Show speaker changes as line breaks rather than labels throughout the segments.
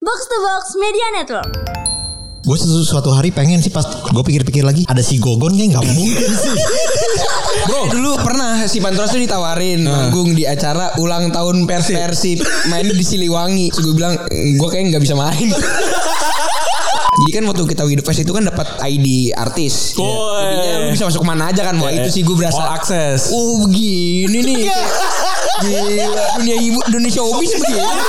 Box to Box Media Network.
Gue suatu, suatu hari pengen sih pas gue pikir-pikir lagi ada si Gogon kayak nggak mungkin sih.
Bro, Eh, dulu pernah si Pantros tuh ditawarin manggung di acara ulang tahun pers Persib main di Siliwangi. Terus gue bilang, gue kayak nggak bisa main. Jadi kan waktu kita Widofest itu kan dapat ID artis. Iya.
Woy.
Jadinya lu bisa masuk kemana aja kan. Wah itu sih gue berasa.
All access.
Oh begini nih. Gila, dunia ibu, dunia showbiz begini.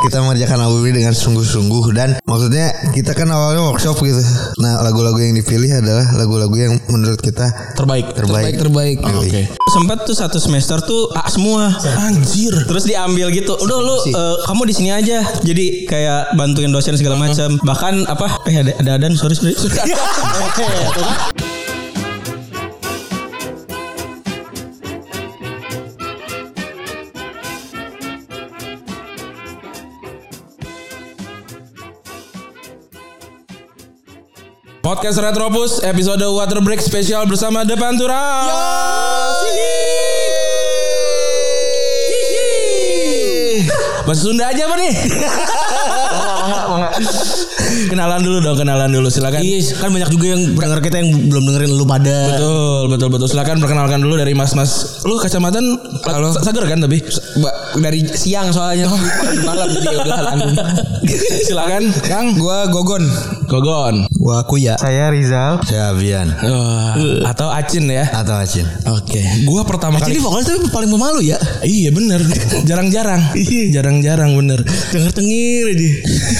kita mengerjakan album ini dengan sungguh-sungguh dan maksudnya kita kan awalnya workshop gitu. Nah lagu-lagu yang dipilih adalah lagu-lagu yang menurut kita
Terbaik.
terbaik.
Terbaik, terbaik.
Yoi.
Oke. Oh, Sempet tuh satu semester tuh A semua. Anjir. Terus diambil gitu. Udah lu eh, kamu di sini aja. Jadi kayak bantuin dosen segala macam. Bahkan apa? Eh ada ada adan sorry sorry.
Podcast Retropus episode Water Break spesial bersama The Pantura. Bahasa Sunda aja apa nih?
kenalan dulu dong, kenalan dulu silakan.
Iya.
Kan banyak juga yang denger kita yang belum dengerin lu pada.
Betul, betul, betul. Silakan perkenalkan dulu dari Mas-mas. Lu kacamatan
Halo.
sa- Sager kan tapi? Oh,
Ba- dari siang soalnya malam jadi udah tanggung.
Silakan, Kang.
Gue Gogon.
Gogon.
Wah aku ya.
Saya Rizal.
Saya Abian
Wah, atau Acin ya.
atau Acin.
Oke.
Gua pertama
Jadi
kali.
vokalis tapi paling pemalu ya.
Iya bener Jarang-jarang Jarang-jarang bener
Denger tengir aja.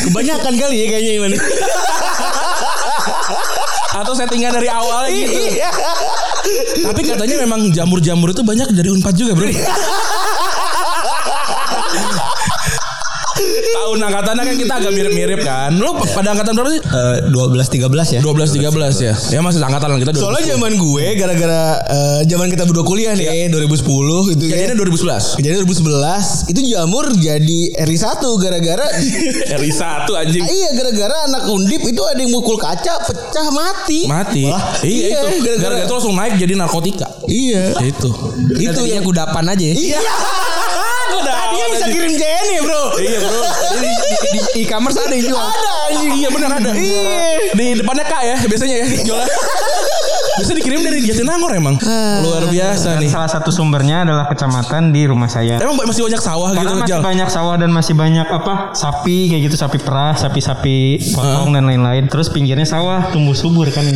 Kebanyakan kali ya kayaknya gimana.
Atau settingan dari awal
Iya.
gitu Tapi katanya memang jamur-jamur itu banyak dari Unpad juga, Bro. Tahun angkatannya kan kita agak mirip-mirip kan. Lu pada angkatan berapa sih?
12-13 ya.
12 13 ya. Ya masih angkatan lah kita. 12.
Soalnya zaman gue gara-gara eh, zaman kita berdua kuliah nih 2010 itu
ya. Iya.
kejadiannya 2011.
Kejadian 2011 itu jamur jadi RI 1 gara-gara
RI 1 anjing.
Ah, iya gara-gara anak undip itu ada yang mukul kaca pecah mati.
Mati. iya,
iya,
itu.
gara-gara-
Gara-gara itu langsung naik jadi narkotika.
Iya.
Itu.
Itu yang kudapan aja ya.
Iya. Tadinya bisa kirim JN ya, Bro.
Iya, Bro.
Di, di e-commerce ada yang jual.
Ada anjing.
Iya benar ada. Di depannya Kak ya biasanya ya jualan. Bisa dikirim dari Jatinangor emang. Luar biasa nih.
Salah satu sumbernya adalah kecamatan di rumah saya.
Emang masih banyak sawah gitu
Karena masih
Jal?
banyak sawah dan masih banyak apa sapi kayak gitu sapi perah, sapi-sapi potong dan lain-lain. Terus pinggirnya sawah tumbuh subur kan ini.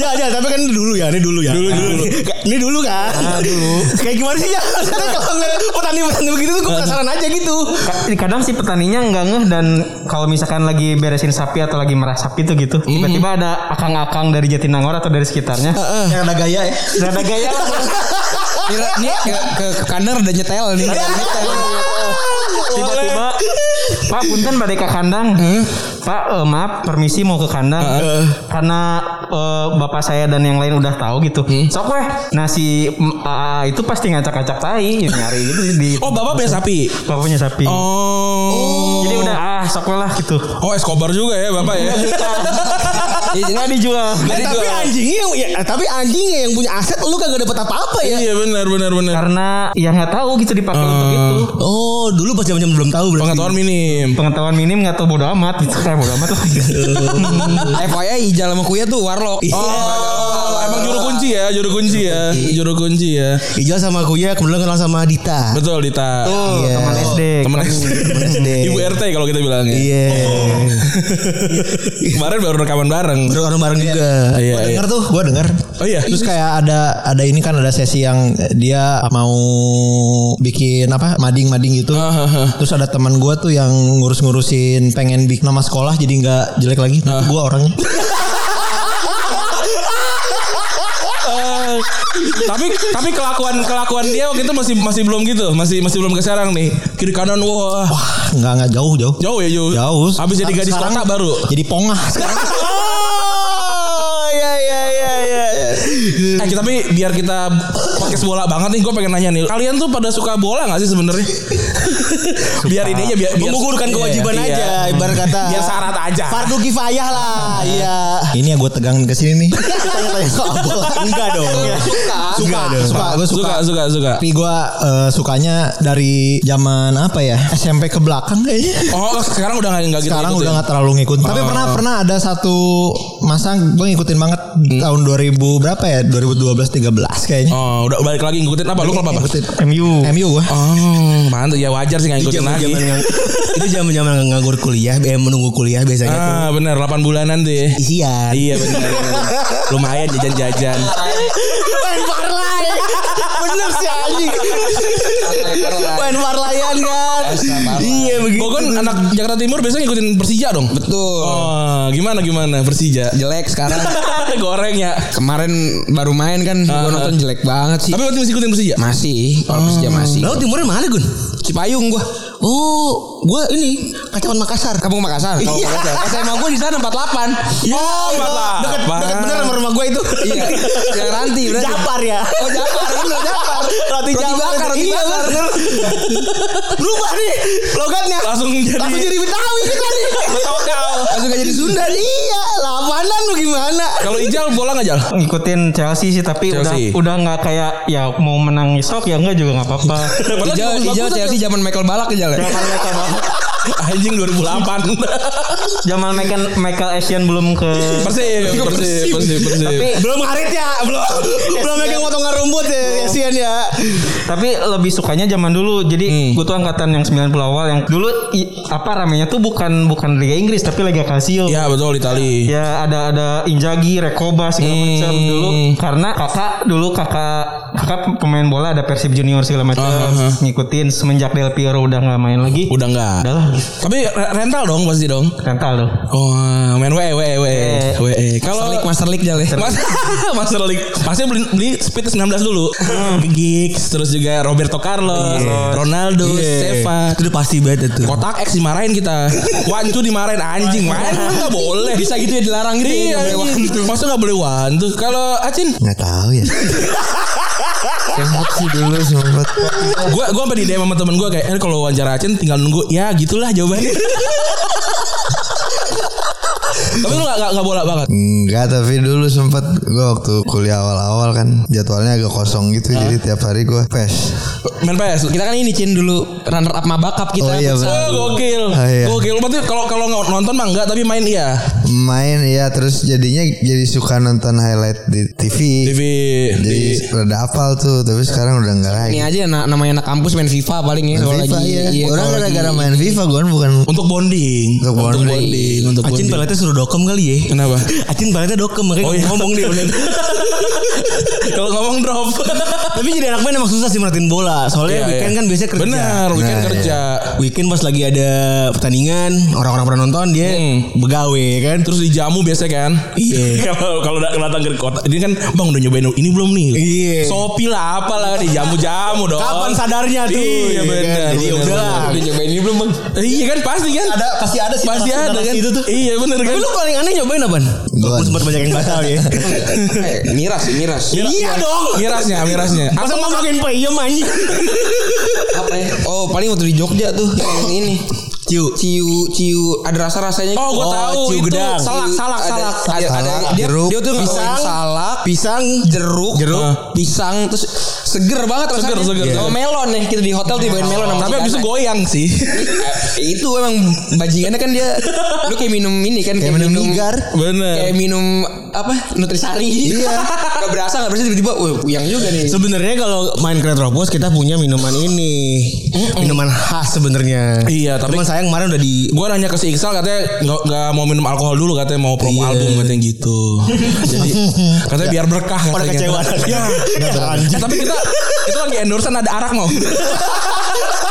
Ya, ya, tapi kan ini dulu ya, ini dulu ya. Dulu, dulu. Ini dulu kan. dulu. Kayak gimana sih ya? Maksudnya kalau ngeliat petani-petani begitu tuh gue penasaran aja gitu.
Ka- Kadang si petaninya nggak ngeh dan kalau misalkan lagi beresin sapi atau lagi merah sapi tuh gitu, tiba-tiba ada akang-akang dari Jatinangor atau dari sekitarnya.
Yang ada gaya ya.
Rada gaya lah.
Eh. Kira nih ke, ke, ke kandang ada nyetel nih.
Iya.
Nyetel.
tiba-tiba Pak punten badai ke kandang
Hmm?
Pak eh, maaf permisi mau ke kandang karena eh, bapak saya dan yang lain udah tahu gitu
Hmm?
sok weh nah si mm, AA itu pasti ngacak-ngacak tai nyari gitu di
Oh, Bapak punya sapi.
bapaknya sapi
Oh.
jadi udah ah sok weh lah gitu
Oh, Escobar juga ya Bapak ya.
Iya,
nggak dijual
Jadi
Eh, tapi
jual.
anjingnya ya, tapi anjingnya yang punya aset lu kagak dapet apa-apa ya.
Iya benar benar benar.
karena ya nggak tahu gitu dipakai untuk
Hmm.
itu
Oh, dulu pas zaman-zaman belum tahu berarti.
Pengetahuan minim.
pengetahuan minim nggak tahu bodo amat gitu kayak bodo amat lah
Iya. FYI Ijal sama Kuya tuh warlock.
Iya.
Oh, emang juru kunci ya, juru kunci ya, juru kunci ya.
Ijal sama Kuya kemudian kenal sama Dita.
Betul Dita.
Oh,
Iya.
teman gitu. SD
Temen
SD.
Ibu RT kalau kita bilang ya.
Iya.
Kemarin baru rekaman bareng.
Baru orang bareng juga.
Iya,
Gua
iya.
denger tuh, gua denger.
Oh iya.
Terus kayak ada ada ini kan ada sesi yang dia mau bikin apa mading-mading gitu.
Ah,
Terus ada teman gua tuh yang ngurus-ngurusin pengen bikin nama sekolah jadi nggak jelek lagi.
Ah.
Gua orangnya.
Eh, tapi tapi kelakuan kelakuan dia waktu itu masih masih belum gitu masih masih belum ke Serang nih kiri kanan wah
Nggak nggak jauh jauh.
jauh ya jauh
Jauh.
habis jadi gadis
Sekarang
kota baru
Jadi pongah sekarang.
oh ya ya ya ya eh kita- tapi biar kita podcast bola banget nih gue pengen nanya nih kalian tuh pada suka bola nggak sih sebenarnya biar ini aja biar, biar
Mengukurkan
Iya,
kewajiban
iya.
aja ibarat kata.
biar syarat aja
Fardu kifayah lah. Iya.
Ini ya gue tegangin ke sini nih. tanya-tanya soal bola.
Enggak dong.
Suka, suka, gue suka.
Suka suka suka.
Tapi gue eh, sukanya dari zaman apa ya SMP ke belakang kayaknya.
Oh sekarang udah nggak nggak gitu.
Sekarang
ngikutin.
udah nggak terlalu ngikutin.
Oh.
Tapi pernah pernah ada satu masa gue ngikutin banget
Hmm.
tahun 2000 berapa ya? 2012 13 kayaknya.
Oh udah balik lagi ngikutin Oh, apa? Lu kenapa apa?
Ngikutin
MU.
MU gue.
Oh mantap ya wajar sih nggak
Iya,
ngikutin lagi.
itu zaman zaman nganggur kuliah, eh, menunggu kuliah biasanya.
Ah benar 8 bulanan deh.
Isian.
Iya benar. benar. Lumayan jajan-jajan.
Bener sih anjing. Main parlayan kan. Iya begitu.
kan
Gogon anak Jakarta Timur biasanya ngikutin Persija dong.
Betul.
Oh, gimana gimana Persija?
Jelek sekarang.
Goreng ya.
Kemarin baru main kan gua
Ah.
nonton jelek banget sih.
Tapi berarti masih ikutin Persija?
Masih, kalau Persija masih.
Lalu timurnya mana Gun?
Cipayung gua.
Oh, gua ini Kacaman Makassar.
Kampung Makassar. Kampung
Iya.
Makassar. SMA gua di sana 48.
Oh, dekat dekat bener sama rumah gua itu.
Iya. Yang ranti berarti.
Japar ya.
Oh, Japar. Bener, Japar.
Roti Japar.
bakar, roti
Iya,
bakar.
Berubah nih logatnya.
Langsung jadi
Langsung jadi Betawi kita nih.
Langsung gak jadi Sunda.
Sunda iya, lapanan lu gimana?
Kalau Ijal bola nggak Jal?
ngikutin Chelsea sih tapi
Chelsea.
udah udah nggak kayak ya mau menang esok ya enggak juga nggak apa-apa.
Hijau,
Padahal bagus-bagus
hijau
aja.
Chelsea zaman Michael Balak aja lah.
Anjing 2008.
Jamal Michael Michael Asian belum ke
Persib, Persib, Persib, Persib.
tapi
Belum ngarit ya, belum belum
Iya.
megang potongan rumput ya, kasihan ya.
tapi lebih sukanya zaman dulu. Jadi gue tuh angkatan yang 90 awal yang dulu i- apa ramenya tuh bukan bukan Liga Inggris tapi Liga Calcio.
ya betul Itali.
Ya ada ada Injagi, Rekoba segala macam dulu karena kakak dulu kakak kakak pemain bola ada Persib Junior segala macam ngikutin semenjak Del Piero udah nggak main lagi.
Udah nggak.
Udah lah, gitu.
Tapi re- rental dong pasti dong.
rental tuh.
Oh, main WE WE WE. WE.
Master
Kalau
League, Master League aja lah.
Mas, Master League pasti beli, beli Speed 19 dulu Giggs Terus juga Roberto Carlos Ronaldo Seva
Eh, Itu udah pasti banget itu.
Kotak X dimarahin kita Wancu dimarahin Anjing Main lu gak boleh
Bisa gitu ya dilarang gitu.
Iya,
Nggak boleh
anjing.
waktu.
Masa gak boleh wantu Kalau Acin
Nggak tahu ya. Sempat sih dulu sempat.
Gue gua sampe di DM sama temen gue Kayak eh, kalau wawancara Acin tinggal nunggu Ya gitulah jawabannya Tapi lu gak, gak, gak bola banget
Enggak tapi dulu sempet gue waktu kuliah awal-awal kan jadwalnya agak kosong gitu jadi tiap hari gue pes.
Main PS
Kita kan ini Cin dulu runner up mabakap kita.
Oh iya benar.
Oh, gokil.
Ah, iya.
Gokil. Berarti kalau kalau nggak nonton mah enggak tapi main iya.
Main ya terus jadinya jadi suka nonton highlight di TV.
TV
Jadi
di
rada apal tuh tapi sekarang udah enggak lagi.
Ini aja na- namanya anak kampus main FIFA paling ya
Main
kalau
FIFA
lagi
ya.
iya,
Orang
kalau
gara-gara
lagi-
main FIFA gue bukan
untuk bonding.
Untuk bonding.
untuk
Acin
bonding.
pelatnya suruh dokem kali ya.
Kenapa?
Acin pelatnya dokem makanya
Oh, iya.
ngomong dia bener.
kalau ngomong drop.
Tapi jadi anak main emang susah sih merhatiin bola. Soalnya
Iya,
weekend
iya.
kan biasanya kerja. iya.
Benar, weekend
Nah,
kerja.
Weekend pas lagi ada pertandingan, orang-orang pernah nonton dia
Hmm.
begawe kan.
Terus dijamu biasa kan?
Iya.
Kalau kalau udah datang ke kota, ini kan bang udah nyobain ini belum nih.
Iya.
Sopi lah apalah dijamu-jamu dong.
Kapan sadarnya tuh?
Iya
Iya, kan?
benar.
Jadi
benar,
udah
benar.
lah.
Udah nyobain ini belum bang?
Iya kan pasti kan?
Ada pasti ada sih
Pasti ada kan?
itu tuh.
Iya benar kan?
Tapi lu paling aneh nyobain apaan? Walaupun sempat banyak yang batal ya.
Eh, miras, miras.
iya dong.
Mirasnya, mirasnya.
Masa ngomongin peyem anjing.
Apa ya? Oh paling waktu di Jogja tuh yang ini. Ciu, ciu, ciu. Ada rasa rasanya.
Oh, gua tahu
ciu
itu.
gedang.
Salak,
Ciu-
salak,
ada-
salak.
Ada, ada,
Salak,
dia,
jeruk,
dia tuh pisang,
pisang,
salak,
Pisang
jeruk,
Jeruk.
eh, pisang, terus seger banget rasanya.
Seger, seger.
Sama melon nih kita di hotel tibain melon sama.
Tapi abis itu
makanan.
goyang sih.
Eh, itu emang bajingannya kan dia lu kayak minum ini kan kayak,
minum nigar.
Bener.
kayak minum apa nutrisari iya gak berasa gak berasa tiba-tiba wah yang juga nih
Sebenarnya kalau main ke Retropos kita punya minuman ini. Minuman khas sebenarnya.
Iya, tapi-
Cuman sayang kemarin udah di
Gue nanya ke si Iksal katanya nggak nggak mau minum alkohol dulu katanya mau promo album katanya gitu. Jadi katanya biar berkah katanya.
Pada kecewa tadi.
Ya.
Iya. Anjing.
Eh, tapi kita itu lagi endorsean ada arak mau.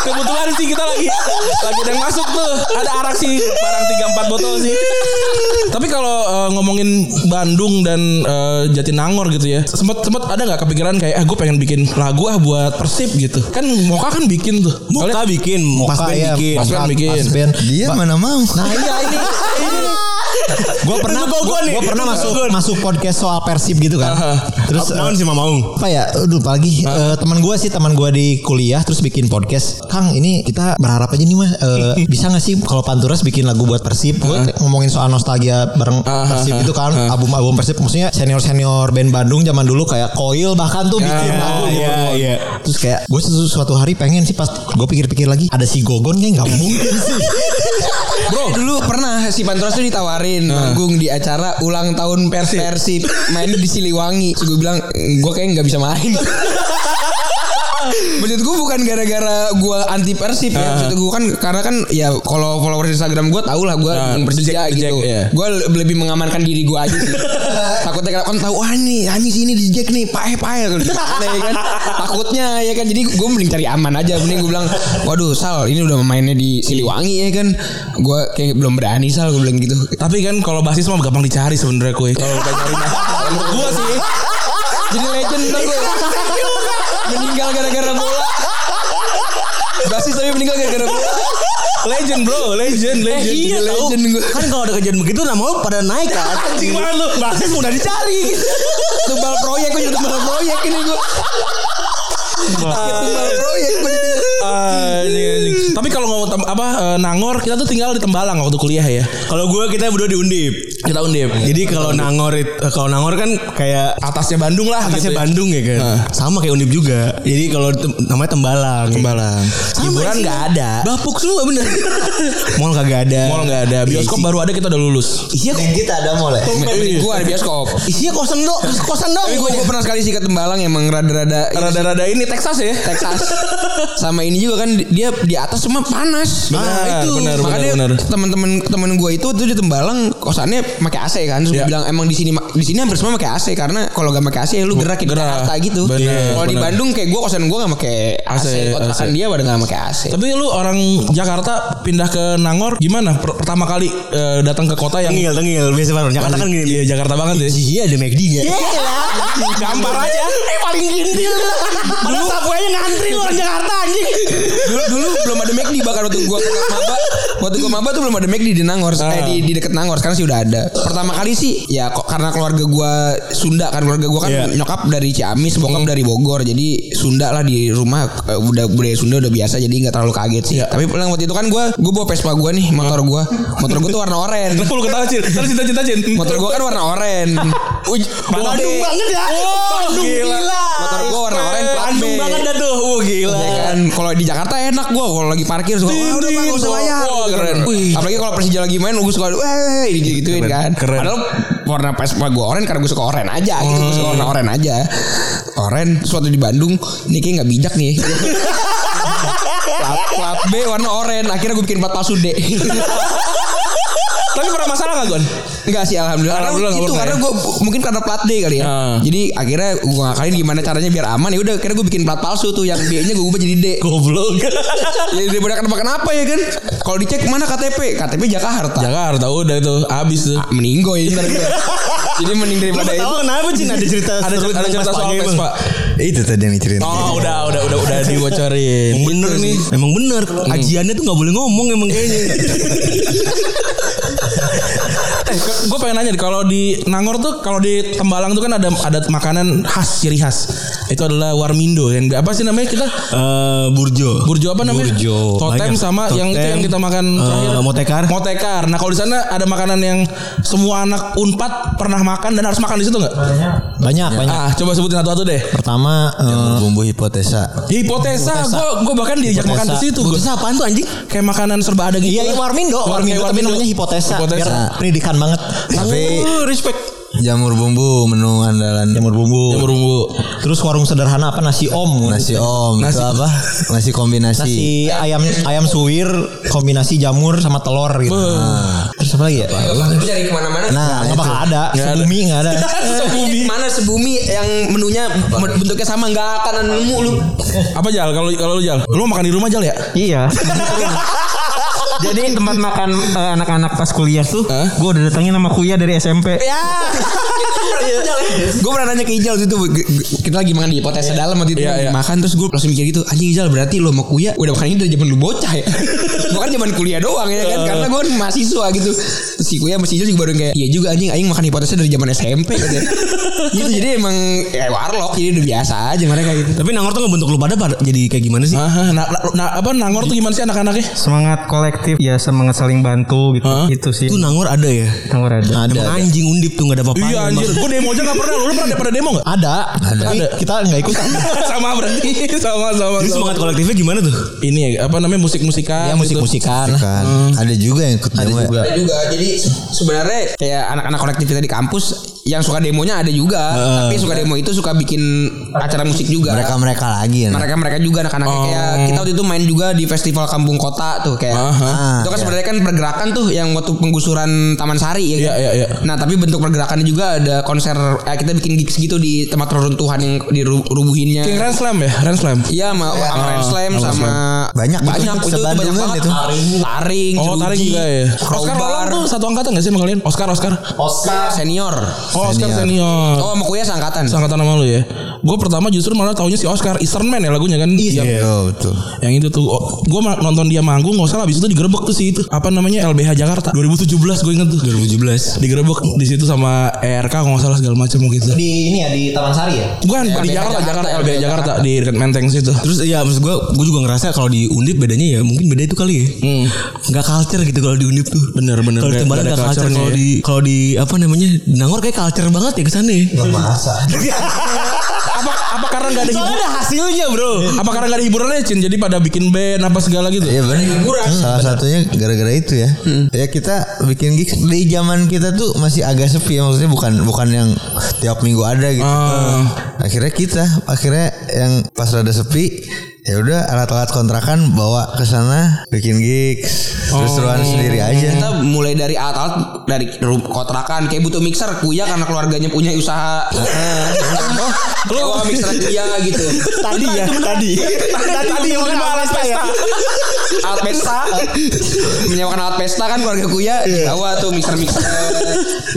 Kebetulan sih kita lagi lagi ada yang masuk tuh. Ada arak sih barang 3 4 botol sih. Tapi kalau eh, ngomongin Bandung dan eh, Jatinangor gitu ya, sempet sempet ada nggak kepikiran kayak ah gue pengen bikin lagu ah buat Persib gitu. Kan Moka kan bikin tuh.
Moka bikin,
Pas
Moka bikin.
band bikin.
Pas band iya. bikin.
Nah,
Pas band.
Dia mana mau.
iya ini, ini
gue pernah
Itu gua- gua nih.
gue pernah
Itu
masuk
gua.
masuk podcast soal persib gitu kan terus
Terus sih Mama Maung?
apa ya aduh pagi Eh, teman gue sih teman gue di kuliah terus bikin podcast kang ini kita berharap aja nih mas eh, bisa nggak sih kalau Panturas bikin lagu buat Persib Gua ngomongin soal nostalgia bareng
Ah,
Persib itu kan album-album Persib maksudnya senior-senior band Bandung zaman dulu kayak Koil bahkan tuh bikin lagu
Iya iya.
terus kayak gue suatu hari pengen sih pas gue pikir-pikir lagi ada si Gogon kayak nggak mungkin sih
Bro, Eh, dulu pernah si Pantros tuh ditawarin manggung di acara ulang tahun pers Persib main di Siliwangi. Terus gue bilang gue kayak nggak bisa main. Maksud gue bukan gara-gara gue anti Persib ya. Maksud gue kan karena kan ya kalau followers Instagram gue tau lah gue
Ah,
bersedia
reject,
gitu.
reject, ya.
Gue le- lebih mengamankan diri gue aja sih. Takutnya kalau kan tahu wah nih anjing sini di Jack nih E, pae pae ya kan. Takutnya ya kan jadi gue mending cari aman aja mending gue bilang waduh Sal ini udah mainnya di Siliwangi ya kan. Gue kayak belum berani Sal gue bilang gitu.
Tapi kan kalau basis mah gampang dicari sebenarnya kue. Kalau udah cari mah. Menurut gua sih.
Jadi legend dong gue. Meninggal gara-gara bola. Basis tapi meninggal gara-gara bola.
Legend bro, legend, legend.
iya,
Jadi
tahu.
legend gua.
Eh, kan kalau ada kejadian begitu nama lu pada naik kan
Anjing banget lu. Basis mudah dicari.
tumbal proyek gue jadi tumbal proyek ini gue tumbal proyek gua jadi.
Ah, Anjing, anjing. Tapi kalau ngomong tem- apa eh, Nangor, kita tuh tinggal di Tembalang waktu kuliah ya.
kalau gue kita berdua di undip
Kita undip.
jadi kalau nangor it-
eh,
kalau nangor kan kayak
Atasnya Bandung lah.
atasnya
gitu ya.
Bandung ya kan sama kayak undip juga jadi kalau tem- namanya tembalang tembalang hiburan
sih.
nggak ada
Bapuk semua bener.
mall kagak ada
Mall nggak ada. Bioskop
Iya,
baru ada kita udah lulus.
isinya
dan kita ada mulai
gue Iya. ada bioskop
isinya Iya. kosan dong kosan dong
tapi gue gue pernah sekali sih ke Tembalang emang rada-rada
Rada-rada ini Texas ya.
Texas sama ini juga kan dia di atas cuma panas Nah,
Benar,
itu
benar,
makanya
benar, benar.
teman-teman teman gue itu tuh di Tembalang kosannya pakai AC kan terus gua
Iya.
bilang emang di sini di sini hampir semua pakai AC karena kalau gak pakai AC ya lu gerak ke
Gerak.
Jakarta gitu
Benar,
kalau di
benar.
Bandung kayak gue kosan gue gak pakai AC,
AC.
kontrakan dia pada gak pakai AC
Tapi lu orang Jakarta pindah ke Nangor gimana? Per- pertama kali eh, datang ke kota yang
tengil tengil biasa baru Jakarta kan gini
Iya Jakarta banget ya.
iya ada McD nya
Gampar aja. paling gintil. Padahal sapu aja ngantri lu orang Jakarta anjing.
dulu dulu belum ada McD bahkan waktu gua maba waktu gua maba tuh belum ada McD di Nangor eh di, di deket Nangor sekarang sih udah ada pertama kali sih ya kok karena keluarga gua Sunda kan keluarga gua kan
Iya.
nyokap dari Ciamis bokap dari Bogor jadi Sunda lah di rumah eh, udah budaya Sunda udah biasa jadi nggak terlalu kaget
Iya.
sih tapi pulang waktu itu kan gua gua bawa Vespa gua nih motor gua motor gua tuh warna oranye
Kenapa lu ketawa Cil? Terus cinta-cinta Cil.
motor gua kan warna oranye Uj,
Bandung banget ya. Bandung gila.
motor gua warna oranye plat B
Bandung banget dah tuh Wah gila
Ya kan kalau di Jakarta enak gua kalau lagi parkir suka wah udah Pak, nggak usah bayar
Wah, keren.
Wih. apalagi kalau Persija lagi main gua suka weh gitu gituin kan
Keren.
padahal warna Vespa gua oranye karena gua suka oranye aja gitu gua suka warna oranye aja oranye suatu di Bandung ini kayak nggak bijak nih plat, plat B warna oranye akhirnya gua bikin plat palsu D
Tapi pernah masalah gak Gon?
Enggak sih alhamdulillah. Karena
Alhamdulillah nggak
itu
pernah
karena
ya?
gue mungkin karena plat D kali ya.
Ah.
Jadi akhirnya gue ngakalin gimana caranya biar aman. Ya udah akhirnya gue bikin plat palsu tuh yang B-nya gue ubah jadi D.
Goblok.
Ya daripada kenapa kenapa ya kan? Kalau dicek mana KTP? KTP Jakarta.
Jakarta udah itu habis tuh.
Ah, meninggoy ntar gua. Jadi mending daripada itu.
Tahu Oh, kenapa Cin ada cerita
Ada
seru
cerita, ada
tentang
cerita
Vespa
soal
aja, Bang.
Vespa.
Itu tadi yang diceritain.
Oh, udah udah udah udah dibocorin. Gitu
Emang bener nih Emang bener
Hmm.
Hmm. Ajiannya tuh gak boleh ngomong emang kayaknya
Gue Eh, pengen nanya deh, kalau di Nangor tuh kalau di Tembalang tuh kan ada ada makanan khas ciri khas. Itu adalah warmindo yang apa sih namanya kita
Eh, Burjo
Burjo apa namanya?
Burjo
Totem
Banyak.
sama yang itu
Totem,
yang kita makan
eh,
terakhir.
Motekar.
Motekar. Nah, kalau di sana ada makanan yang semua anak Unpad pernah makan dan harus makan di situ nggak?
banyak banyak
Ah, coba sebutin satu-satu deh.
pertama eh, Iya,
Bumbu hipotesa.
Ya, hipotesa, gue
Oh,
gue bahkan diajak makan ke situ. gua.
Burjo apaan tuh anjing
Kayak makanan serba ada gitu.
Iya, iya Warmindo, Warmindo, tapi namanya hipotesa.
Hipotesa.
Biar pendidikan banget.
Tapi
Uh,
Oh, respect.
jamur bumbu menu andalan.
Jamur bumbu.
Burumbu.
Terus warung sederhana apa nasi om.
Nasi om
Nasi-
itu apa? Nasi kombinasi.
Nasi ayam ayam suwir kombinasi jamur sama telur gitu. Nah. Terus apa lagi ya?
Itu cari kemana-mana. Kan
Nah,
Nggak bakal ada. Sebumi nggak ada.
Sebumi. Mana sebumi yang menunya bentuknya sama nggak akan nemu lu.
Apa Jal? Kalau kalau lu Jal, lu makan di rumah Jal ya?
Iya. Jadi tempat makan eh, anak-anak pas kuliah tuh,
Hah?
gue udah datangin sama kuliah dari SMP.
Ya. gue pernah nanya ke Ijal waktu itu gue- gue- kita lagi makan di hipotesa dalam waktu itu kan.
Iya, iya.
makan terus gue langsung mikir gitu anjing Ijal berarti lo mau kuliah udah makan ini dari zaman lu bocah ya gue kan zaman kuliah doang ya kan karena gue kan mahasiswa gitu terus si kuliah masih Ijal juga baru kayak iya juga anjing anjing makan hipotesa dari zaman SMP katanya. gitu jadi emang ya warlock jadi udah biasa aja mereka gitu
Tapi Nangor tuh ngebentuk lu pada pada jadi kayak gimana sih?
Ah, nah, nah, nah, apa nangor tuh gimana sih anak-anaknya?
Semangat kolektif ya, semangat saling bantu gitu.
Hah?
Itu sih.
Itu Nangor ada ya?
Tanggur ada.
Ada. anjing undip tuh gak ada apa-apa.
Iya anjir, gue demo aja gak pernah. Lu pernah pada demo gak?
Ada, tapi kita nggak ikut.
sama berarti, sama sama.
Jadi
sama.
semangat kolektifnya gimana tuh?
Ini ya, apa namanya musik-musikan? gitu.
ya musik-musikan.
kan ada juga yang ikut demo ya.
ada juga jadi se- sebenarnya kayak anak-anak kolektif kita di kampus yang suka demonya ada juga tapi suka demo itu suka bikin acara musik juga
mereka mereka lagi ya
mereka mereka juga anak-anak kayak
Oh.
kita waktu itu main juga di festival kampung kota tuh kayak
Aha.
itu
Ah,
kan sebenarnya kan pergerakan tuh yang waktu penggusuran Taman Sari ya
Iya,
kan?
iya, iya.
nah tapi bentuk pergerakannya juga ada konser eh, kita bikin gigs gitu di tempat reruntuhan yang dirubuhinnya
King Ren Slam ya, Ren Slam.
Iya sama sama Grand Slam sama
Banyak,
banyak
itu kan
itu, itu banyak
sebandungan
banget
itu.
taring taring
Oh, tarik
jeruji,
juga ya. Oscar
crowbar,
Roland tuh satu angkatan gak sih sama kalian? Oscar, Oscar.
senior
Oh, Oscar senior.
oh sama kuya seangkatan
Seangkatan sama lu ya. Gue pertama justru malah taunya si Oscar Eastern Man ya lagunya kan. Iya.
Iya betul
Yang itu tuh oh, gue nonton dia manggung nggak salah abis itu digerebek tuh si itu apa namanya LBH Jakarta 2017 gue inget tuh 2017 digerebek di situ sama ERK kalau nggak salah segala macam gitu
Di ini ya di Taman Sari ya.
bukan
LBH
di Jakarta
Jakarta,
Jakarta
LBH
LBH Jakarta di dekat Menteng situ
Terus ya maksud gue, gue juga ngerasa kalau di Undip bedanya ya mungkin beda itu kali ya. Nggak culture gitu kalau di Undip tuh.
Hmm. Bener, bener.
Kalau di
Nggak-
Tembalang
nggak
nggak
ada
culture,
culture-nya ya.
kalau di kalau di apa namanya di Nangor kayak culture banget ya kesana ya.
masa
apa apa karena nggak ada hiburan
Soalnya ada hasilnya bro.
apa karena nggak ada hiburannya Cin jadi pada bikin band apa segala gitu
Iya benar. Salah satunya gara-gara itu ya.
Hmm.
Ya kita bikin gigs di zaman kita tuh masih agak sepi ya maksudnya bukan bukan yang tiap minggu ada gitu.
Ah.
Akhirnya kita akhirnya yang pas rada sepi ya udah alat-alat kontrakan bawa ke sana bikin gigs terus
Oh.
terusan sendiri
Iya.
Iya.
kita
aja.
mulai dari alat-alat dari ru- kontrakan kayak butuh mixer kuya karena keluarganya punya usaha oh lu mixer kuya gitu
Tadi ya tadi.
tadi yang udah ya? alat pesta alat pesta menyewakan alat pesta kan keluarga kuya
Iya.
bawa tuh mixer mixer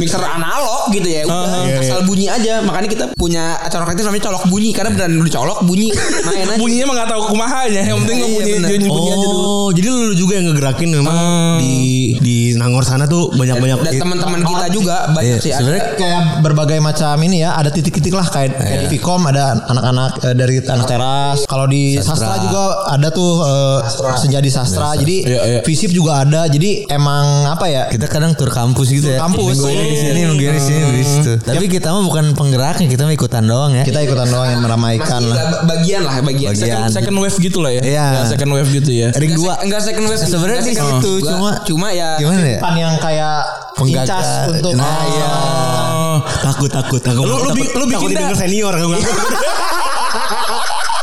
mixer analog gitu
Ah,
ya udah
iya,
asal bunyi aja makanya kita punya acara kolektif namanya colok bunyi karena beneran udah colok bunyi main aja
bunyinya mah nggak tahu kumahanya yang penting
Iya,
bunyi
bener.
bunyi bunyi aja dulu
Oh jadi lu juga yang ngegerakin memang
Hmm.
di di Nangor sana tuh
Oh,
Iya. banyak banyak.
dan teman-teman kita juga banyak sih
Iya,
ada.
Sebenarnya kayak berbagai macam ini ya, ada titik-titik lah kayak kayak
Iya.
di Vicom ada anak-anak eh, dari anak teras. Kalau di sastra. juga ada tuh eh, senja di sastra. Jadi
Iya, iya.
visip juga ada. Jadi emang apa ya?
Kita kadang tur kampus gitu ya.
kampus. Hmm.
Minggu ini di sini, minggu ini di sini, minggu ini di situ. Tapi kita mah bukan penggeraknya, kita mah ikutan doang ya.
Kita ikutan doang yang meramaikan
Masih
lah.
bagian lah bagian,
Bagian.
second wave gitu lah ya
Iya.
Ya, second wave gitu ya
Iya.
Ring dua.
enggak second wave
Sebenarnya
Enggak
di
second wave
situ,
juga.
cuma-
gitu, cuma ya
Gimana ya?
Kan yang kayak
Penggagas.
incas untuk
Nah, iya.
Oh.
Takut takut takut.
Lu- lu bi- lu bikin
takut
dah.
didengar senior kamu nggak.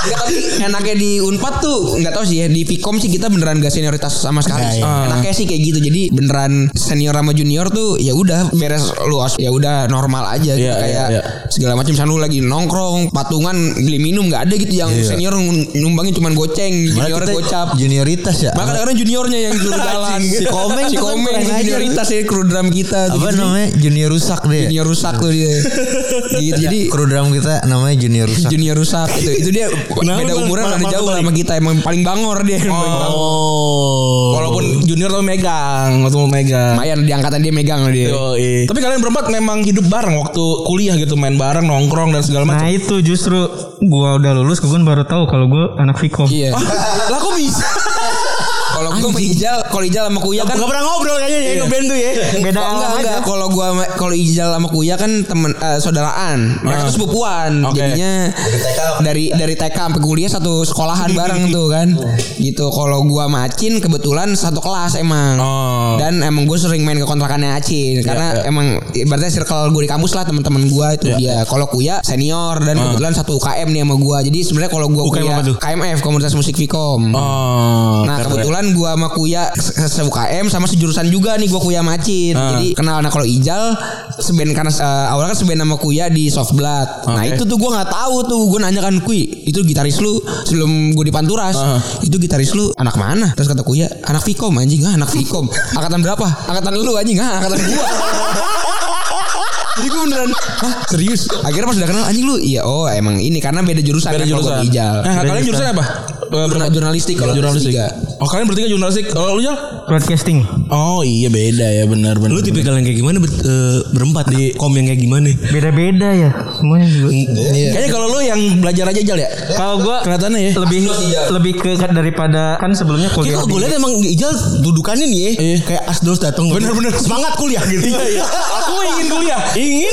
Enggak, tapi enaknya di Unpad tuh enggak tahu sih ya di Vicom sih kita beneran gak senioritas sama sekali.
iya.
sih. Enaknya sih kayak gitu. Jadi beneran senior sama junior tuh ya udah beres luas ya udah normal aja gitu
Iya, iya,
kayak
iya.
segala macam sana lu lagi nongkrong, patungan, beli minum nggak ada gitu yang senior ngun- numbangin cuman goceng,
Iya.
junior
Kita
gocap.
Junioritas ya.
Maka kadang juniornya yang juru jalan.
Si Komeng
si
tuh kan
Komeng
kurang
itu
ajar.
junioritas ya kru drum kita. tuh.
Apa
Jadi
namanya? Junior rusak
Ya.
deh.
Junior rusak tuh dia. Gitu, Jadi
Kru drum kita namanya Junior Rusak.
junior rusak itu itu dia beda umuran
malah-
ada
malah
jauh
balik.
sama kita emang paling bangor dia Emang paling bangor.
Oh.
walaupun junior tuh megang waktu mau megang
lumayan di angkatan dia megang dia
Yoi. oh, iya. Tapi kalian berempat memang hidup bareng waktu kuliah gitu main bareng nongkrong dan segala macam.
Nah itu justru gua udah lulus, gue baru tahu kalau gue anak Vicom.
iya lah kok bisa kalau gue sama Ijal kalau Ijal sama Kuya kan
Gak pernah ngobrol kayaknya ya ngeband tuh ya.
Beda
Oh, enggak,
alam
enggak.
aja.
Kalau gua sama- kalau Ijal sama Kuya kan temen eh, saudaraan.
Ah.
Mereka tuh sepupuan.
Oke.
Jadinya dari dari TK sampai kuliah satu sekolahan bareng tuh kan. Gitu. Kalau gua sama Acin kebetulan satu kelas emang.
Oh.
Dan emang gue sering main ke kontrakannya Acin
Ya,
karena emang ibaratnya circle gue di kampus lah teman-teman gua itu dia. Kalau Kuya senior dan
Ah.
kebetulan satu UKM nih sama gua. Jadi sebenarnya kalau gua
UKM apa tuh?
KMF Komunitas Musik Vicom.
Oh.
Nah kebetulan kebetulan gua sama Kuya se- se UKM sama sejurusan juga nih gua Kuya Macin.
Ah.
Jadi kenal nah kalau Ijal seben karena eh, awalnya kan seben sama Kuya di Softblood. Nah,
Oke.
itu tuh gua nggak tahu tuh. Gua nanya kan Kui, itu gitaris lu sebelum gua di Panturas.
Ah.
Itu gitaris lu anak mana? Terus kata Kuya, anak Vicom anjing. Ah, anak Vicom. Angkatan berapa? Angkatan lu anjing. Ah, angkatan gua. Jadi gue beneran Hah serius Akhirnya pas udah kenal Anjing lu Iya oh emang ini Karena beda jurusan
Beda
kan, kalau
jurusan.
gua Ijal
Nah, kalian jurusan apa? Eh,
Jurnal- Jurnalistik kalau
Jurnalistik.
tiga.
Oh, kalian bertiga jurnalistik. Kalau lu Jal?
Broadcasting.
Oh, iya beda ya, benar benar.
Lu tipikal yang kayak gimana ber- eh, berempat di kom yang kayak gimana?
Beda-beda ya semuanya juga.
Kayaknya kalau lu yang belajar aja Jal ya.
Kalau gua
Kelihatannya ya.
lebih lebih ke daripada kan sebelumnya kuliah.
Kok gue liat emang Ijal dudukannya nih ya
Iya.
Kayak Asdos datang
Bener-bener.
Semangat kuliah gitu
Aku ingin kuliah. Iya, Ingin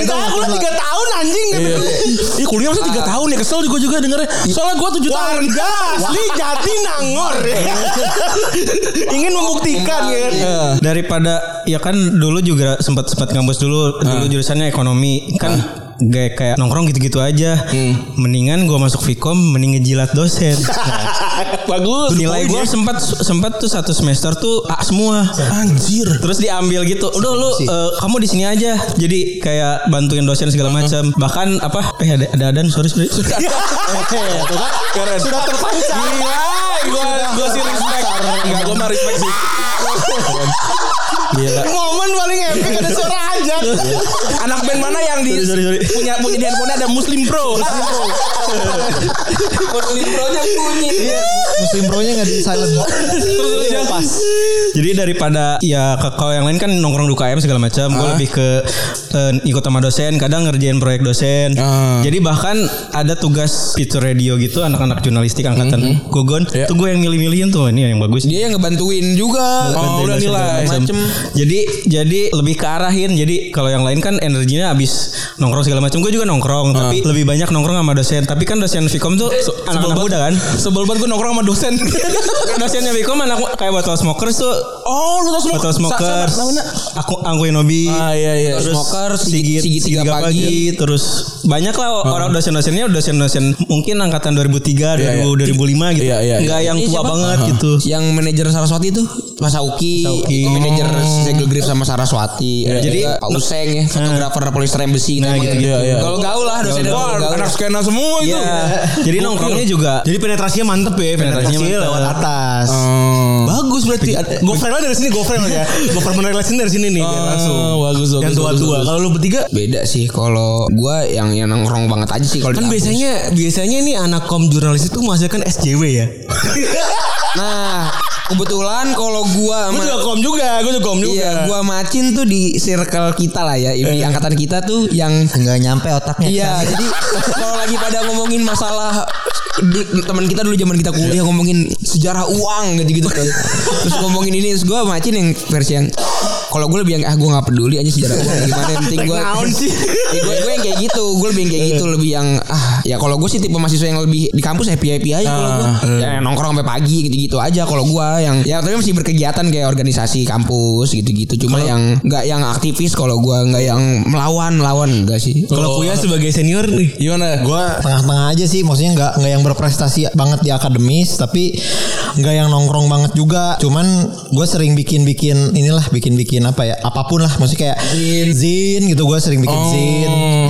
Kita aku lah 3 tahun anjing
Iya. Ih, kuliah masa 3 tahun ya. Kesel gue juga dengernya. Soalnya gue 7 tahun.
Warga asli jadi nangor Ingin membuktikan ya kan?
Daripada ya kan dulu juga sempat sempat kampus dulu
Ah.
dulu jurusannya ekonomi kan kayak kayak nongkrong gitu-gitu aja.
Hmm.
Mendingan gua masuk Vkom mending ngejilat dosen.
Bagus. ya.
Nilai gua sempat sempat tuh satu semester tuh A semua.
Anjir.
Terus diambil gitu. Udah lu eh, kamu di sini aja. Jadi kayak bantuin dosen segala macam. Bahkan apa? Eh ada ada adan sorry sorry.
kan Keren. Iya, Sudah terpancar. Gila. Gue gue sih respect. Enggak gue mah respect sih.
Momen paling epic ada suara aja
Anak band mana yang di punya punya di handphone ada Muslim Pro?
Muslim Pro-nya bunyi
Muslim Pro-nya nggak di silent.
Jadi daripada ya ke- kalau yang lain kan nongkrong di UKM segala macam, gue
Ah.
lebih ke eh, ikut sama dosen, kadang ngerjain proyek dosen.
Ah.
Jadi bahkan ada tugas fitur radio gitu anak-anak jurnalistik angkatan
Mm-hmm.
Gogon, tuh gue yang milih-milihin tuh ini yang bagus.
Dia yang ngebantuin juga
Bantuin
udah
dosen
nilai.
segala macam.
Macem
Jadi jadi lebih ke arahin. Jadi kalau yang lain kan energinya habis nongkrong segala macam. Gue juga
Ah.
nongkrong, tapi lebih banyak nongkrong sama dosen. Tapi kan dosen Vkom tuh anak-anak muda kan.
Sebel banget gue nongkrong sama dosen.
Dosennya Vkom anak kayak botol smokers tuh
Oh, lu tau semua.
Hotel Smokers. Aku aku Inobi.
Ah, iya, iya.
Terus
Smokers,
Sigit,
Sigit tiga
Sigit, tiga
pagi.
pagi. Terus banyak lah orang dosen-dosennya dosen-dosen mungkin angkatan 2003,
Iya, iya.
2000, 2005 gitu.
Iya, iya, iya.
Nggak yang
Ini
tua
siapa?
banget gitu.
Yang manajer Saraswati tuh Mas Auki,
Auki. Oh.
Manajer Segel Grip sama Saraswati Ada
Jadi-
juga Pak Useng ya Fotografer Polystyrene besi gitu
Nah,
namanya.
gitu-gitu.
Iya, iya.
Kalau gaul Iya. lah dosen
Wah, anak skena semua itu.
Iya. Jadi nongkrongnya juga. Jadi penetrasinya mantep ya, penetrasinya
Penetrasi
mantep.
lewat atas
Hmm,
Bagus berarti.
Gue frame dari sini Gue frame ya Gue frame relation dari sini nih
Ah,
biar langsung.
bagus,
Yang tua-tua Kalau lu bertiga
Beda sih kalau gua yang yang nongkrong banget aja sih kalau
Kan
di kampus.
biasanya Biasanya nih anak kom jurnalis itu
kan
menghasilkan SJW ya
Nah, kebetulan kalau gua sama
Gue juga kom juga Gue juga kom juga
Iya, gua macin tuh di circle kita lah ya, di angkatan kita tuh yang
Nggak nyampe otaknya.
Iya, jadi kalau lagi pada ngomongin masalah du- teman kita dulu zaman kita kuliah ngomongin sejarah uang gitu gitu terus ngomongin ini terus gue macin yang versi yang kalau gue lebih yang ah gue nggak peduli aja sejarah uang gimana yang penting gue gue gue yang kayak gitu gue lebih yang kayak gitu lebih yang ah ya kalau gue sih tipe mahasiswa yang lebih di kampus happy happy aja kalau gue yang nongkrong sampai pagi gitu gitu aja kalau gue yang ya tapi masih berkegiatan kayak organisasi kampus gitu gitu cuma yang nggak yang aktivis kalau gue nggak yang melawan melawan enggak sih
Kalau Kuya sebagai senior nih.
Oh. Gimana?
Gue tengah-tengah aja sih Maksudnya nggak nggak yang berprestasi banget di akademis Tapi nggak yang nongkrong banget juga Cuman gue sering bikin-bikin Inilah bikin-bikin apa ya Apapun lah Maksudnya kayak Zin, gitu Gue sering bikin zin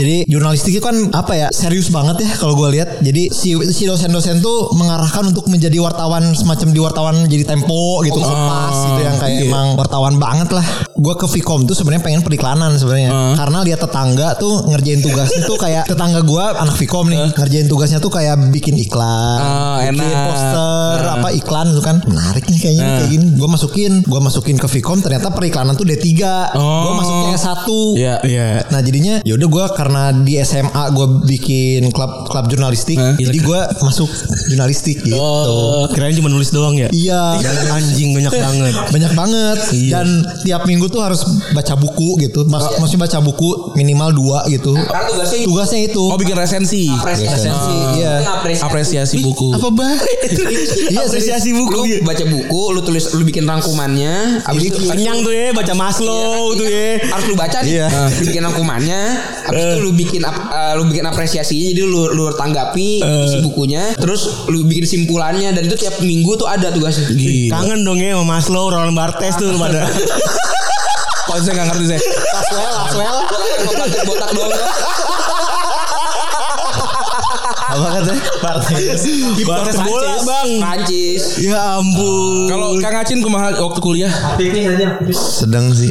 Jadi jurnalistik itu kan Apa ya Serius banget ya Kalau gue lihat Jadi si, si dosen-dosen tuh Mengarahkan untuk menjadi wartawan Semacam di wartawan Jadi tempo gitu Kompas gitu Yang kayak emang
Iya.
wartawan banget lah Gue ke Vkom tuh sebenarnya pengen periklanan sebenarnya Karena lihat tetangga tuh Ngerjain tugasnya tuh kayak Tetangga gue Anak Vkom nih Ngerjain tugasnya tuh kayak Bikin iklan
Ah,
bikin
enak.
poster apa iklan itu kan menarik nih kayaknya nih, kayak gini gue masukin gue masukin ke Vkom ternyata periklanan tuh D3 gue
Oh.
masuknya S1
Iya, iya.
Nah jadinya yaudah gue karena di SMA gue bikin klub klub jurnalistik, jadi gue masuk jurnalistik gitu.
Oh, kirain cuma nulis doang ya.
Iya,
Anjing banyak banget.
banyak banget. Dan tiap minggu tuh harus baca buku gitu, Mas, maksudnya baca buku minimal dua gitu.
Karena tugasnya itu
Tugasnya itu
Oh, bikin resensi.
apresiasi.
Iya.
Apresiasi.
Apresiasi buku.
apa baik? iya,
Apresiasi
ngasih buku
lu
gitu.
baca buku lu tulis lu bikin rangkumannya abis
Iya.
itu harus-
Kenyang tuh ya baca Maslow tuh ya.
harus lu baca nih
Iya.
lu bikin rangkumannya habis itu lu bikin ap- eh, lu bikin apresiasinya jadi lu lu tanggapi isi bukunya terus lu bikin simpulannya dan itu tiap minggu tuh ada tugasnya
Kangen dong ya sama Maslow, Roland Barthes tuh lu pada.
Kalau Oh, saya nggak ngerti saya.
Laswell Laswell botak botak doang
Apa katanya?
Barthes bola, Bang.
Prancis
Ya ampun.
Kalau Kang Acin kumaha waktu kuliah?
Sedang sih.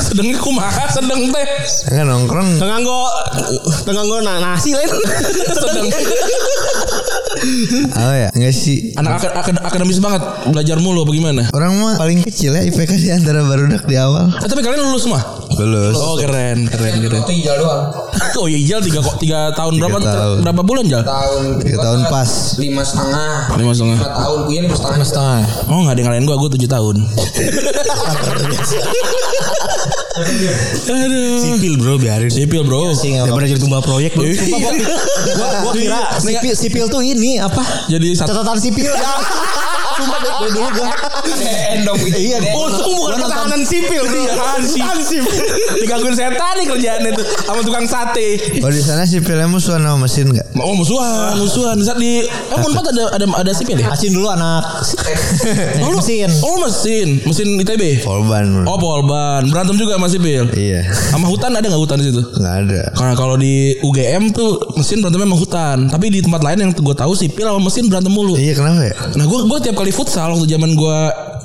Sedengnya kumaha sedeng teh.
Enggak nongkrong.
Tengah gua tengah gua na- nasi lain.
Sedeng.
Apa ya? Enggak sih.
Anak ak- ak- akademis banget, belajar mulu apa gimana?
Orang mah paling kecil ya IPK di antara barudak di awal.
Eh, tapi kalian lulus mah?
Lulus.
Oh keren, keren, keren.
itu hijau doang
Oh iya Jal tiga, kok- tiga tahun berapa
tahun.
berapa bulan Jal?
tahun
Tiga tahun pas.
lima setengah
Lima setengah.
Empat tahun gue ini setengah
Setengah.
Oh nggak ada yang ngalahin gue, gue tujuh tahun. Aduh.
Sipil bro biarin. Iya
Sipil bro.
Daripada jadi tumbal proyek
Iya.
bro. gua, gua kira sipil, sipil tuh ini apa?
Jadi satu.
Catatan sipil. Sumpah dari dari dulu gua.
endong gitu iya
Untung bukan pertahanan sipil bro. Pertahanan sipil. Digangguin setan nih kerjaan itu sama tukang sate.
Oh di sana si filmnya musuhan sama mesin enggak?
Oh musuhan, musuhan. Saat di eh Unpad ada ada ada sipil ya?
Asin dulu anak.
Oh, lu-
Mesin.
Oh mesin, mesin ITB.
Polban.
Oh polban, berantem juga sama sipil.
Iya.
Sama hutan ada nggak hutan di situ?
Enggak ada.
Karena kalau di UGM tuh mesin berantem memang hutan. Tapi di tempat lain yang gue tahu sipil sama mesin berantem mulu.
Iya kenapa ya?
Nah gue gua tiap kali futsal waktu zaman gue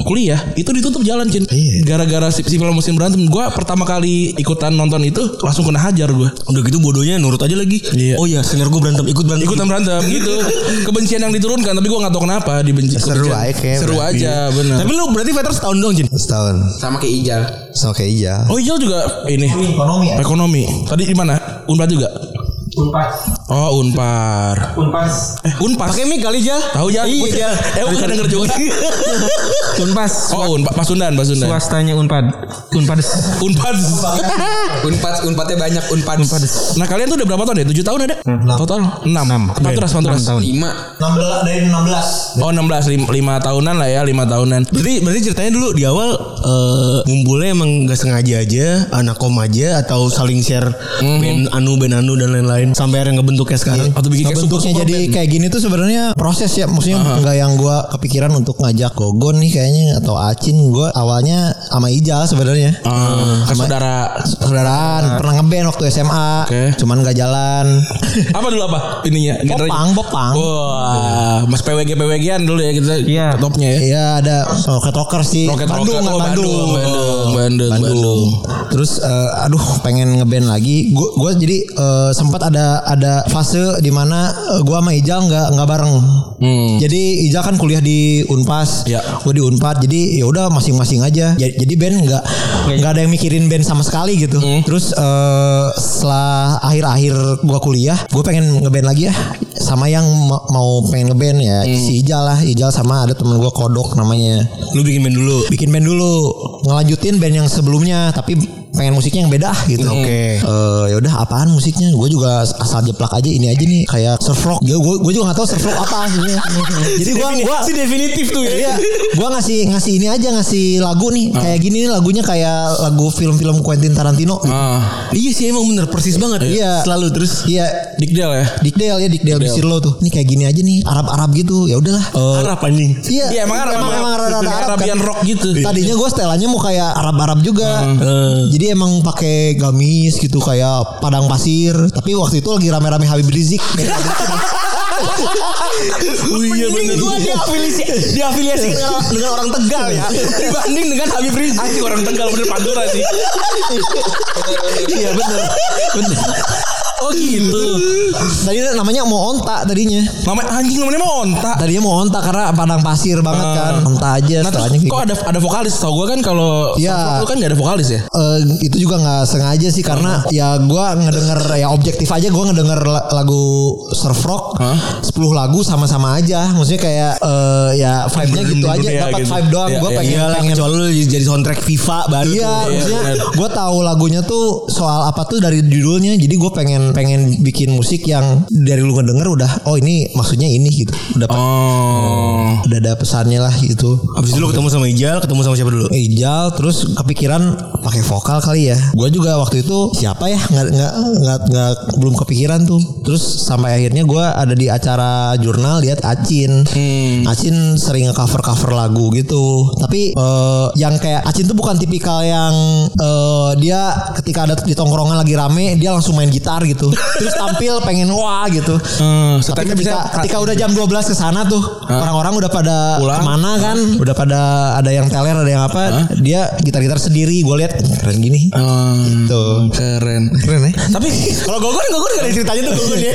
kuliah itu ditutup jalan cint.
Iya.
Gara-gara si, sipil sama mesin berantem. Gue pertama kali ikutan nonton itu langsung kena hajar gue.
Udah gitu bodohnya nurut aja lagi.
Iya.
Oh iya, senior gua berantem, ikut berantem.
Ikutan berantem gitu. Kebencian yang diturunkan tapi gue nggak tahu kenapa dibenci.
Seru
kebencian.
aja kayaknya,
Seru
berarti.
aja benar.
Tapi lu berarti veteran setahun dong, Jin.
Setahun.
sama kayak Ijal
Sama kayak Ijal.
iya.
Oh Ijal juga ini ekonomi. ya? Ekonomi. Tadi di mana? Unpad juga. Unpad. Oh Unpar. Unpas. Eh Unpas. Pakai mic kali Jal. Tahu Jal. Iya Jal. Eh bukan denger juga.
Unpas
oh Unpad Pasundan Pasundan.
swastanya Unpad Unpad
Unpad.
unpad unpadnya banyak unpad unpad
Nah kalian tuh udah berapa tahun ya? 7 tahun ada? Total 6. 6. Panturas panturas.
lima
Dari 16.
Oh 16 5, tahunan lah ya, 5 tahunan.
Berarti berarti ceritanya dulu di awal eh, ngumpulnya emang gak sengaja aja, anak kom aja atau saling share
Mhm.
band anu band anu dan lain-lain sampai akhirnya ngebentuknya sekarang.
Atau Iya, bikin kayak
bentuknya
super-
Iya. jadi kayak gini tuh sebenarnya proses ya maksudnya nggak yang gua kepikiran untuk ngajak Gogon nih kayaknya atau Acin gua awalnya sama Ijal sebenarnya
Ah, kan saudara
saudaraan pernah ngeband waktu SMA
Oke.
cuman nggak jalan
apa dulu apa ininya?
popang popang
Oh. Wah, Mas PWG PWG-an dulu ya kita
Iya.
topnya ya.
Iya ada Rocket Rockers di
Rocket
Bandung, Gitu.
Rocker.
kan,
Oh,
Bandung.
Bandung,
eh,
Bandung, Bandung, Bandung.
Terus eh, aduh pengen ngeband lagi. Gue gua jadi eh, sempat ada ada fase di mana eh, gua sama Ijal nggak nggak bareng. Jadi Ijal kan kuliah di Unpas,
Hmm. Ya.
gue di Unpad. Jadi ya udah masing-masing aja. Ja- Jadi band nggak nggak ada yang mikirin band sama sekali gitu.
Hmm.
Terus eh, setelah akhir-akhir gua kuliah, gue pengen ngeband lagi ya sama yang ma- mau pengen ngeband ya
Hmm.
si Ijal lah Ijal sama ada temen gua Kodok namanya
Lu bikin band dulu.
bikin band dulu ngelanjutin band yang sebelumnya tapi pengen musiknya yang beda gitu oke ya udah apaan musiknya gue juga asal jeplak aja ini aja nih kayak surf rock gue gue juga nggak tahu surf rock apa sebenarnya jadi gue gue
si definitif tuh ya. Ah.
gue ngasih ngasih ini aja ngasih lagu nih kayak gini nih lagunya kayak lagu film-film Quentin Tarantino
Ah,
Iya sih emang bener persis banget.
Iya.
Selalu terus
iya
Dikdel ya.
Dick Dale ya Dick Dale di Sirlo tuh ini kayak gini aja nih Arab-Arab gitu ya udahlah Eh,
Arab anjing.
Iya,
Iya, emang Arab,
emang,
emang
emang rada
Arab,
Arab Iya.
Arabian rock gitu.
Iya.
Tadinya gue setelannya mau kayak Arab-Arab juga.
Hmm.
Jadi emang pakai gamis gitu kayak padang pasir. Tapi waktu itu lagi rame-rame Habib Rizik.
Oh iya bener. Diafiliasi diafiliasi
Iya.
dengan, dengan orang Tegal ya. Dibanding dengan Habib Rizik.
Anjing orang Tegal bener Pantura sih.
Iya bener.
Bener. Oh gitu.
Tadi namanya mau onta tadinya.
Nama anjing namanya mau onta.
Tadinya mau onta karena padang pasir banget kan.
Hmm.
Onta aja
Nah,
setelahnya
terus
kayak
kok
gitu.
ada ada vokalis? Tau gue kan kalau
Iya.
Surf Rock tuh kan gak ada vokalis ya.
Eh, itu juga nggak sengaja sih karena ya gue ngedenger ya objektif aja gue ngedenger la- lagu surf rock
Hah?
10 lagu sama-sama aja maksudnya kayak eh, ya vibe-nya gitu aja
Iya,
dapat
gitu.
vibe doang
Iya,
gue
iya.
pengen
Ya, Iyalah
pengen
kecuali lu jadi soundtrack FIFA baru
Iya,
tuh.
maksudnya
benar.
gue tahu lagunya tuh soal apa tuh dari judulnya, jadi gue pengen pengen bikin musik yang dari lu ngedenger udah oh ini maksudnya ini gitu. Udah pe-
Oh.
udah ada pesannya lah gitu.
Abis itu lu ketemu sama Ijal, ketemu sama siapa dulu?
Ijal terus kepikiran pakai vokal kali ya. Gue juga waktu itu siapa ya nggak nggak nggak nggak belum kepikiran tuh. Terus sampai akhirnya gue ada di acara jurnal lihat Acin.
Hmm.
Acin sering nge-cover cover lagu gitu. Tapi eh, yang kayak Acin tuh bukan tipikal yang eh, dia ketika ada di tongkrongan lagi rame dia langsung main gitar gitu. Terus tampil pengen wah gitu.
Eh,
Tapi
setelahnya
ketika,
bisa-
ketika udah jam 12 ke sana tuh orang-orang udah pada
Pulang.
kemana kan? Udah pada ada yang teler, ada yang apa? Dia gitar-gitar sendiri. Gue lihat keren gini. Gitu.
Hmm,
Tuh.
keren.
Keren ya?
Tapi kalau Gogon Gogon gak ada ceritanya tuh Gogon ya.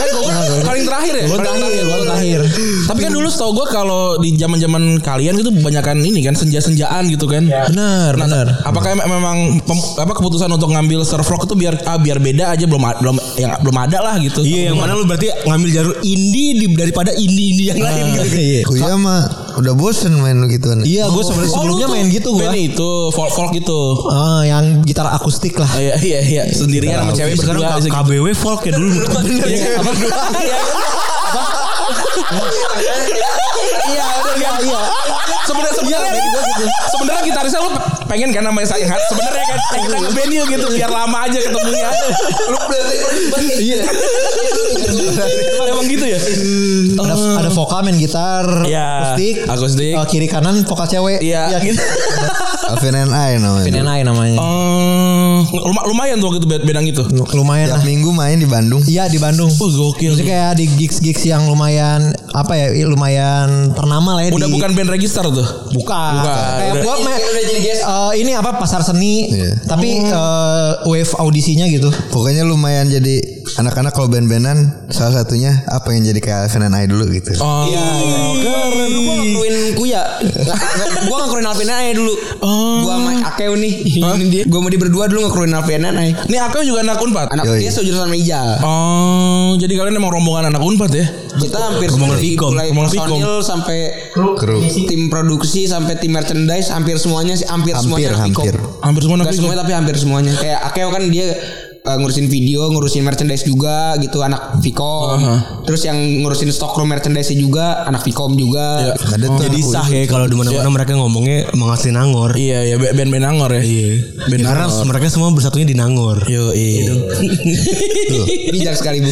Kan Gogon paling terakhir ya. Paling
terakhir, paling terakhir.
Tapi kan dulu setahu gue kalau di zaman-zaman kalian gitu kebanyakan ini kan senja-senjaan gitu kan.
Bener,
Nah,
bener.
Apakah em- memang pem- apa keputusan untuk ngambil surf rock itu biar ah, biar beda aja belum a- belum yang belum ada lah gitu.
Iya, yang mana lu berarti ngambil jalur indie di- daripada indie-indie yang lain
Ah,
gitu. Oh,
Iya.
Kuya mah udah bosen main Oh, lu gituan.
Iya, gue sebelum
Oh,
sebelumnya main gitu gue.
Band itu folk folk gitu.
Ah, yang gitar akustik lah.
Oh,
Ah,
iya iya iya sendirian sama cewek
Sekarang
berdua.
K- KBW folk ya dulu.
Iya, kan? Apa? Iya, udah iya, iya. Sebenarnya sebenarnya gitu. sebenarnya gitarisnya lu pengen kan namanya sayang hati. Sebenarnya kan eh, kita ngeband yuk gitu biar lama aja ketemunya. Lu Iya. Emang gitu ya?
iya. Ada, ada vokal main gitar
Iya,
akustik.
akustik.
Eh, kiri kanan vokal cewek.
Iya.
gitu.
Alvin and I namanya.
Nenai namanya.
Oh, luma- lumayan tuh waktu itu band- bedang itu.
Lumayan
Tiap
lah.
minggu main di Bandung.
Iya di Bandung.
Oh, gokil.
Maksudnya kayak di gigs-gigs yang lumayan apa ya lumayan ternama lah ya
Udah
di
bukan band register tuh.
Bukan.
Bukan.
Kayak
Udah.
gua me-
Iya,
eh, ini apa pasar seni tapi eh, wave audisinya gitu.
Pokoknya lumayan jadi anak-anak kalau band-bandan salah satunya apa yang jadi kayak Alvin and I dulu gitu.
Nah,
Oh,
iya, Keren. Gue ngakuin kuya. Gue ngakuin Alvina aja dulu. Gue sama Akeu nih. Ini dia. Gue sama dia berdua dulu ngakuin Alvina aja.
Ini aku juga anak Unpad.
Anak
Yoi.
dia sejurusan sama Ijal.
Oh, jadi kalian emang rombongan anak Unpad ya?
Kita hampir semua dari
Vicom,
mulai
Rombongan Vicom.
personil sampai
Kru.
Iya,
tim produksi sampai tim merchandise hampir semuanya sih hampir,
Hampir,
semuanya Vicom.
hampir.
Hampir semua anak
Gak
Vicom.
semuanya tapi hampir semuanya. Kayak Akeo kan dia uh, ngurusin video, ngurusin merchandise juga gitu anak Vicom. Terus yang ngurusin stockroom merchandise juga anak Vicom juga. gitu.
Ada
Oh.
tuh
Jadi
anak
sah ya kalau di
Iya.
mana-mana mereka ngomongnya emang asli Nangor.
Iya ya band-band Nangor ya. Iya. Band
Ya, Karena
Nangor.
mereka semua bersatunya di Nangor.
Yo, iya.
Bijak sekali Bu.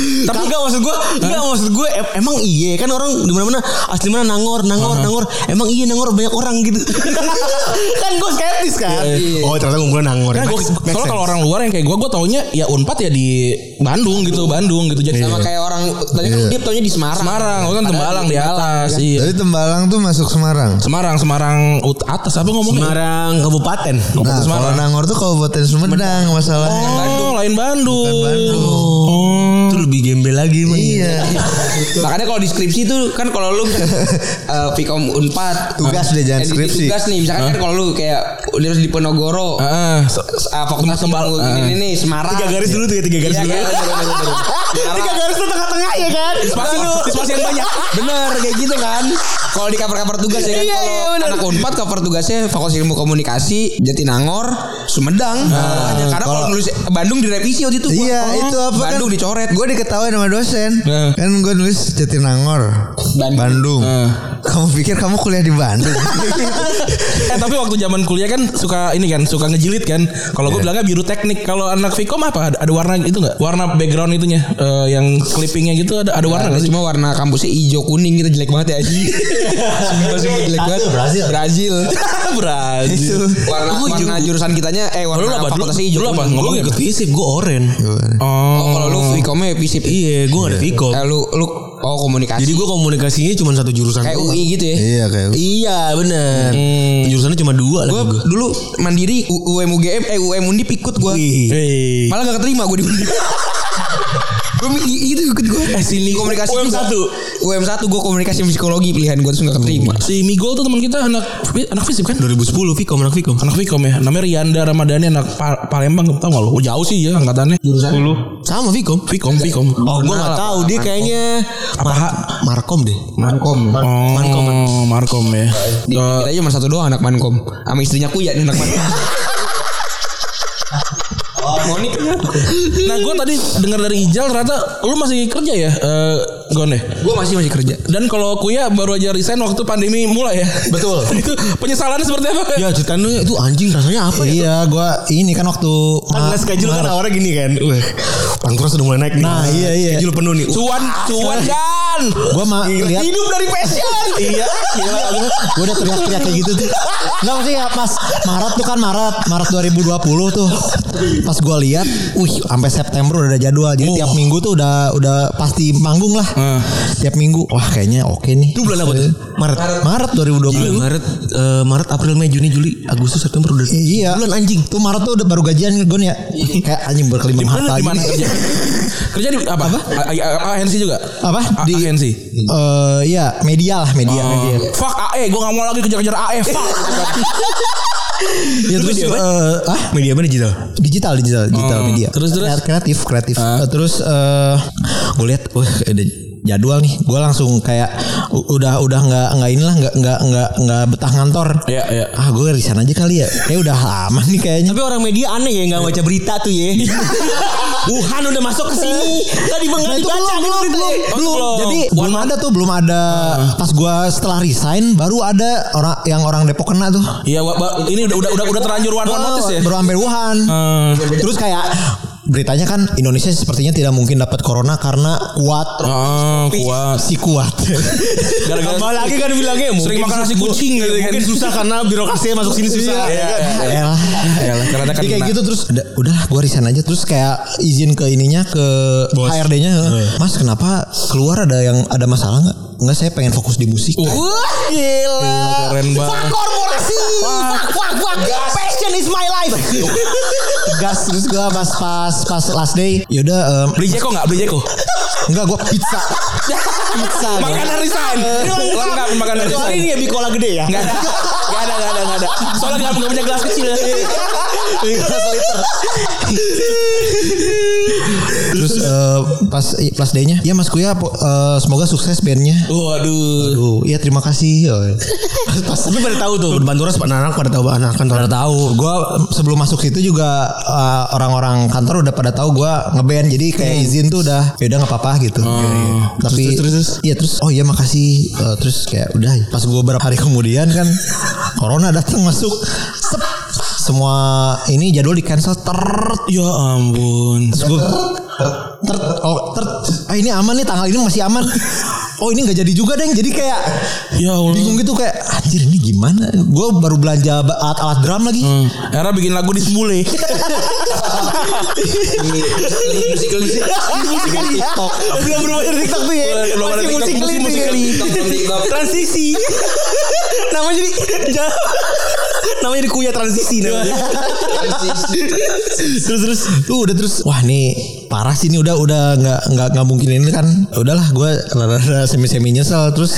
Tapi enggak maksud gue, enggak maksud gue em- emang iya kan orang di mana-mana asli mana Nangor, Nangor, Nangor. Emang iya Nangor banyak orang gitu. kan gue skeptis kan.
Iya.
Oh ternyata ngomongin Nangor. Make
Karena Nah, gua,
sense, make
soalnya
sense.
kalau orang luar yang kayak gue, gue taunya ya Unpad ya di Bandung gitu, Bandung gitu. Jadi
Sama
sama kayak
kayak orang tadi
Iya.
kan dia taunya di Semarang.
Semarang, gua kan Tembalang di atas. Iya.
Tapi Tembalang tuh masuk Semarang.
Semarang, Semarang ut- atas apa ngomongnya?
Semarang kabupaten.
Nah, kalau Nangor tuh kabupaten Sumedang masalahnya.
Oh, lain Bandung.
Oh. Itu lebih gembel lagi emang.
Iya.
gitu.
Makanya kalau deskripsi tuh kan kalau lu eh, Vicom Unpad
Tugas deh, jangan
Eh, di-
skripsi.
Tugas nih misalkan kan kalau lu kayak udah harus di Ponorogo.
Ah, se-
Ah, fakultas Sembal ini nih Semarang.
Ah.
Tiga garis dulu tiga tiga garis
Iya,
dulu.
iya, iya, iya, iya, iya. Semarang. iya kan?
spasi, spasi yang banyak.
Bener kayak gitu kan. Kalau di cover-cover tugas ya kan. Kalau anak Unpad cover tugasnya Fakultas Ilmu Komunikasi Jatinangor, Sumedang. Nah, karena kalau nulis Bandung direvisi waktu itu. gua.
Iya,
Oh,
itu apa kan?
Bandung dicoret.
Gue diketawain sama dosen.
Nah.
Kan gue nulis Jatinangor,
Bandung.
Bandung. Kamu pikir kamu kuliah di Bandung?
Iya.
Eh tapi waktu zaman kuliah kan suka ini kan suka ngejilid kan. Kalau gue bilangnya biru teknik. Kalau anak Vicom apa ada, ada warna itu nggak? Warna background itunya Eh, yang clippingnya gitu ada ada warna nggak sih?
Nah, Cuma warna kampusnya hijau kuning gitu jelek banget ya Aji. Sumpah, sumpah, jelek banget. Brazil. Brazil.
Brazil.
Warna,
Oh, hijau.
warna jurusan kitanya eh warna
Lu apa? Lu,
fakultasnya hijau.
lu apa?
kuning.
Ngomongnya
Ikut fisip gue oren.
Oh,
Oh, kalau lu Vicomnya visip.
Iya gue ada Viko.
Eh, lu lu oh komunikasi.
Jadi gue komunikasinya cuma satu jurusan.
kayak
doang.
UI gitu ya.
iya kayak
Iya bener. Jurusannya cuma dua lah
Gue
gue.
dulu mandiri U- UM UGM eh UM Undip ikut gue.
Iya. Wih.
Malah gak keterima gue di Undip. gue itu ikut gue.
sini
komunikasi
UM
juga.
satu.
UM satu gue komunikasi psikologi pilihan gue terus gak keterima.
Si Migol tuh teman kita anak anak fisip kan?
2010 Viko anak Viko.
Anak Vicom ya. Namanya Rianda Ramadhani anak Pa- Palembang tau gak lu? Oh, Jauh sih ya angkatannya. Jurusan
Sama Viko.
Vicom, Vicom.
Oh gue gak tahu dia kayaknya
Apa?
Markom deh.
Mankom.
Oh, Markom ya.
Di- Kita aja cuma satu doang anak Mankom. Sama istrinya Kuya nih anak Mankom.
Monik.
Nah gue tadi dengar dari Ijal ternyata lu masih kerja ya eh Gon ya?
Gue masih masih kerja.
Dan kalau Kuya baru aja resign waktu pandemi mulai ya.
Betul.
itu penyesalannya seperti apa?
Ya ceritain lu itu anjing rasanya apa ya?
Iya, gua ini kan waktu
Kan nggak schedule kan awalnya gini kan. Wah, pangkuras udah mulai naik nih.
Nah, iya, iya.
Schedule penuh nih. Cuan, cuan kan.
gua mah lihat
Hidup dari passion. iya.
gue udah teriak-teriak kayak gitu tuh Enggak maksudnya pas Maret tuh kan Maret Maret 2020 tuh Pas gue lihat Wih sampai September udah ada jadwal Jadi
Oh.
tiap minggu tuh udah udah pasti manggung lah Tiap minggu Wah kayaknya oke nih
Hmm. Itu bulan apa tuh? Maret.
Maret 2020
Gila, Maret, eh, Maret, April, Mei, Juni, Juli, Agustus, September udah.
Iya
Bulan anjing. Iya.
Tuh Maret tuh udah baru gajian Gon ya Kayak anjing berkelimang harta
Di mana
gini.
kerja? kerja di apa? Apa? ANC juga.
Apa?
Di ANC.
Eh iya media lah media,
Oh,
media.
Oh. Fuck AE, gue gak mau lagi kejar-kejar AE. Fuck.
Ya terus eh, ah
Media mana digital?
digital digital digital
Oh,
media
terus, terus?
Kreat- kreatif kreatif Eh, terus eh gue lihat wah ada jadwal nih gue langsung kayak u- udah udah nggak nggak inilah nggak nggak nggak nggak betah ngantor
Iya, iya.
ah gue resign aja kali ya ya udah lama nih kayaknya
Ya, Tapi orang media aneh ya nggak baca berita tuh ya. Wuhan udah masuk ke sini. Tadi bang nggak
Nah, itu
dibaca
belum,
nih
belum,
berita. ya.
belum,
Oh,
belum.
belum.
Jadi
One
belum ada tuh, belum ada.
Ah.
Pas gua setelah resign, baru ada orang yang orang Depok kena tuh.
Iya, wa- wa- ini udah udah udah, udah terlanjur one one notice ya.
Oh,
Ah,
Baru sampai Wuhan. Terus kayak beritanya kan Indonesia sepertinya tidak mungkin dapat corona karena kuat
Ah, kuat.
si kuat.
Gara-gara
Tambah lagi kan
"Eh,
bilangnya
sering makan nasi kucing gitu kan.
mungkin susah karena birokrasinya
ya,
masuk sini susah.
Iya, iya.
Elah.
Elah, karena
ya.
kan
Jadi kayak
kena.
gitu terus udah, udahlah gue resign aja terus kayak izin ke ininya ke HRD-nya. "Eh,
Iya.
Mas kenapa keluar ada yang ada masalah nggak? Enggak saya pengen fokus di musik.
Wah gila.
Iya, Keren banget.
korporasi. Fuck, fuck, fuck. Passion is my life.
Gas terus gue pas pas pas last day. Yaudah em,
Beli jeko enggak? Beli jeko.
enggak gue pizza. pizza. gua.
Makanan resign. Lengkap makanan
Kecuali
resign.
ini ya bikola gede ya.
Enggak ada. Enggak ada, enggak ada, enggak ada. Soalnya enggak enggak punya gelas kecil.
Terus eh, pas last day-nya, ya Mas Kuya po- eh, semoga sukses bandnya.
Waduh.
Aduh, iya terima kasih. Oh, iya. Pas
Tapi pada tahu tuh Banturas anak-anak pada tahu anak kantor.
kan pada tahu, gue sebelum masuk situ juga eh, orang-orang kantor udah pada tahu gue ngeband, jadi kayak izin tuh udah, ya udah nggak apa-apa gitu. Tapi, iya terus, oh iya makasih. Eh, terus kayak udah, pas gue beberapa hari kemudian kan, corona datang masuk, Sep. semua ini jadwal di cancel ter
Ya ampun.
Terus gue ter, oh, ter, ah ini aman nih tanggal ini masih aman. Oh ini nggak jadi juga deng. Jadi kayak
Ya Allah.
bingung gitu kayak anjir ini gimana? Gue baru belanja ba- alat-alat drum lagi.
Era bikin lagu di semule.
TikTok.
Belum berubah dari TikTok tuh ya.
Belum ada
Masih
TikTok,
musik
musik-
link tuh
musik
ya.
link, TikTok, TikTok.
Transisi. Namanya jadi ja- namanya di kuya transisi namanya.
terus terus tuh udah terus wah nih parah sih ini udah udah nggak nggak nggak mungkin ini kan udahlah gue rada semi semi nyesel terus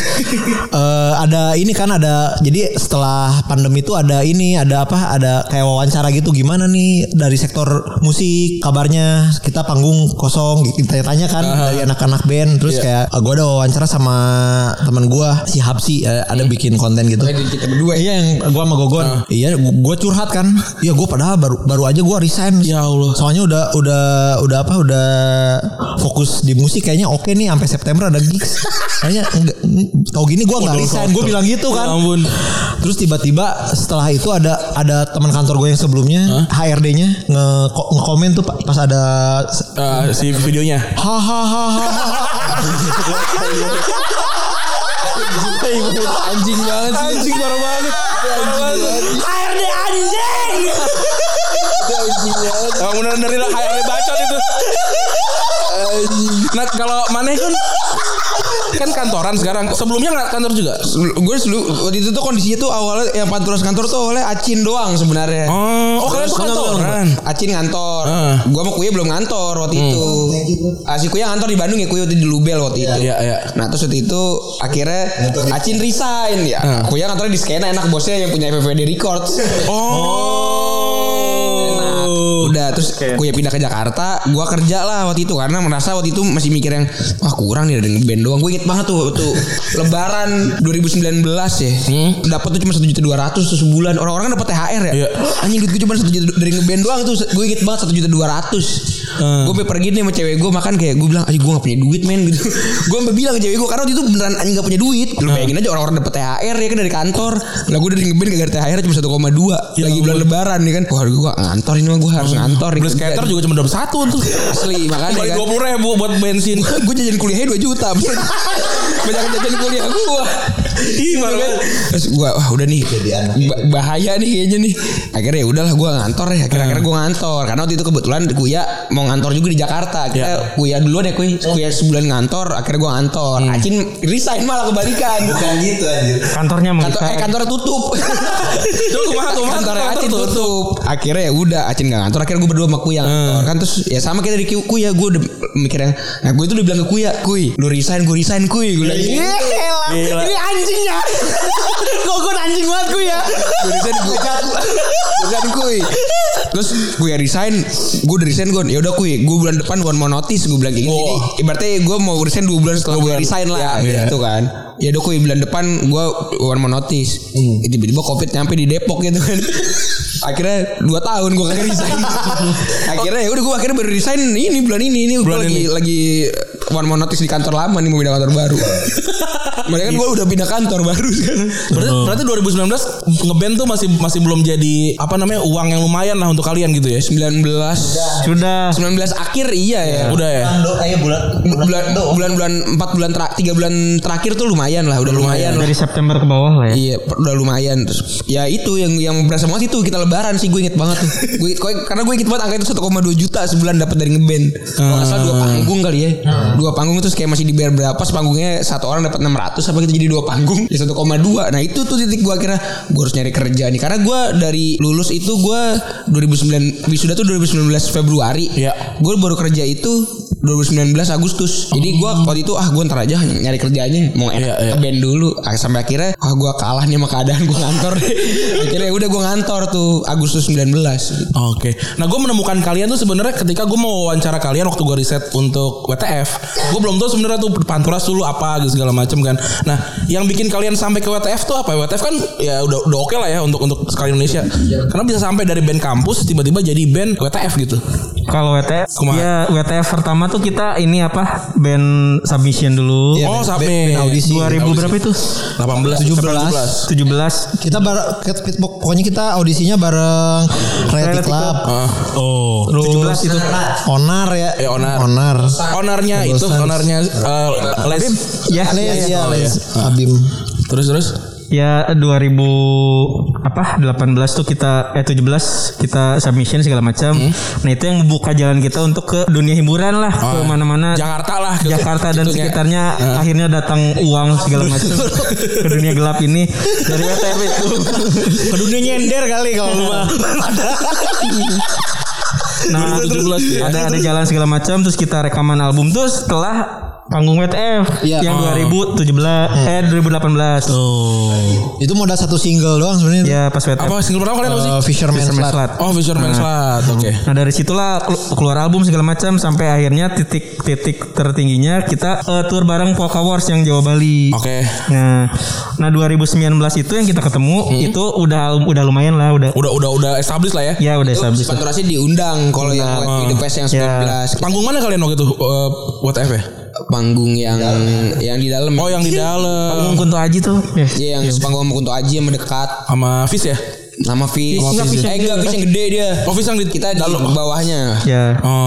eh, ada ini kan ada jadi setelah pandemi itu ada ini ada apa ada kayak wawancara gitu gimana nih dari sektor musik kabarnya kita panggung kosong kita tanya kan dari anak-anak band
Iya.
terus kayak gue ada wawancara sama teman gue si Hapsi eh,
Iya.
ada bikin konten gitu
Kita
ya.
berdua
Iya yang gua sama Gogon. Iya, gua gua curhat kan. Iya, gua padahal baru baru aja gua resign.
Ya Allah.
Soalnya udah udah udah apa udah fokus di musik kayaknya oke nih sampai September ada gigs. Kayaknya enggak tau gini gua nggak resign, gua bilang gitu kan.
Ya ampun.
Terus tiba-tiba setelah itu ada ada teman kantor gue yang sebelumnya HRD-nya nge komen tuh pa- pas ada
Eh, si videonya.
hahaha
Anjing banget sih. Anjing parah banget.
HRD anjing.
Emang beneran dari HRD bacot itu. Nah kalau mana kan kan kantoran sekarang. Sebelumnya nggak kantor juga.
Gue dulu waktu itu tuh kondisinya tuh awalnya yang panturas kantor tuh awalnya acin doang sebenarnya.
Oh, oh kalian
Terus
tuh
enggak,
kantoran.
enggak, enggak. Acin ngantor.
Heeh. Hmm.
Gua sama Kuya belum ngantor waktu itu. Ah, si Kuya ngantor di Bandung ya, Kuya waktu di Lubel waktu itu.
Iya, iya.
Nah, terus waktu itu akhirnya Acin resign ya. Kuya kantornya di skena enak bosnya yang punya FVD Records.
Oh.
udah terus gue pindah ke Jakarta gue kerja lah waktu itu karena merasa waktu itu masih mikir yang wah kurang nih ada band doang gue inget banget tuh waktu Lebaran 2019 ya dapat tuh cuma satu juta dua ratus sebulan orang-orang kan dapat THR ya
Iya.
anjing duit gue cuma satu juta dari ngeband doang tuh gue inget banget satu juta dua ratus
Hmm.
gue sampai pergi nih sama cewek gue makan kayak gue bilang ayo gue gak punya duit men gitu gue sampai bilang ke cewek gue karena waktu itu beneran anjing gak punya duit lu
Hmm.
bayangin aja orang-orang dapat THR ya kan dari kantor lah gue dari ngeband gara-gara THR cuma 1,2 lagi bulan lebaran nih kan wah gue ngantor ini mah gue harus ngantor
Ya Hmm. Beli
Kerja
skater
nih.
juga cuma dapat satu tuh.
asli makanya
Kembali
kan
dua puluh ribu buat bensin.
gue jajan kuliahnya 2 juta banyak jajan kuliah gue iya terus gue wah udah nih
gitu.
ba- bahaya nih kayaknya nih akhirnya ya udahlah gue ngantor ya akhirnya akhirnya gue ngantor karena waktu itu kebetulan kuya mau ngantor juga di Jakarta kita kuya duluan ya kuy
Oh.
kuya sebulan ngantor akhirnya gue ngantor acin resign malah kebalikan
Hmm. Bukan gitu anjir.
Kantornya
kantor eh
mengita.
kantornya tutup
Terus kumaha kumaha
kantornya
kantor
Acin
tuh.
tutup akhirnya ya udah Acin gak ngantor akhirnya gue berdua sama Kuya ngantor kan terus ya sama kita di Ku- Kuya gue udah mikirnya nah gue itu udah bilang ke Kuya Kuy lu resign gue resign Kuy gue bilang
Gila.
ini anjingnya kok gue anjing banget Kuya gue resign gue resign Kuy terus Kuya resign gue udah resign gue ya udah Kuy gue bulan depan one more notice gue bilang kayak gitu
Wah.
Jadi, ibaratnya gue mau resign dua bulan setelah gue resign lah
iya.
gitu kan ya udah Kuy bulan depan gue one more notice Ya, tiba-tiba covid nyampe di Depok gitu kan akhirnya dua tahun gue kagak resign akhirnya ya udah gue akhirnya baru resign ini bulan ini ini gue
Bulan
lagi lagi one more notice di kantor lama nih mau pindah kantor baru mereka kan gue udah pindah kantor baru sekarang
Berarti, berarti 2019 ngeband tuh masih masih belum jadi apa namanya uang yang lumayan lah untuk kalian gitu ya.
19
Sudah.
19 akhir iya ya
Udah ya.
Ando kayak bulan
bulan bulan bulan empat bulan tra- tiga bulan terakhir tuh lumayan lah udah lumayan, lah
Dari September ke bawah lah ya.
Iya, per- udah lumayan. Terus, ya itu yang yang berasa banget itu kita lebaran sih gue inget banget tuh. gue inget- gue- karena gue inget banget angka itu 1,2 juta sebulan dapat dari ngeband. Kalau nggak salah dua panggung kali ya. Dua panggung terus kayak masih dibayar berapa? Panggungnya satu orang dapat 600 apa gitu jadi dua panggung ya 1,2. Nah, itu tuh titik gue akhirnya gue harus nyari kerja nih karena gue dari lulus itu gue 2009 wisuda tuh 2019 Februari.
Iya.
Gue baru kerja itu 2019 Agustus. Jadi gue waktu itu ah gue ntar aja nyari kerjaannya mau enak
Iya, iya.
ke band dulu Ah, sampai akhirnya ah gue kalah nih sama keadaan gue ngantor deh. akhirnya udah gue ngantor tuh Agustus 19 gitu.
Oke. Nah, gue menemukan kalian tuh sebenarnya ketika gue mau wawancara kalian waktu gue riset untuk WTF, gue belum tahu sebenarnya tuh panturas dulu apa gitu segala macam kan. Nah, yang bikin kalian sampai ke WTF tuh apa? WTF kan ya udah udah oke lah ya untuk untuk sekali Indonesia. Karena bisa sampai dari band kampus tiba-tiba jadi band WTF gitu.
Iya,
Kalau WTF,
Kumaha?
ya WTF pertama tuh kita ini apa band submission dulu.
Iya.
oh, sampai
audisi.
2000 berapa itu?
18 17.
17.
Kita bar ke- ke- pokoknya kita audisinya bareng Reality
Reality
Club.
oh.
Terus itu onar ya.
Ya, Onar.
Onar.
Ownernya itu, ownernya eh, Les.
Ya, ya,
Les
ya.
Oh,
ya,
iya.
Les. Abim.
Terus terus.
Ya 2000 apa 18 tuh kita eh 17 kita submission segala macam. Nah, itu yang membuka jalan kita untuk ke dunia hiburan lah, ke mana-mana.
Jakarta lah. ke-
Jakarta dan
itunya.
sekitarnya akhirnya datang uang segala macam ke dunia gelap ini dari WTF itu.
Ke dunia nyender kali kalau lu mah.
Nah, ada ada jalan segala macam terus kita rekaman album tuh setelah panggung WTF
Iya.
yang 2017 eh 2018.
Oh. Itu modal satu single doang sebenarnya.
Ya, pas WTF.
Apa single pertama kalian apa sih?
Eh, Fisherman's
Fisherman's
Slut.
Slut.
Oh, Fisherman's Slut. Oke.
Nah dari situlah kelu- keluar album segala macam sampai akhirnya titik-titik tertingginya kita eh, tour bareng Polka Wars yang Jawa Bali.
Oke.
Nah, nah 2019 itu yang kita ketemu itu udah udah lumayan lah udah
Udah udah udah established lah ya.
ya udah established.
Panturasi diundang kalau yang di The Fest yang
Ya.
19
Panggung mana kalian waktu itu? Eh, WTF ya?
panggung yang yang di dalam.
Oh, yang di dalam
Panggung Kunto Aji tuh. Ya.
Iya yang panggung sama Kunto Aji yang mendekat
sama Fis ya?
nama Fish.
Enggak, Fish yang
eh enggak
gede.
Fish yang gede dia.
Oh, Fis yang di Iya,
Kita di bawahnya.
Ya.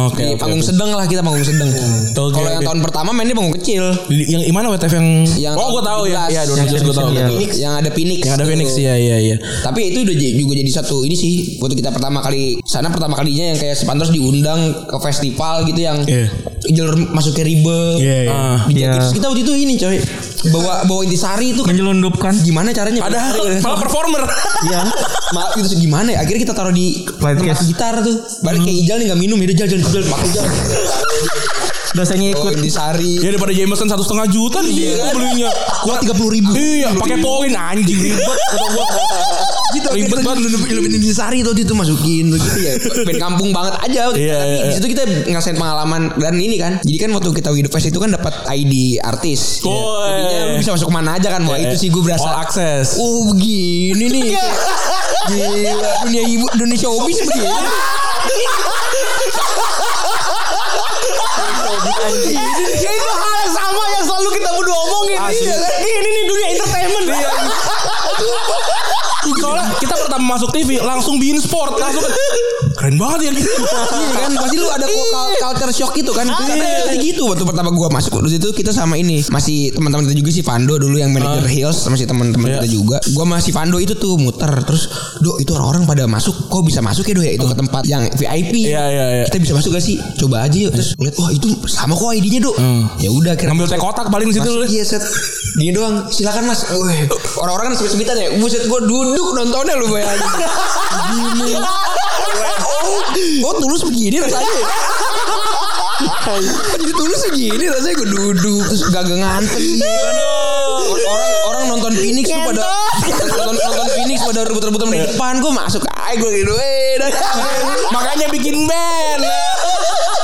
Oke.
Di
oke,
panggung
oke.
sedang lah kita panggung sedang.
Oke,
Kalau yang
oke.
tahun pertama mainnya panggung kecil.
Di- yang mana WTF yang,
Yang
iya. Oh, gue tahu ya.
17.
Iya, 2017 gue tahu.
Yang
Yang ada Phoenix.
Yang ada
tuh.
Phoenix ya, iya iya.
Tapi itu udah j- juga jadi satu ini sih waktu kita pertama kali sana pertama kalinya yang kayak Sepantos diundang ke festival gitu yang
Iya.
jalur masuk ke ribet.
Iya, iya.
Ah, dijaga.
Iya.
Terus kita waktu itu ini coy bawa bawa intisari itu kan
Menyelundupkan.
gimana caranya?
Padahal malah performer.
Iya.
Maaf itu gimana ya? Akhirnya kita taruh di
Flight
tempat
case.
gitar tuh. Balik kayak Ijal nih nggak minum, ya udah jalan jalan jalan makan jalan.
dosennya
Oh,
ikut
Indisari.
Ya daripada Jameson satu setengah juta nih gua belinya.
Kuat 30 ribu.
Iya, pakai poin anjing ribet kata gua.
Gitu.
Ribet banget.
Lebih di sari tuh itu masukin tuh gitu ya.
band kampung banget aja waktu itu.
Iya,
Tapi
iya,
di situ kita ngerasain pengalaman dan ini kan jadi kan waktu kita hidup fest itu kan dapat ID artis
Oh,
Jadinya
iya.
lu bisa masuk mana aja kan wah itu sih gue
All
berasa
access.
oh begini nih Gila, dunia ibu dunia showbiz begini Iya, Ini kayak itu hal yang sama yang selalu kita berdua omongin
Asli.
Iya kan? Ini nih dunia entertainment
Soalnya kita pertama masuk TV langsung bikin sport langsung keren banget ya gitu.
Iya kan pasti lu ada kul- culture shock gitu kan
Iya.
Karena pasti gitu waktu pertama gua masuk waktu itu kita sama ini masih teman-teman kita juga sih Fando dulu yang manajer
Ah.
Hills masih teman-teman
Iya.
kita juga gua masih Fando itu tuh muter terus do itu orang-orang pada masuk kok bisa masuk ya do ya itu ke tempat yang VIP
Ah. Iya, iya, iya.
kita bisa masuk gak sih coba aja yuk terus ngeliat wah itu sama kok ID-nya do ya udah kira
Ah. Ngambil teh kotak paling di situ
Masuk,
lu.
Iya set Gini doang Silakan mas Weh, Orang-orang kan sebit-sebitan ya Buset gue duduk nontonnya lu bayangin Gini Oh, Kok tulus begini rasanya ya? Jadi tulus begini rasanya gue duduk Terus gagah ngantri ya kan? Orang orang nonton Phoenix tuh pada nonton, nonton Phoenix pada rebut-rebutan di depan gue masuk aja gue gitu eh dah.
Makanya bikin band.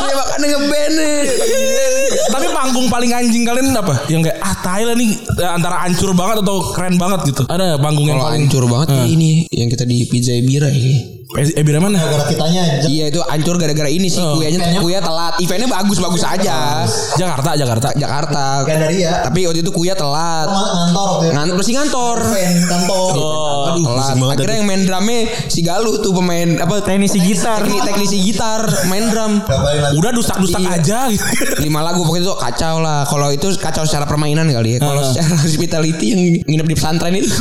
ya makanya ngeband nih.
Tapi panggung paling anjing kalian apa? Yang kayak ah Thailand nih eh, antara hancur banget atau keren banget gitu. Ada panggung yang
Kalau Eh. Iya.
paling
hancur banget nih ini yang kita di Pizza Bira ini.
Eh, Ebira mana?
Kitanya
Iya itu hancur gara-gara ini sih kuyanya kuya telat. Eventnya bagus-bagus aja.
Jakarta, Jakarta.
Jakarta.
Gandaria.
Tapi waktu itu kuya telat.
ngantor waktu itu.
Ngantor sih ngantor.
kantor.
Aduh, Oh. telat. Akhirnya yang main drumnya si Galuh tuh pemain apa
teknisi gitar
tekni- teknisi gitar main drum.
Udah dusak-dusak
Iya.
aja gitu.
Lima lagu pokoknya itu kacau lah. Kalau itu kacau secara permainan kali ya. Kalau secara hospitality yang nginep di pesantren itu.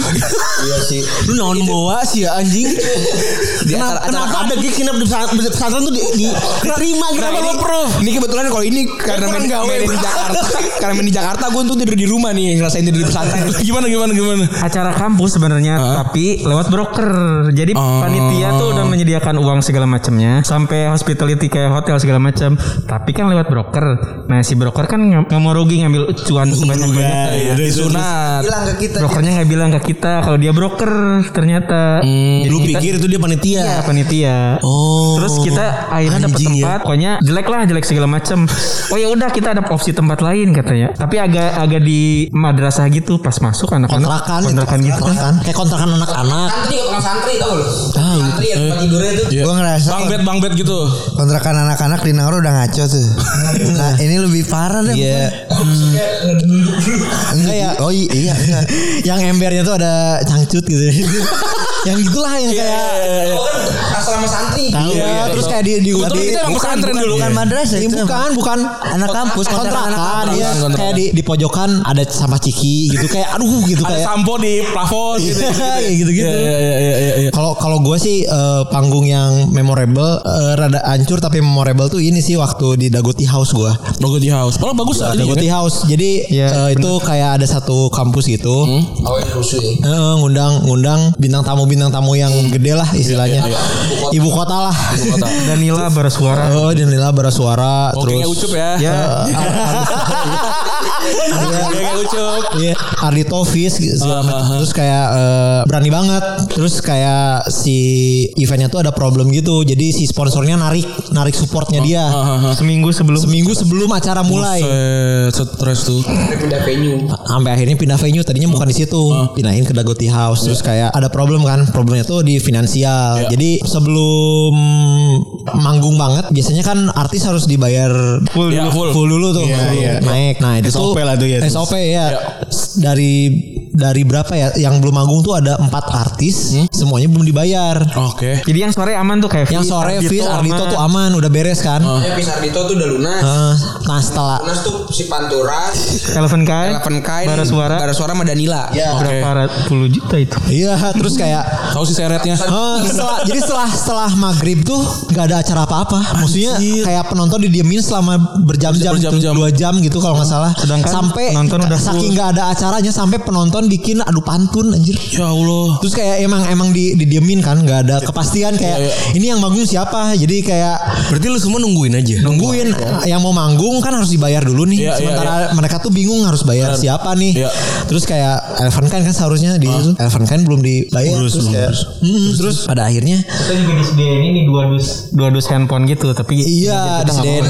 Iya sih.
Lu naon bawa sih ya anjing.
di acara, acara
Kenapa ada
kampus.
gig nginep di pesantren di pesantren tuh di, di diterima gitu
Nah,
sama
ini,
lu, Prof?
ini kebetulan kalau ini karena main, main di Jakarta, karena main di Jakarta gue tuh tidur di rumah nih ngerasain tidur di pesantren.
gimana gimana gimana?
acara kampus sebenarnya
Ah.
tapi lewat broker jadi
Oh.
panitia tuh udah menyediakan uang segala macamnya sampai hospitality kayak hotel segala macam tapi kan lewat broker nah si broker kan nggak nggak mau rugi ngambil cuan sebanyak
Iya.
banyaknya
Disunat.
Hilang ke kita.
brokernya nggak bilang ke kita kalau dia broker ternyata Jadi
Lu
Hmm, kita-
pikir itu dia panitia.
Iya, panitia.
Hmm. Oh.
Terus kita akhirnya dapat
Anjing ya.
tempat, pokoknya jelek lah, jelek segala macem. Oh ya udah kita ada opsi tempat lain katanya. Tapi agak agak di madrasah gitu pas masuk anak-anak
Kontrakan,
kontrakan gitu kan.
kontrakan. Kayak kontrakan anak-anak.
Santri kok tukang santri tau lu. Santri yang tempat tidurnya tuh.
Iya.
Gue ngerasa
Bang bet, bang bet gitu.
kontrakan anak-anak di Nangro udah ngaco tuh. nah ini lebih parah deh.
Ya.
Iya.
Enggak ya. Oh i- iya. enggak.
Yang embernya tuh ada cangcut gitu. yang gitulah yang kayak
Oh kan asrama santri.
Iya, tahu
Iya,
ya,
iya,
terus
tahu.
kayak di di
Kebetulan
di-
kita emang
bukan,
pesantren
bukan,
dulu.
bukan
Iya.
madrasah
Iya,
itu bukan bukan anak kampus kontrakan
anak
ya
kontrakan.
kayak di di pojokan ada sampah ciki gitu kayak aduh gitu
Ada
kayak
sampo di plafon gitu.
Kayak gitu-gitu.
Iya iya iya iya, iya.
Kalau kalau gue sih eh, panggung yang memorable eh, rada hancur tapi memorable tuh ini sih waktu di Dagoti House gue.
Logo di house. Kalau bagus lah.
Dagoti House. Jadi eh, itu kayak ada satu kampus gitu.
iya.
Eh, ngundang ngundang bintang tamu bintang tamu yang gede lah istilahnya. Iya, Ibu kota lah.
Danila bersuara.
Oh, Danila bersuara terus.
Oke, kayak ucup ya.
Ya,
Ah.
Oke, kayak ucup.
Iya, Ardi Tovis gitu, segala macam. Terus kayak eh, berani banget. Terus kayak si eventnya tuh ada problem gitu. Jadi si sponsornya narik narik supportnya dia
Oh, seminggu sebelum
seminggu sebelum acara mulai.
Buset, stres tuh.
Pindah venue.
Sampai akhirnya pindah venue. Tadinya bukan di situ, pindahin ke Dagoti House. Terus kayak ada problem kan. Problemnya tuh di finansial. Jadi sebelum manggung banget, biasanya kan artis harus dibayar
Full dulu, full.
full dulu tuh full dulu. naik nah itu
SOP
tuh
lah tuh ya.
SOP ya S- dari dari berapa ya yang belum manggung tuh ada empat artis semuanya belum dibayar
Oke.
jadi yang sore aman tuh kayak
yang
Fis,
sore Fis Ardito tuh aman udah beres kan
Ya Pisardito tuh udah lunas.
Eh, nah setelah
Lunas tuh si Panturas.
Eleven Kai,
Eleven Kain.
Barasuara.
Barasuara sama Danila.
berapa puluh juta itu.
iya terus kayak
Tahu sih seretnya.
eh, setelah jadi setelah setelah maghrib tuh nggak ada acara apa-apa maksudnya kayak penonton didiemin selama berjam-jam gitu,
Berjam-jam.
dua jam gitu kalau nggak salah
Sedangkan
sampai
penonton udah full.
saking nggak ada acaranya sampai penonton bikin adu pantun anjir
Ya Allah.
Terus kayak kayak emang emang di didiemin kan nggak ada kepastian kayak
Iya,
ini yang manggung siapa jadi kayak
Berarti lu semua nungguin aja. Oh.
nungguin yang mau manggung kan harus dibayar dulu nih
Iya, iya,
sementara mereka tuh bingung harus bayar siapa nih
Iya.
terus kayak Elvan kan kan seharusnya di itu Elvan kan belum dibayar
Belum,
terus,
belum,
kayak,
terus.
Mm, terus pada akhirnya
Kita juga disediain ini dua dus dua dus handphone gitu tapi
iya
kita nggak
disediain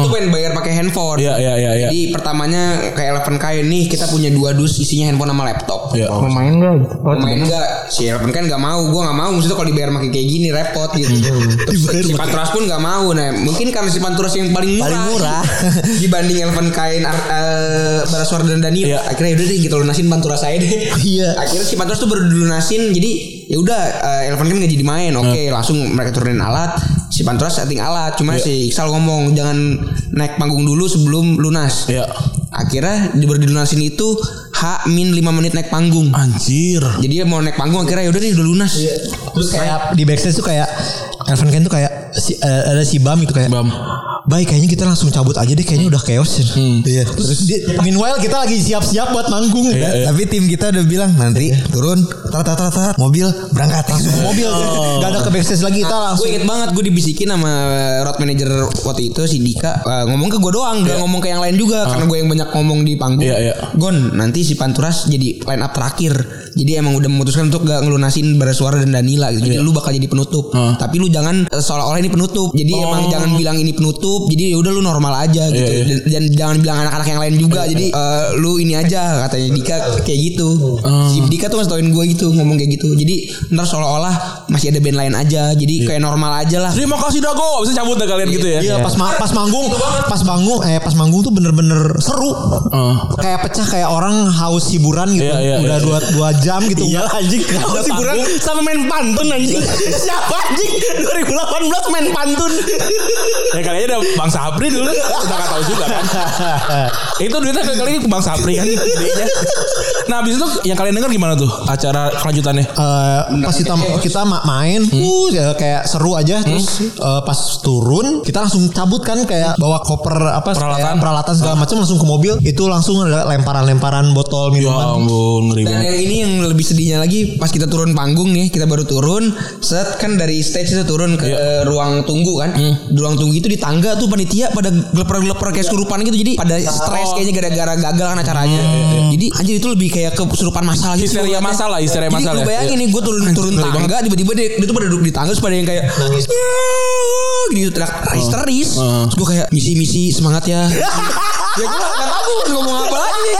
Itu pengen bayar pakai handphone.
Iya iya iya iya.
Jadi pertamanya kayak Eleven kain nih kita punya dua dus isinya handphone sama laptop.
Iya.
mau main nggak? gitu. Oh,
Main enggak si Eleven kan enggak mau, gua enggak mau maksudnya kalau dibayar makin kayak gini repot gitu.
Iya,
Terus si Panturas pun enggak mau nah. Mungkin karena si Panturas yang paling murah.
Paling murah.
dibanding Eleven kain eh Baraswar dan Daniel.
Iya.
Akhirnya ya udah deh kita lunasin Panturas saya deh.
Iya.
Akhirnya si Panturas tuh baru dilunasin jadi ya udah eh, Eleven kan nggak jadi main. Oke,
Iya.
langsung mereka turunin alat. Si Panturas setting alat, cuma si Iksal ngomong jangan naik panggung dulu sebelum lunas.
Iya.
Akhirnya di- baru dilunasin itu H min 5 menit naik panggung.
Oh, Anjir.
Jadi dia mau naik panggung akhirnya yaudah nih udah lunas.
terus kayak di backstage tuh kayak Elvan Ken tuh kayak si, eh, ada si Bam gitu kayak
Bam.
Baik kayaknya kita langsung cabut aja deh kayaknya udah chaos ya. Iya. Terus, dia, meanwhile kita lagi siap-siap buat manggung ya.
Hmm. Iya.
Tapi tim kita udah bilang nanti turun, tar tar tar tar, mobil berangkat langsung
Mobil
Oh.
gak ada ke backstage lagi
Ah,
kita langsung
Gue inget banget gue dibisikin sama eh, road manager waktu itu si Dika eh, ngomong ke gue doang, gak ngomong ke yang lain juga karena gue yang banyak ngomong di panggung.
Iya, iya.
Gon, nanti si Panturas jadi line up terakhir. Jadi emang udah memutuskan untuk gak ngelunasin Barasuara dan Danila gitu. Jadi
Iya.
lu bakal jadi penutup. Tapi lu jangan eh, seolah-olah ini penutup. Jadi emang jangan bilang ini penutup. Jadi ya udah lu normal aja gitu.
Oh. Iya, iya.
Dan, dan jangan bilang anak-anak yang lain juga. Jadi eh, lu ini aja katanya Dika kayak gitu. Si Dika tuh ngasih tauin gue gitu ngomong kayak gitu. Jadi ntar seolah-olah masih ada band lain aja.
Iya.
Jadi kayak normal aja lah.
Terima kasih Dago. Bisa cabut dah kalian gitu ya.
Iya pas ma- pas manggung
Gitu
pas manggung eh pas manggung tuh bener-bener seru kayak pecah kayak orang haus hiburan gitu
Iya, Oh. iya,
udah
iya.
dua dua jam gitu iya anjing
Terus hiburan sama main pantun anjing. Siapa anjing 2018 main pantun. ya kali aja ada Bang Sapri dulu. Kita nggak tahu juga kan. itu duitnya kali ini ke Bang Sapri kan gedenya. Nah, habis itu yang kalian dengar gimana tuh acara kelanjutannya?
Eh, pas kita kita ma- main
Hmm.
uh, ya, kayak seru aja terus eh, pas turun kita langsung cabut kan kayak bawa koper apa
Peralatan. Hmm.
kayak peralatan segala macam langsung ke mobil itu langsung ada lemparan-lemparan botol minuman
Ya ampun, ngeri
Dan yang ini yang lebih sedihnya lagi pas kita turun panggung nih, kita baru turun, set kan dari stage itu turun ke eh, ruang tunggu kan. Di ruang tunggu itu di tangga tuh panitia pada geleper-geleper kayak kesurupan gitu. Jadi pada stres kayaknya gara-gara gagal kan acaranya. Jadi anjir itu lebih kayak kesurupan masalah Iya. gitu.
Histeria
Gua
masa lah,
ngeliatnya.
histeria ya.
Jadi
masa
lu
lah.
bayangin nih gue turun turun tangga tiba-tiba dia, dia tuh pada duduk di tangga terus pada yang kayak nangis. Oh. Gitu teriak histeris. Terus gue kayak misi-misi semangat ya. ya gue gak tau gue harus ngomong apa lagi.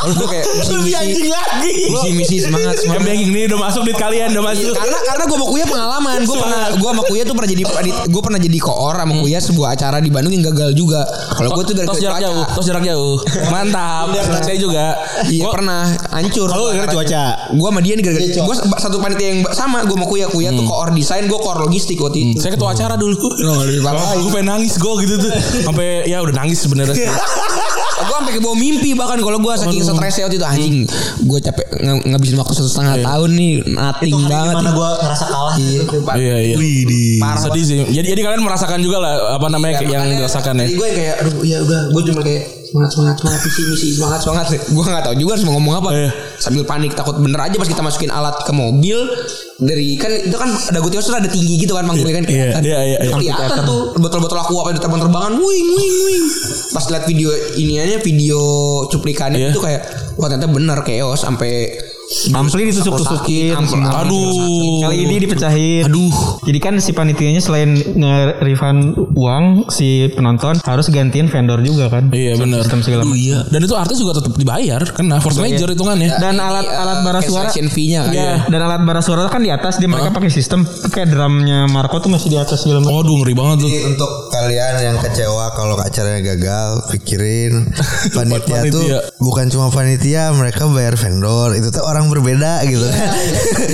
Terus gue kayak misi-misi
lagi.
misi-misi semangat
Yang
semangat.
bilang gini udah masuk duit kalian, udah masuk.
Karena karena gue kuya pengalaman, gue pernah gue sama kuya tuh pernah jadi gue pernah jadi koor sama kuya sebuah acara di Bandung yang gagal juga. Kalau gue tuh
Hmm. tos jarak
gara-gara
jauh,
cuaca.
tos jarak jauh. Mantap. Saya juga.
Iya
Gua-
pernah hancur.
Kalau gara-gara cuaca.
Gue sama dia nih gara-gara.
Iya,
Gue satu panitia yang sama. Gue sama kuya kuya
Hmm.
tuh koor desain, gue koor logistik waktu itu.
Saya ketua acara dulu. Gue pengen nangis gue gitu tuh. Sampai ya udah nangis sebenarnya.
gue sampai ke bawah mimpi bahkan kalau gue saking stresnya waktu itu anjing.
Hmm.
Gue capek nge- ngabisin waktu satu setengah tahun nih, nothing banget.
mana gue ngerasa kalah
Iya.
Iya iya. Sedih sih. Jadi jadi kalian merasakan juga lah apa
Iya,
namanya yang dirasakan ya.
Jadi gue yang kayak aduh ya udah gue cuma kayak semangat semangat semangat misi misi semangat semangat. Gue nggak tahu juga harus mau ngomong apa.
Iya.
Sambil panik takut bener aja pas kita masukin alat ke mobil dari kan itu kan ada gue tuh ada tinggi gitu kan panggungnya kan
Iya, iya, iya, iya.
kelihatan tuh botol-botol aku apa di terbang-terbangan wing wing wing pas lihat video iniannya video cuplikannya
Iya.
itu kayak wah ternyata bener chaos sampai
Ampli ditusuk-tusukin.
Ampli- ampli-
Aduh.
Kali ini dipecahin. Aduh. Jadi kan si panitianya selain nge-refund uang si penonton harus gantiin vendor juga kan.
Iya benar.
Sistem segala macam. Iya.
Iya. Dan itu artis juga tetap dibayar karena force major hitungannya.
Dan alat-alat bara suara
nya kan
Iya, dan alat bara suara kan di atas dia mereka pakai sistem kayak drumnya Marco tuh masih di atas segala macam.
Waduh ngeri banget tuh.
Iya.
Jadi untuk kalian yang kecewa kalau acaranya gagal, pikirin panitia, tuh
Panitia.
bukan cuma panitia, mereka bayar
Iya.
vendor. Itu tuh orang berbeda gitu kan.
Eh.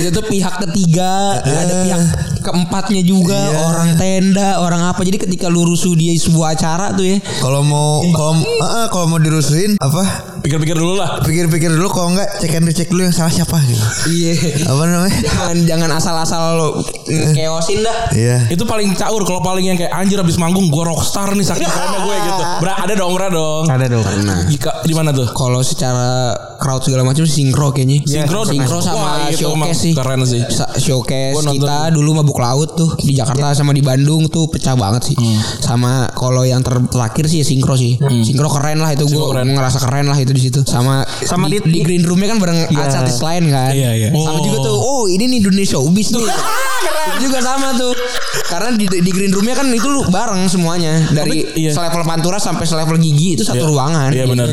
itu tuh pihak ketiga ada pihak keempatnya juga
Iya.
orang tenda orang apa jadi ketika lu rusuh dia sebuah acara tuh ya
Kalau mau kalau eh, kalau mau dirusuhin apa?
Pikir-pikir dulu lah.
Pikir-pikir dulu kalau enggak cek and recheck dulu yang salah siapa gitu.
iya
Apa namanya?
jangan jangan asal-asal lu keosin dah
Iya.
Itu paling caur kalau paling yang kayak anjir habis manggung gue rockstar nih saking kerennya gue gitu. Bra, ada dong, bra dong.
Ada dong.
Jika di mana tuh?
kalau secara crowd segala macam sinkro kayaknya
Sinkro,
Iya, sinkro sama
Wah, itu emang
showcase sih
Keren sih.
Sa- showcase
Gua nonton Iya.
kita dulu mabuk laut tuh di Jakarta sama di Bandung tuh pecah banget sih.
Hmm.
Sama kalau yang ter- terakhir sih ya sinkro sih. Sinkro keren lah itu gue ngerasa keren lah itu di situ. Sama
Sama
di,
di-
di green roomnya kan bareng artis lain kan.
Iya, iya.
Sama
Oh.
juga tuh. Oh ini nih dunia showbiz nih. Itu juga sama tuh. Karena di, di green roomnya kan itu lu bareng semuanya dari
Tapi, iya.
selevel pantura sampai selevel gigi itu satu ruangan.
Iya benar.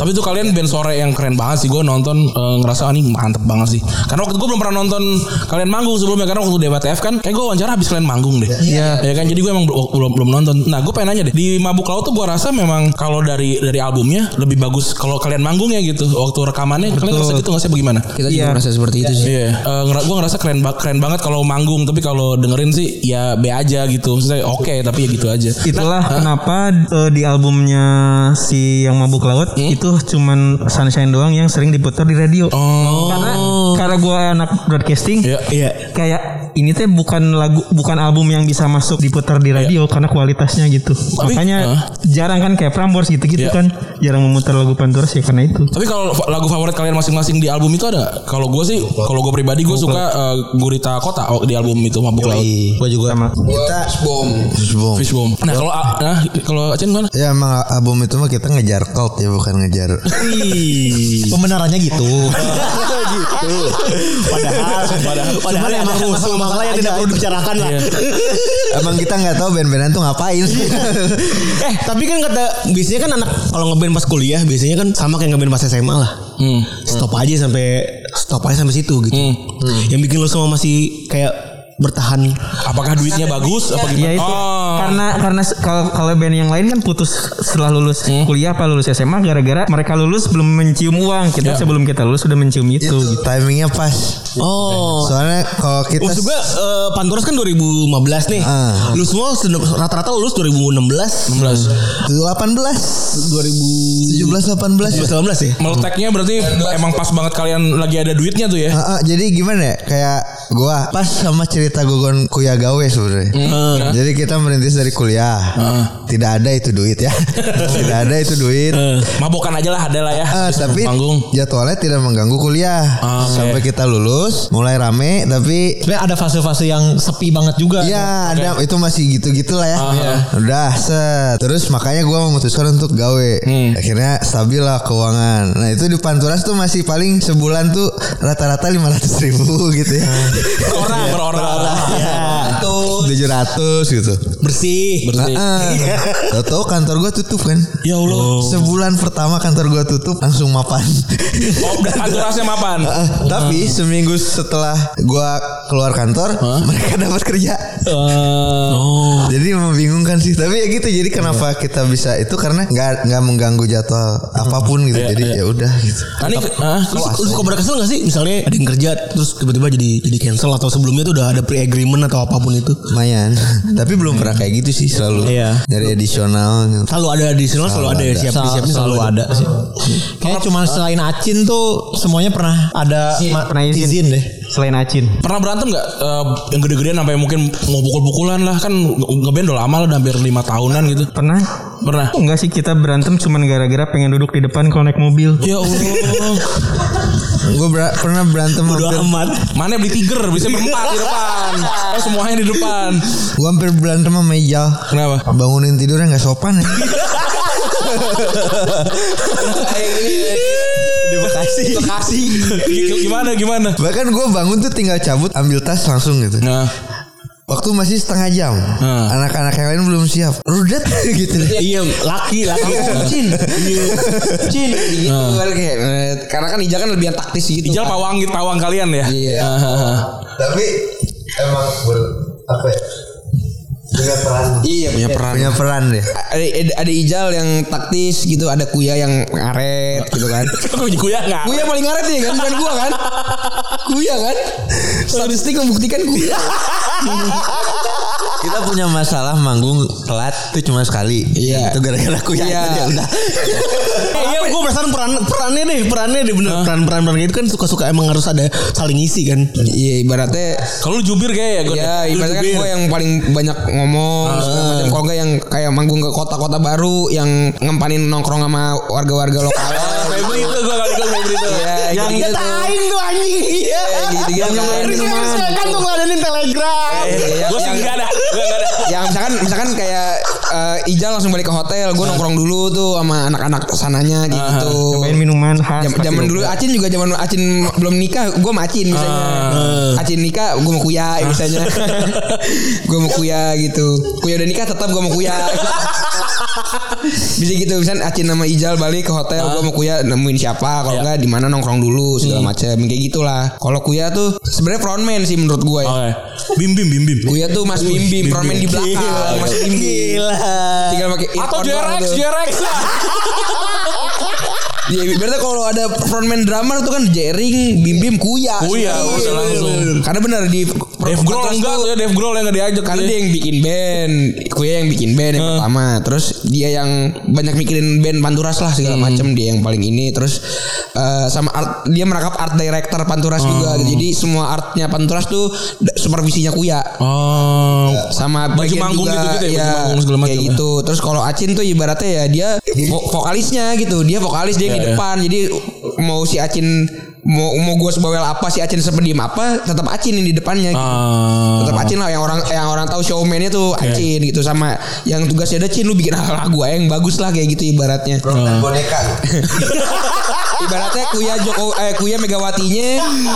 Tapi tuh kalian band sore yang keren banget sih. Gue nonton eh, ngerasa "Ah, ini mantep banget sih. Karena waktu gue belum pernah nonton kalian manggung sebelumnya. Karena waktu DWTF kan, kayak gue wawancara habis kalian manggung deh. Iya. Ya kan. Jadi gue emang bel- belum belum nonton. Nah gue pengen nanya deh. Di Mabuk Laut tuh gue rasa memang kalau dari dari albumnya lebih bagus kalau kalian manggung ya gitu. Waktu rekamannya kalian ngerasa gitu nggak sih? Bagaimana?
Kita juga merasa seperti itu sih.
Iya, gue ngerasa keren, ba- keren banget kalau manggung, tapi kalau dengerin sih ya B aja gitu. Maksudnya oke, tapi ya gitu aja.
Itulah kenapa eh, di albumnya si yang mabuk laut itu cuman Sunshine doang yang sering diputar di radio.
Hmm? Oh,
Karena karena gue anak broadcasting,
iya, iya.
kayak ini teh bukan lagu bukan album yang bisa masuk diputar di radio karena kualitasnya gitu.
Iya. Tapi-
Makanya
Hah?
jarang kan kayak Prambors
Iya.
gitu-gitu kan jarang memutar lagu Panturas ya karena itu.
Tapi kalau fa- lagu favorit kalian masing-masing di album itu ada? nggak? Kalau gue sih, kalau gue pribadi gue suka eh, Gurita Kota oh, di album itu Mabuk Laut.
Gue juga
Sama.
Iya. Kita
Bom.
Fishbone.
Fishbone. Nah kalau ah, nah, kalau Acen gimana?
Ya emang album itu mah kita ngejar cult ya bukan ngejar.
pembenarannya gitu. Padahal, padahal, padahal emang masalah-masalah yang tidak perlu dibicarakan lah.
emang kita nggak tahu band-bandan tuh ngapain sih.
Eh, tapi kan kata biasanya kan anak kalau ngeband pas kuliah biasanya kan sama kayak ngeband pas SMA lah. Stop aja sampai stop aja sampai situ gitu. Yang bikin lo semua masih kayak bertahan.
Apakah duitnya bagus? Apa
Iya,
gimana?
Ya itu
Oh.
karena karena se- kalau kalau band yang lain kan putus setelah lulus
Hmm?
kuliah apa lulus SMA gara-gara mereka lulus belum mencium
Iya.
uang. Kita sebelum kita lulus sudah mencium itu.
Itu
gitu.
timingnya pas.
Oh.
Soalnya kalau kita
Maksud gue eh, Panturas kan 2015 nih.
Ah.
Lu semua sudah- rata-rata lulus 2016,
18
2017,
17 18
2019 ya.
Meleteknya berarti emang pas banget kalian lagi ada duitnya tuh ya?
Ah, ah, jadi gimana ya? Kayak gua pas sama cerita Gogon Kuya Gawe sebenarnya.
Hmm.
Hmm.
Jadi kita merintis dari kuliah. Tidak ada itu duit ya. tidak ada itu duit.
Eh, Mabokan aja lah ada lah ya.
Ah,
Habis
tapi
manggung.
jadwalnya tidak mengganggu kuliah.
Ah, oke.
Sampai kita lulus, mulai rame tapi
Sebenarnya ada fase-fase yang sepi banget juga. ya? Ah,
Iya, ada itu masih gitu-gitu lah ya. Iya. Udah set. Terus makanya gua memutuskan untuk gawe.
Hmm.
Akhirnya stabil lah keuangan. Nah itu di Panturas tuh masih paling sebulan tuh rata-rata 500 ribu gitu ya.
Per orang,
Nah,
per orang.
Tujuh ratus gitu.
Bersih. Ah,
Berarti.
Tahu tahu kantor gua tutup kan?
Ya Allah.
Oh.
Sebulan pertama kantor gua tutup langsung mapan.
Oh, udah panturasnya mapan.
Ah,
Eh, Tapi seminggu setelah gua keluar kantor, mereka dapat kerja.
oh.
Jadi membingungkan sih, tapi ya gitu. Jadi kenapa
Iya.
kita bisa itu karena nggak nggak mengganggu jadwal apapun
Iya,
gitu. jadi ya udah gitu.
Ini ah,
Terus lu suka pada kesel gak sih misalnya ada yang kerja terus tiba-tiba jadi jadi cancel atau sebelumnya tuh udah ada pre-agreement atau apapun itu
Lumayan. tapi belum pernah kayak gitu sih selalu.
Iya.
Dari edisional.
selalu ada additional selalu, ada ya siap siapnya selalu, ada sih kayak cuma selain acin tuh semuanya pernah ada ma-
pernah
iya.
izin.
deh
Selain Acin.
Pernah berantem nggak eh, yang gede-gedean sampai mungkin mau pukul-pukulan lah kan ngeband udah lama lah udah hampir lima tahunan gitu.
Pernah?
Pernah.
Enggak sih kita berantem cuman gara-gara pengen duduk di depan kalau naik mobil.
Ya Allah.
Gue pernah berantem
Bodo
hampir,
amat
Mana beli tiger bisa berempat di depan. Oh semuanya di depan.
gue hampir berantem sama Ijal.
Kenapa?
Bangunin tidurnya nggak sopan. ya.
di Bekasi Bekasi
Gimana gimana?
Bahkan gue bangun tuh tinggal cabut, ambil tas langsung gitu.
Nah,
Waktu masih setengah jam,
Hmm.
anak-anak yang lain belum siap. Rudet gitu.
Nah. iya laki laki Iya.
Cin, Cin, gitu
Ah.
kan kayak, eh, karena kan Ijal kan lebih yang taktis gitu.
Ijal pawang pawang kalian ya.
Iya.
Ah,
tapi emang ber, apa ya? Punya peran.
Iya, punya peran.
Punya peran deh.
Ada, ada- ada Ijal yang taktis gitu, ada Kuya yang ngaret gitu kan.
Kok gue ya nggak?
Kuya paling ngaret ya kan, bukan gua kan? kuya kan statistik membuktikan kuya
Kita punya masalah manggung telat itu cuma sekali.
Iya.
Itu gara-gara aku ya.
Iya.
itu dia udah.
Eh, iya, gue penasaran peran perannya deh, perannya deh bener. Peran peran peran itu kan suka suka emang harus ada saling isi kan.
iya ibaratnya
Kalau lu Ah. jubir kayak ya, gue.
Ya, ibaratnya kan gue yang paling banyak ngomong, segala macam. kalau enggak yang kayak manggung ke kota-kota baru, yang ngempanin nongkrong sama warga-warga lokal.
Febri itu gue kali gue Febri itu.
yang gitu
Aing tuh anjing. Iya.
gitu gitu
kan tuh ngeladainin telegram.
iya,
Gue sih
yang-
nggak ada, gue nggak ada.
yang Ya, misalkan misalkan kayak eh, Ijal langsung balik ke hotel, gue nongkrong dulu tuh sama anak-anak sananya gitu.
Main minuman khas.
Jam-
pasti
Zaman
lu.
dulu Acin juga zaman Acin belum nikah, gue sama Acin misalnya. Acin nikah, gue mau kuya misalnya. gue mau kuya gitu. Kuya udah nikah tetap gue mau kuya. Bisa gitu misalnya Acin sama Ijal balik ke hotel, gue mau kuya nemuin siapa, kalau enggak di mana nongkrong dulu segala macem kayak gitulah. Kalau kuya tuh sebenarnya frontman sih menurut gue. ya.
Oke. Bim bim bim bim.
Kuya tuh Mas Bim Bim, frontman di belakang, Mas Bim Bim. Tinggal pakai
Atau
earphone doang
JRX,
tuh.
JRX lah.
Iya, berarti kalau ada frontman drummer tuh kan jering, bim bim, kuya. Iya,
Kuya, langsung, langsung.
Karena benar di
Dave Grohl enggak tuh ya Dave Grohl yang nggak diajak
Karena
tuh
dia
ya.
yang bikin band, kuya yang bikin band yang pertama. Terus dia yang banyak mikirin band Panturas lah
Hmm.
segala macem dia yang paling ini. Terus eh, sama art, dia merangkap art director Panturas
Hmm.
juga. Jadi semua artnya Panturas tuh da- supervisinya kuya
Oh.
sama bagian
manggung
juga,
gitu-gitu ya, baju
ya,
manggung segala macam
kayak
ya.
gitu terus kalau Acin tuh ibaratnya ya dia vo- vokalisnya gitu dia vokalis
Iya,
dia yang di depan jadi mau si Acin mau mau gue sebawel apa si Acin sepediem apa tetap Acin yang di depannya
Ah.
gitu. tetap Acin lah yang orang yang orang tahu showmannya tuh
Iya.
Acin gitu sama yang tugasnya ada Cin lu bikin lagu aja yang bagus lah kayak gitu ibaratnya
Boneka.
ibaratnya kuya Joko eh kuya Megawatinya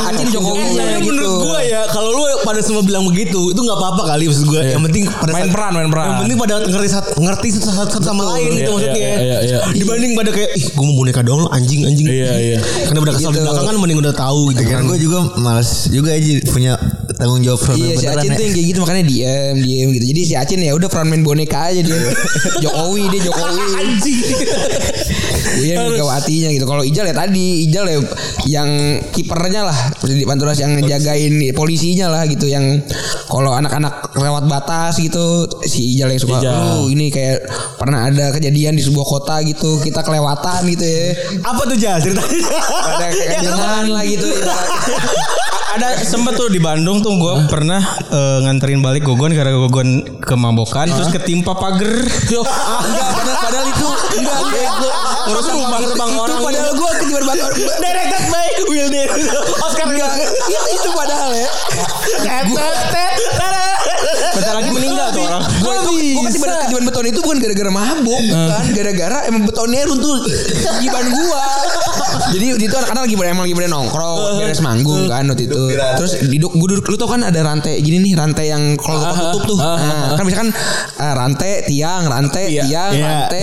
Acin
Oh, iya,
Jokowi
Eh,
Tapi
gitu
menurut gue ya kalau lu pada semua bilang begitu itu nggak apa-apa kali maksud gue.
Iya.
Yang penting pada
Main
saat-
peran, main peran.
Yang penting pada ngerti sat- ngerti satu, satu- satu sama lain
Nah. Iya,
gitu maksudnya.
iya, iya, iya.
Dibanding pada kayak ih gue mau boneka doang lu anjing anjing.
Iya, iya.
Karena udah kesal di
Gitu.
belakang kan mending udah tahu gitu kan.
Akhirnya gue juga males juga aja punya tanggung jawab frontman
Iya si
beneran
Acin
ya.
tuh yang kayak gitu makanya diem diem gitu. Jadi si Acin ya udah frontman boneka aja dia. Jokowi dia Jokowi. Anjing. Iya megawatinya gitu. Kalau Ijal ya tadi Ijal ya yang kipernya lah di Panturas yang jagain polisinya lah gitu yang kalau anak-anak lewat batas gitu si Ijal yang suka "Lu, ini kayak pernah ada kejadian di sebuah kota gitu kita kelewatan gitu ya
Apa tuh Jas ceritain.
ada kayak kejadian lah gitu
ada sempet tuh di Bandung tuh gue pernah eh, nganterin balik Gogon karena Gogon kemabokan terus ketimpa pagar.
Ah, enggak padahal, padahal itu enggak enggak gue
Terus rumah terbang
itu
orang.
padahal gue ketiban banget directed by Wilden
Oh,
Oscar enggak itu, itu padahal ya
Bentar lagi meninggal tuh orang.
gue lebih gue ketiban ketiban beton itu bukan gara-gara
Eh.
mabuk bukan gara-gara emang betonnya runtuh ketiban gua jadi waktu itu anak-anak lagi pada emang lagi pada nongkrong
Eh.
beres manggung kan waktu itu terus duduk gue duduk lu tau kan ada rantai gini nih rantai yang kalau
Ah,
toko tutup tuh nah, kan misalkan eh, rantai tiang rantai tiang
Iya.
rantai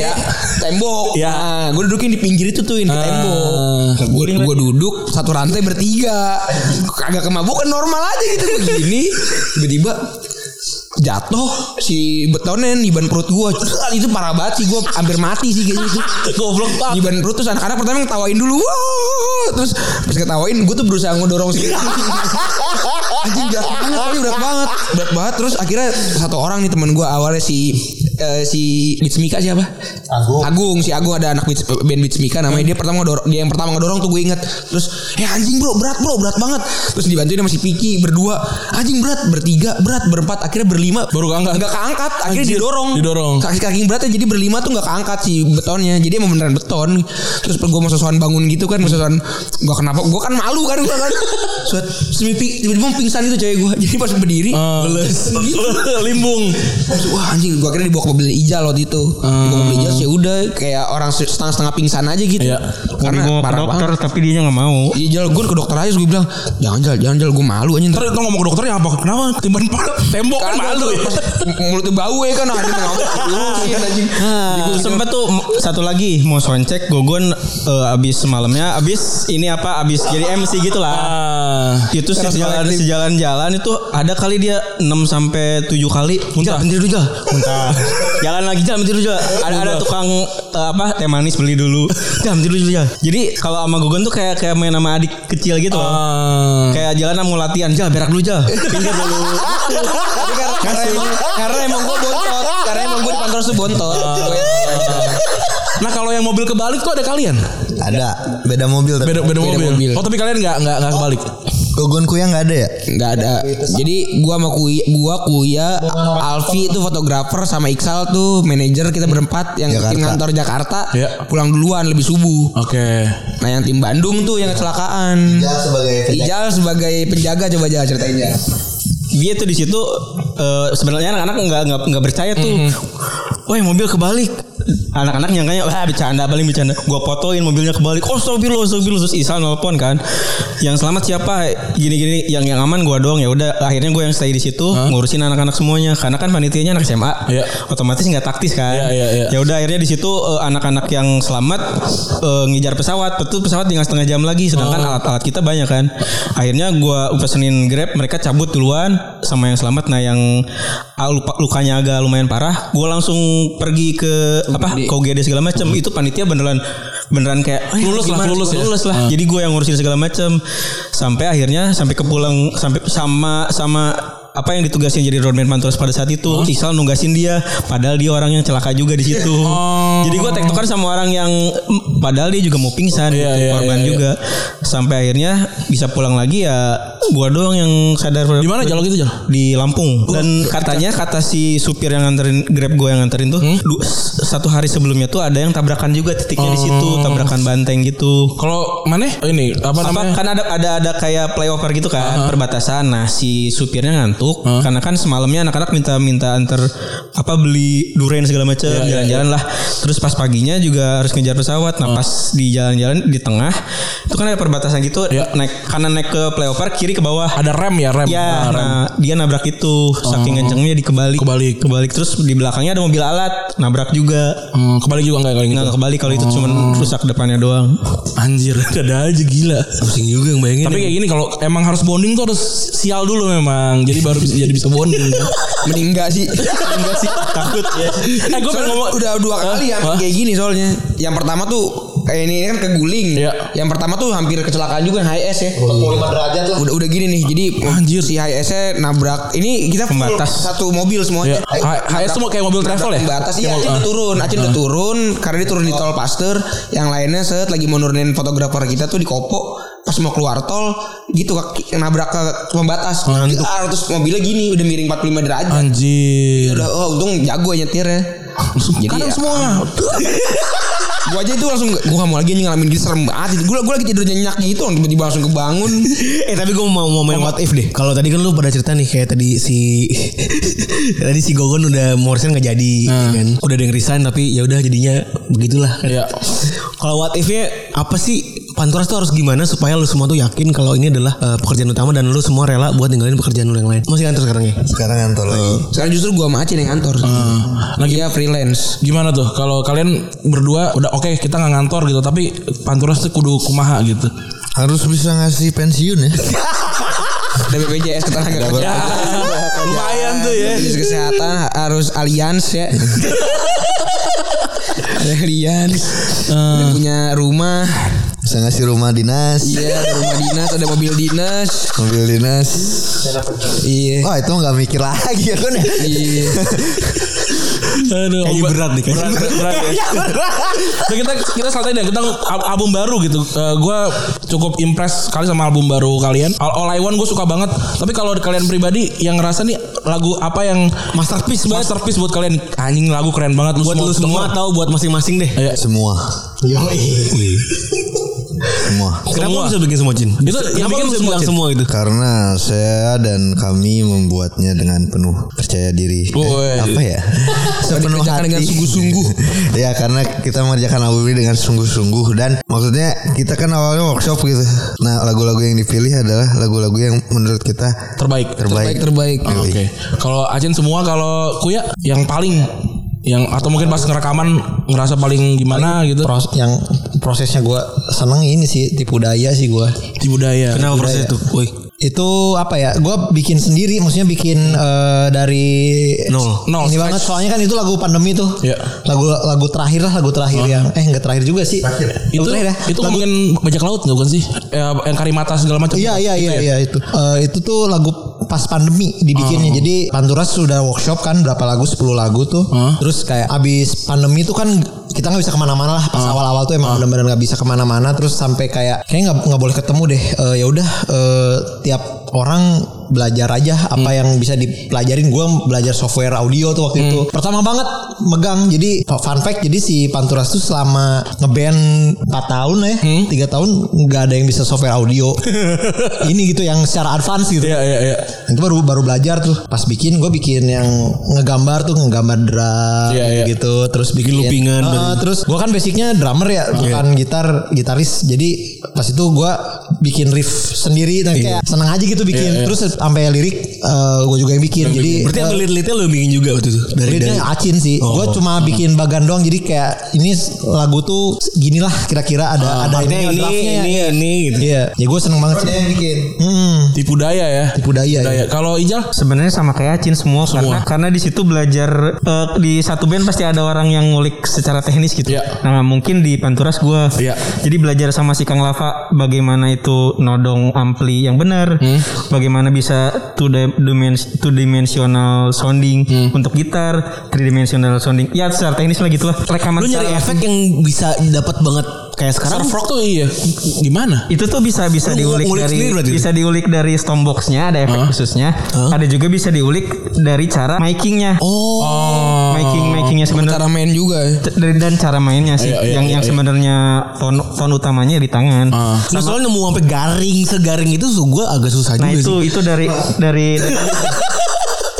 tembok
Iya.
nah gue dudukin di pinggir itu tuh yang di tembok gue gue duduk satu rantai bertiga kagak kemabukan normal aja gitu begini tiba-tiba jatuh si betonnya di ban perut gua Cuan, itu parah banget sih gua hampir mati sih kayaknya itu goblok banget di ban perut terus anak-anak pertama ngetawain dulu Wah! terus pas ketawain gua tuh berusaha ngedorong sih anjing berat banget tapi berat banget berat banget terus akhirnya satu orang nih temen gua awalnya si eh, si Bitsmika siapa? Agung. Agung si Agung ada anak Bits, band Bitsmika namanya dia pertama ngedorong dia yang pertama ngedorong tuh gue inget terus ya anjing bro berat bro berat banget terus dibantuin sama si Piki berdua anjing berat bertiga berat berempat akhirnya berlima
Baru keangkat.
nggak keangkat akhirnya didorong
didorong.
kaki kaki beratnya jadi berlima tuh nggak keangkat si betonnya jadi emang beneran beton terus gue mau sosokan bangun gitu kan mau sosokan gue kenapa gue kan malu kan gue kan Suat, semipi- tiba-tiba pingsan itu cewek gue jadi pas berdiri
Ah.
beles gitu.
Limbung.
Terus, wah anjing gue akhirnya dibawa ke mobil ijal waktu itu dibawa
Ah.
ke mobil ijal ya udah kayak orang setengah setengah pingsan aja gitu
Iya.
karena
Gue ke
parah
dokter
banget
tapi dia nggak mau.
Ijal gue ke dokter aja gue bilang jangan jal jangan jal gue malu aja ntar
Terus lo ngomong ke dokternya apa? Kenapa ketiban pala- tembok kan malu ya.
mulutnya bau ya kan ada
Oh,
anjing
sempet tuh m- satu lagi mau sound check Gogon eh, abis semalamnya abis ini apa abis jadi MC gitu lah itu sejalan sejalan jalan itu ada kali dia 6 sampai 7 kali muntah bentar dulu Jal. muntah
Jalan lagi jam tidur juga. Ada ada tukang eh, apa teh manis beli dulu. Jam tidur juga. Jadi kalau sama Gugon tuh kayak kayak main sama adik kecil gitu. loh.
Ah.
Kayak jalan sama latihan Jal berak dulu Jal Pinggir dulu Tapi karena, karena emang, karena emang gue bontot Karena emang gue di kantor tuh bontot
Nah kalau yang mobil kebalik tuh ada kalian.
Ada beda mobil tapi.
Beda beda, mobil.
mobil.
Oh tapi kalian nggak nggak nggak kebalik.
Gogon Kuyang nggak ada ya?
Nggak ada. Jadi gua sama Kuya, gua Kuya, Alfi itu fotografer sama Iksal tuh manajer kita berempat yang
Jakarta.
tim kantor Jakarta
Iya.
pulang duluan lebih subuh.
Oke.
Nah yang tim Bandung tuh yang kecelakaan.
Ya sebagai
Ijal sebagai penjaga coba aja ceritain ya. Jal.
Dia Iya tuh di situ eh, sebenarnya anak-anak nggak nggak nggak percaya tuh Woi mobil kebalik Anak-anak nyangkanya Wah bercanda paling bercanda Gue fotoin mobilnya kebalik Oh astagfirullah astagfirullah Terus Isal nelpon kan Yang selamat siapa Gini-gini Yang yang aman gue doang ya udah Akhirnya gue yang stay di situ Ngurusin anak-anak semuanya Karena kan panitianya anak SMA
Iya.
Otomatis nggak taktis kan
Iya, iya, iya.
Ya udah akhirnya di situ eh, anak-anak yang selamat eh, ngejar pesawat, betul pesawat tinggal setengah jam lagi sedangkan
Oh.
alat-alat kita banyak kan. Akhirnya gua pesenin Grab, mereka cabut duluan sama yang selamat nah yang ah, lupa- lukanya agak lumayan parah, gua langsung pergi ke apa? ke UGD segala macam. Itu panitia beneran beneran kayak "Eh,
Lulus lah,
gimana?
lulus ya?"
lulus lah. Jadi gua yang ngurusin segala macam sampai akhirnya sampai ke pulang sampai sama sama apa yang ditugasin jadi roadman Panturas pada saat itu Isal nunggasin dia padahal dia orang yang celaka juga di situ
Oh.
jadi gue tektokan sama orang yang mm, padahal dia juga mau
Iya,
pingsan gitu,
iya,
korban
iya,
juga sampai akhirnya bisa pulang lagi ya gue doang yang sadar
Di mana jalur itu gitu, Oh, Jal?
di Lampung dan katanya kata si supir yang nganterin grab gue yang nganterin tuh
Hmm?
du- s- satu hari sebelumnya tuh ada yang tabrakan juga
Oh.
titiknya di situ tabrakan banteng gitu
Kalau mana? Oh, Ini apa
apa,
namanya?
kan ada ada ada kayak playover gitu kan perbatasan nah si supirnya ngantuk karena kan semalamnya anak-anak minta minta antar apa beli durian segala macam
Iya,
jalan-jalan lah terus pas paginya juga harus ngejar pesawat nah pas di jalan-jalan di tengah itu kan ada perbatasan gitu
Iya.
naik kanan naik ke playover kiri ke bawah
Ada rem ya rem.
Ya, nah, dia nabrak itu saking kencengnya dikebalik.
Kebalik.
kebalik terus di belakangnya ada mobil alat nabrak juga.
Hmm, kebalik juga enggak kalau yang
Nggak
itu.
kebalik kalau itu cuma
Oh.
rusak depannya doang.
Anjir, ada aja gila.
Pusing juga yang bayangin.
Tapi kayak gini kalau emang harus bonding tuh harus sial dulu memang. Jadi baru bisa jadi bisa bonding.
Mending nggak sih.
enggak sih takut ya.
eh gue pengen
Soalnya
ngomong
udah dua kali yang kayak gini soalnya. Yang pertama tuh kayak ini, ini kan keguling.
Iya. Oh,
Yang pertama tuh hampir kecelakaan juga HS ya. 45 derajat lah. Udah udah gini nih. Jadi
Anjir.
si HS nya nabrak. Ini kita full
Pembatas.
satu mobil semuanya.
Ya, HS tuh kayak mobil travel ya?
Batas Eh, iya, Acin
Kayak mobil-
udah turun, Acin udah turun karena dia turun di tol Pasteur, yang lainnya set lagi mau nurunin fotografer kita tuh di Kopo pas mau keluar tol gitu kaki- nabrak ke pembatas.
Nah,
Ah, terus mobilnya gini udah miring 45 derajat.
Ah, Anjir.
Udah, oh, untung jago ya nyetirnya. Jadi
Kadang
ya,
semua.
gua aja itu langsung gua gak mau lagi nih ngalamin gitu serem banget. Gua gua lagi tidur nyenyak gitu tiba-tiba langsung kebangun.
Eh tapi gue mau mau main what if deh. Kalau tadi kan lu pada cerita nih kayak tadi si tadi si Gogon udah morsen nggak jadi, ya
Ah.
kan? Udah ada yang resign tapi ya udah jadinya begitulah. kan.
Iya.
Kalau what if-nya apa sih? Panturas tuh harus gimana supaya lu semua tuh yakin kalau ini adalah eh, pekerjaan utama dan lu semua rela buat ninggalin pekerjaan lu yang lain. Masih kantor sekarang ya?
Sekarang Oh. ngantor lagi.
Sekarang Kan justru gua sama Acin yang kantor. lagi ya freelance.
Ah, Gimana tuh kalau kalian berdua udah oke kita nggak ngantor gitu tapi panturas tuh kudu kumaha gitu.
Harus bisa ngasih pensiun ya.
Ada BPJS ketenaga kerjaan.
lumayan tuh ya.
BPJS kesehatan harus alians ya. Ada alians.
Ah.
Udah punya rumah.
Bisa ngasih rumah dinas,
Iya, ada rumah dinas, ada mobil dinas.
mobil dinas.
Iya.
Wah itu nggak mikir lagi ya kan ya.
Iya.
Aduh,
Kayaknya
obat-
berat nih, kayaknya
berat, berat, ya.
Iya,
Nah, kita kita santai deh, kita al- album baru gitu. Eh, gua cukup impress sekali sama album baru kalian. All, All I Want gue suka banget. Tapi kalau kalian pribadi yang ngerasa nih lagu apa yang masterpiece banget, masterpiece buat kalian. Anjing lagu keren banget
buat lu semua atau buat masing-masing deh.
Iya.
Semua. Semua.
Kenapa lu bisa bikin semua Jin?
Itu yang bikin semua, Jin?
semua gitu?
Karena saya dan kami membuatnya dengan penuh percaya diri. Eh,
Woi.
apa ya? Sepenuh
Dikerjakan
hati.
dengan sungguh-sungguh.
ya karena kita mengerjakan album ini dengan sungguh-sungguh dan maksudnya kita kan awalnya workshop gitu. Nah lagu-lagu yang dipilih adalah lagu-lagu yang menurut kita
Terbaik.
terbaik.
Terbaik, terbaik.
Yoi.
Oke. Kalau Acin semua kalau Kuya yang paling yang atau mungkin pas ngerekaman ngerasa paling gimana gitu.
Pros- yang prosesnya gue seneng ini sih tipu daya sih gue.
Di budaya.
Kenapa proses itu? Woi.
Itu apa ya? Gua bikin sendiri, maksudnya bikin eh, dari
Nol. Nol,
Ini
scratch.
banget soalnya kan itu lagu pandemi tuh.
Iya.
Lagu lagu terakhir lah, lagu terakhir yang eh enggak terakhir juga sih. Lagu
itu
terakhir ya.
itu mungkin bajak laut nggak bukan sih Eh, yang karimata segala macam ya?
Iya iya iya iya itu. Eh, itu tuh lagu pas pandemi dibikinnya.
Oh.
Jadi Panturas sudah workshop kan berapa lagu 10 lagu tuh. Terus kayak abis pandemi tuh kan kita nggak bisa kemana-mana lah. Pas awal-awal tuh emang benar-benar nggak bisa kemana-mana. Terus sampai kayak kayak nggak nggak boleh ketemu deh. Eh, ya udah eh, tiap orang belajar aja apa yang bisa dipelajarin gue belajar software audio tuh waktu itu pertama banget megang jadi fun fact jadi si Panturas tuh selama ngeband 4 tahun lah ya tiga tahun nggak ada yang bisa software audio ini gitu yang secara advance gitu
iya iya iya
itu baru baru belajar tuh pas bikin gue bikin yang ngegambar tuh ngegambar drum
Iya, iya.
gitu terus bikin
loopingan
Eh,
dan- Iya.
terus gue kan basicnya drummer ya bukan gitar gitaris jadi pas itu gue bikin riff sendiri
Iya.
dan kayak seneng aja gitu bikin terus sampai lirik gue juga yang bikin jadi
Berarti
eh,
Iya, yang lilit-lilitnya lo bikin juga waktu itu dari
Dari,
dari. Oh.
acin sih, gue cuma bikin bagan doang. Jadi kayak ini lagu tuh ginilah kira-kira ada ada
Ah, Maksudnya
ininya,
ini
draftnya. ya,
ini ini gitu.
Iya, ya gue seneng banget. sih.
bikin.
Hmm,
tipu daya ya
tipu daya. ya.
daya kalau Ijal
Sebenarnya sama kayak Acin semua, karena karena di situ belajar eh, di satu band pasti ada orang yang ngulik secara teknis
Ya.
gitu.
Iya.
Nah mungkin di Panturas gua
Iya.
jadi belajar sama si Kang Lava bagaimana itu nodong ampli yang benar,
Hmm.
bagaimana bisa two, di- dimens- two dimensional sounding
Hmm.
untuk gitar, three dimensional sounding. Ya secara teknis lah gitulah. Rekaman
Lo nyari
secara-
efek yang bisa dapat banget kayak sekarang.
Surf Rock tuh iya gimana
itu tuh bisa bisa
Lu
diulik
Oh, ngulik
dari
sendiri berarti itu?
bisa diulik dari stomboxnya ada efek khususnya ada juga bisa diulik dari cara makingnya
oh
making makingnya
cara
sebenarnya
main juga ya
C- dari dan cara mainnya sih
Iya, iya,
yang
iya,
yang
iya.
sebenarnya ton ton utamanya di tangan
Ah.
Nah, soalnya nemu sampai garing segaring itu tuh gue agak susah
nah
juga
itu
sih.
itu dari dari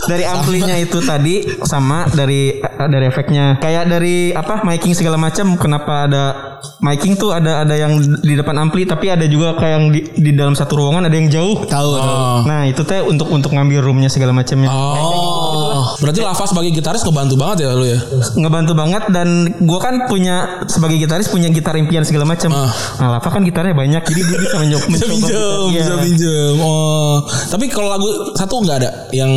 dari amplinya itu tadi sama dari eh, dari efeknya kayak dari apa miking segala macam kenapa ada miking tuh ada ada yang di depan ampli tapi ada juga kayak yang di, di dalam satu ruangan ada yang jauh
Tahu.
Oh.
Nah itu teh untuk untuk ngambil roomnya segala ya.
Ah.
macamnya
Oh, berarti Lava sebagai gitaris kebantu banget ya lu ya.
ngebantu banget dan gua kan punya sebagai gitaris punya gitar impian segala macam.
Ah.
Nah Lava kan gitarnya banyak jadi gue bisa mencoba
Bisa
mencoba
pinjem,
gitar.
bisa
Iya.
pinjem. Oh, tapi kalau lagu satu nggak ada yang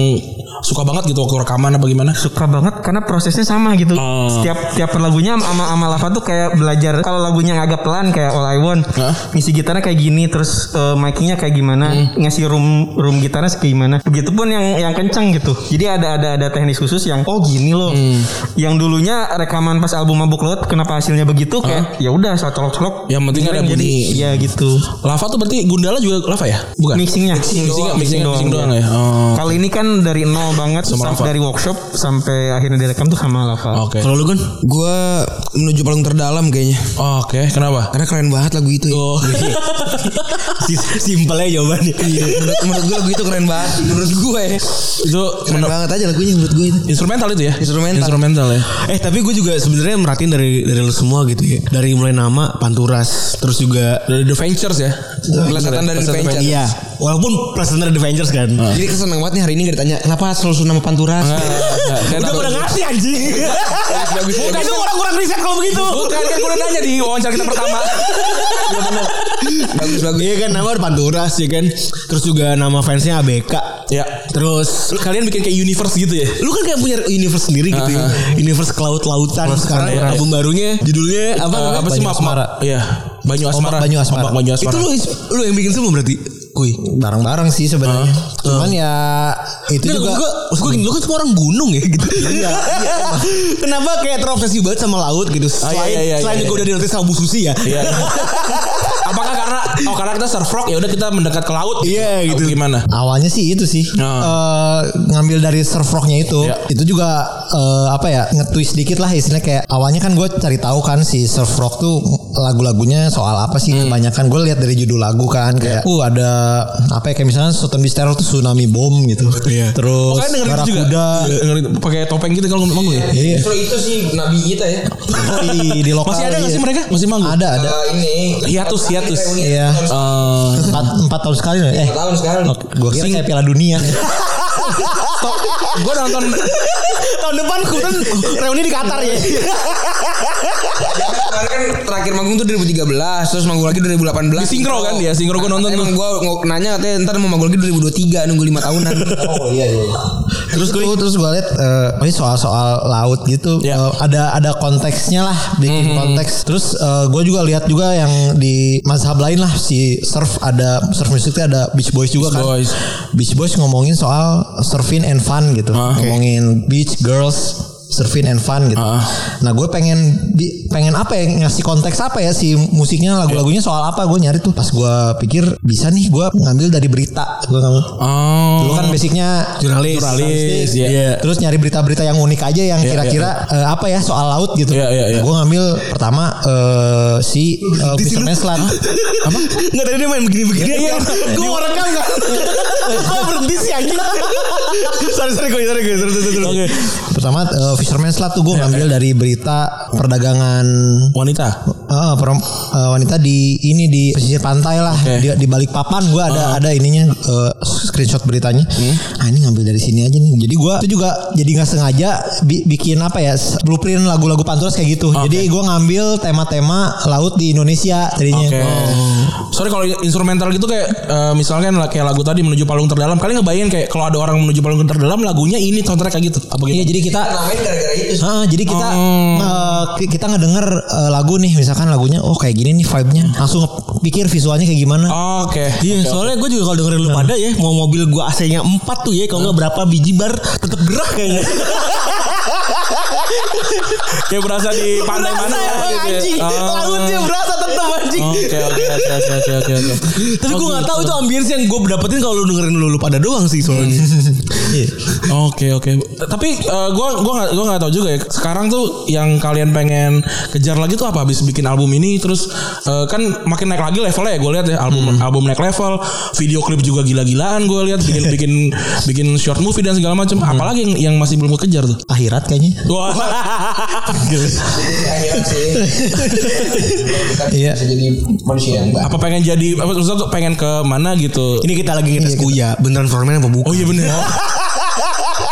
suka banget gitu waktu rekaman apa gimana?
suka banget karena prosesnya sama gitu.
Ah.
Setiap tiap lagunya ama ama Lava tuh kayak belajar kalau lagunya yang agak pelan kayak All I Want,
Ah.
ngisi gitarnya kayak gini terus eh, mic-nya kayak gimana,
Hmm.
ngasih room room gitarnya kayak gimana. Begitupun yang yang kencang gitu. Jadi ada ada ada teknis khusus yang oh gini loh.
Hmm.
Yang dulunya rekaman pas album Mabuk Laut kenapa hasilnya begitu kayak ya udah saya colok-colok.
Yang penting ada
Jadi
bunyi.
ya gitu.
Lava tuh berarti Gundala juga Lava ya? Bukan.
Mixingnya, mixing,
Mixing, mixing, mixing doang
iya.
ya. Oh.
Kali ini kan dari nol banget,
Sama
sam-
Lava.
dari workshop sampai akhirnya direkam tuh sama
Oh,
Lava.
Oke.
Kalau lu kan
Gue menuju paling terdalam kayaknya.
Oh, Oke, kenapa? Oh.
Karena keren banget lagu itu. ya.
simpelnya jawabannya.
menurut, menurut gue lagu itu keren banget. Menurut gue ya.
Iya. Itu
Keren
menur-
banget aja lagunya menurut gue itu.
instrumental itu ya?
Instrumental.
Instrumental ya.
Eh tapi gue juga sebenarnya merhatiin dari dari lu semua gitu ya. Dari mulai nama Panturas, terus juga
Dari The Ventures ya.
Pelesetan dari The Ventures.
Iya, walaupun Pleasantner The Ventures kan.
Ah.
Jadi gue seneng banget nih hari ini gak ditanya Kenapa selalu nama Panturas
Iya,
Udah udah ngasih anjing. Bukan itu kurang-kurang riset kalau begitu.
Bukan kan gue udah nanya di wawancara kita pertama. Iya,
Bagus bagus. Iya kan nama Panturas ya kan. Terus juga nama fansnya ABK.
Ya.
Terus
Lu kan- kalian bikin kayak universe gitu ya?
lu kan kayak punya universe sendiri gitu ya. Universe Cloud Lautan sekarang
Lautan.
album barunya judulnya apa
Eh, apa sih
Banyu
Mak-
Asmara.
Mak- Iya. Banyu Asmara.
Banyu Asmara.
Ombak Banyu Asmara.
Itu lu lu yang bikin semua berarti. Kuy.
bareng-bareng sih sebenarnya. Cuman ya itu
Itu juga
juga
gue, maksud gue gini, lu kan semua orang gunung ya gitu.
Iya,
Kenapa kayak terobsesi banget sama laut gitu? Selain,
iya, iya,
selain gue
iya, iya.
udah dilatih sama Bu Susi ya.
Iya. Apakah karena oh karena kita surf rock ya udah kita mendekat ke laut?
Iya,
Atau
gitu.
Gimana?
Awalnya sih itu sih
Ah.
Eh, ngambil dari surf rocknya itu,
Iya.
itu juga eh, apa ya nge-twist dikit lah istilahnya kayak awalnya kan gue cari tahu kan si surf rock tuh lagu-lagunya soal apa sih
Hmm.
kebanyakan gue lihat dari judul lagu kan kayak
Ya.
uh ada apa ya kayak misalnya Sultan Bistero tuh tsunami bom gitu, terus
Pokoknya Iya. dengerin itu juga.
Barakuda,
Iya, dengerin itu. pakai topeng gitu kalau manggung ya.
iya.
Justru itu sih nabi kita ya
di, di lokal
Masih ada nggak
iya.
sih mereka? Masih manggung?
Ada ada.
Eh, Ini
Hiatus, hiatus.
Iya.
Eh,
Empat, empat tahun sekali eh
Tahun sekarang
gue kira kayak Piala Dunia
gue nonton
Tahun depan kemudian reuni di Qatar ya.
Kemarin kan terakhir manggung tuh 2013, terus manggung lagi 2018.
Di sinkro kan dia, sinkro gua nonton
Emang gua ng- nanya katanya ntar mau manggung lagi 2023 nunggu 5 tahunan.
Oh iya iya.
terus gue terus gue liat eh, ini soal-soal laut gitu
Ya.
eh, ada ada konteksnya lah bikin
Hmm.
konteks terus gue juga lihat juga yang di mazhab lain lah si surf ada surf musiknya ada beach boys juga
Beach
kan
Boys.
beach boys ngomongin soal surfing and fun gitu
Ah, oke.
ngomongin beach girls surfing and fun gitu.
Ah.
Nah gue pengen di- pengen apa ya ngasih konteks apa ya si musiknya lagu-lagunya soal apa gue nyari tuh pas gue pikir bisa nih gue ngambil dari berita gue ngambil
oh
Dulu kan basicnya
jurnalis
jurnalis,
ya
Iya. Terus nyari berita-berita yang unik aja yang
Iya,
kira-kira eh, apa ya soal laut gitu.
Iya, iya, iya.
Gue ngambil pertama eh, si eh, Fisherman Island.
apa
Enggak tadi dia main begini-begini.
Iya.
Gue mau rekam enggak? Kok berhenti sih anjing? Sorry sorry gue sorry gue sorry sorry. sorry.
Oke.
Pertama eh, Fisherman Island tuh gue
Iya,
ngambil dari berita perdagangan
wanita
eh, perem- eh, wanita di ini di pesisir pantai lah
Oke. Ah.
di, di balik papan gue ada ada ininya eh, screenshot beritanya
Hmm.
ah ini ngambil dari sini aja nih jadi gue itu juga jadi nggak sengaja bi- bikin apa ya s- blueprint lagu-lagu panturas kayak gitu jadi gue ngambil tema-tema laut di Indonesia tadinya
Oke.
Oh.
Sorry kalau instrumental gitu kayak eh, misalkan lah kayak lagu tadi menuju palung terdalam. Kalian ngebayangin kayak kalau ada orang menuju palung terdalam lagunya ini soundtrack kayak gitu apa gitu.
Iya jadi kita
Main gara-gara itu.
Ah, jadi kita
Oh.
eh, ki- kita ngedenger eh, lagu nih misalkan lagunya oh kayak gini nih vibe-nya langsung pikir visualnya kayak gimana.
Oke.
Iya, soalnya gue juga kalau dengerin lu pada ya, mau mobil gue AC-nya 4 tuh ya, kalau nggak berapa biji bar tetap gerak kayaknya.
Kayak berasa di pantai mana
Berasa emang
ya, gitu.
anjing.
ya. Ah.
Lautnya berasa tetap anjing.
Oke oke oke oke, oke oke oke.
Tapi gue gak tahu itu ambience yang gue dapetin kalau lu dengerin lu, lu pada doang sih soalnya.
Iya.
Oke oke. Tapi eh, gua gua nggak gua nggak tahu juga ya. Sekarang tuh yang kalian pengen kejar lagi tuh apa habis bikin album ini terus eh, kan makin naik lagi levelnya ya gue lihat ya album album naik level, video klip juga gila-gilaan gue lihat bikin bikin bikin short movie dan segala macam. Apalagi yang yang masih belum kejar tuh.
Akhirat kayaknya.
Wah.
Iya.
apa pengen jadi apa maksudnya tuh pengen ke mana gitu.
Ini kita lagi ngetes kuya, beneran formen apa bukan?
Oh iya bener.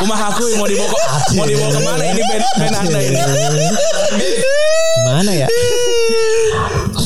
Rumah aku yang mau dibawa ke- mau dibawa kemana ini band band
Iya.
anda ini.
Mana ya?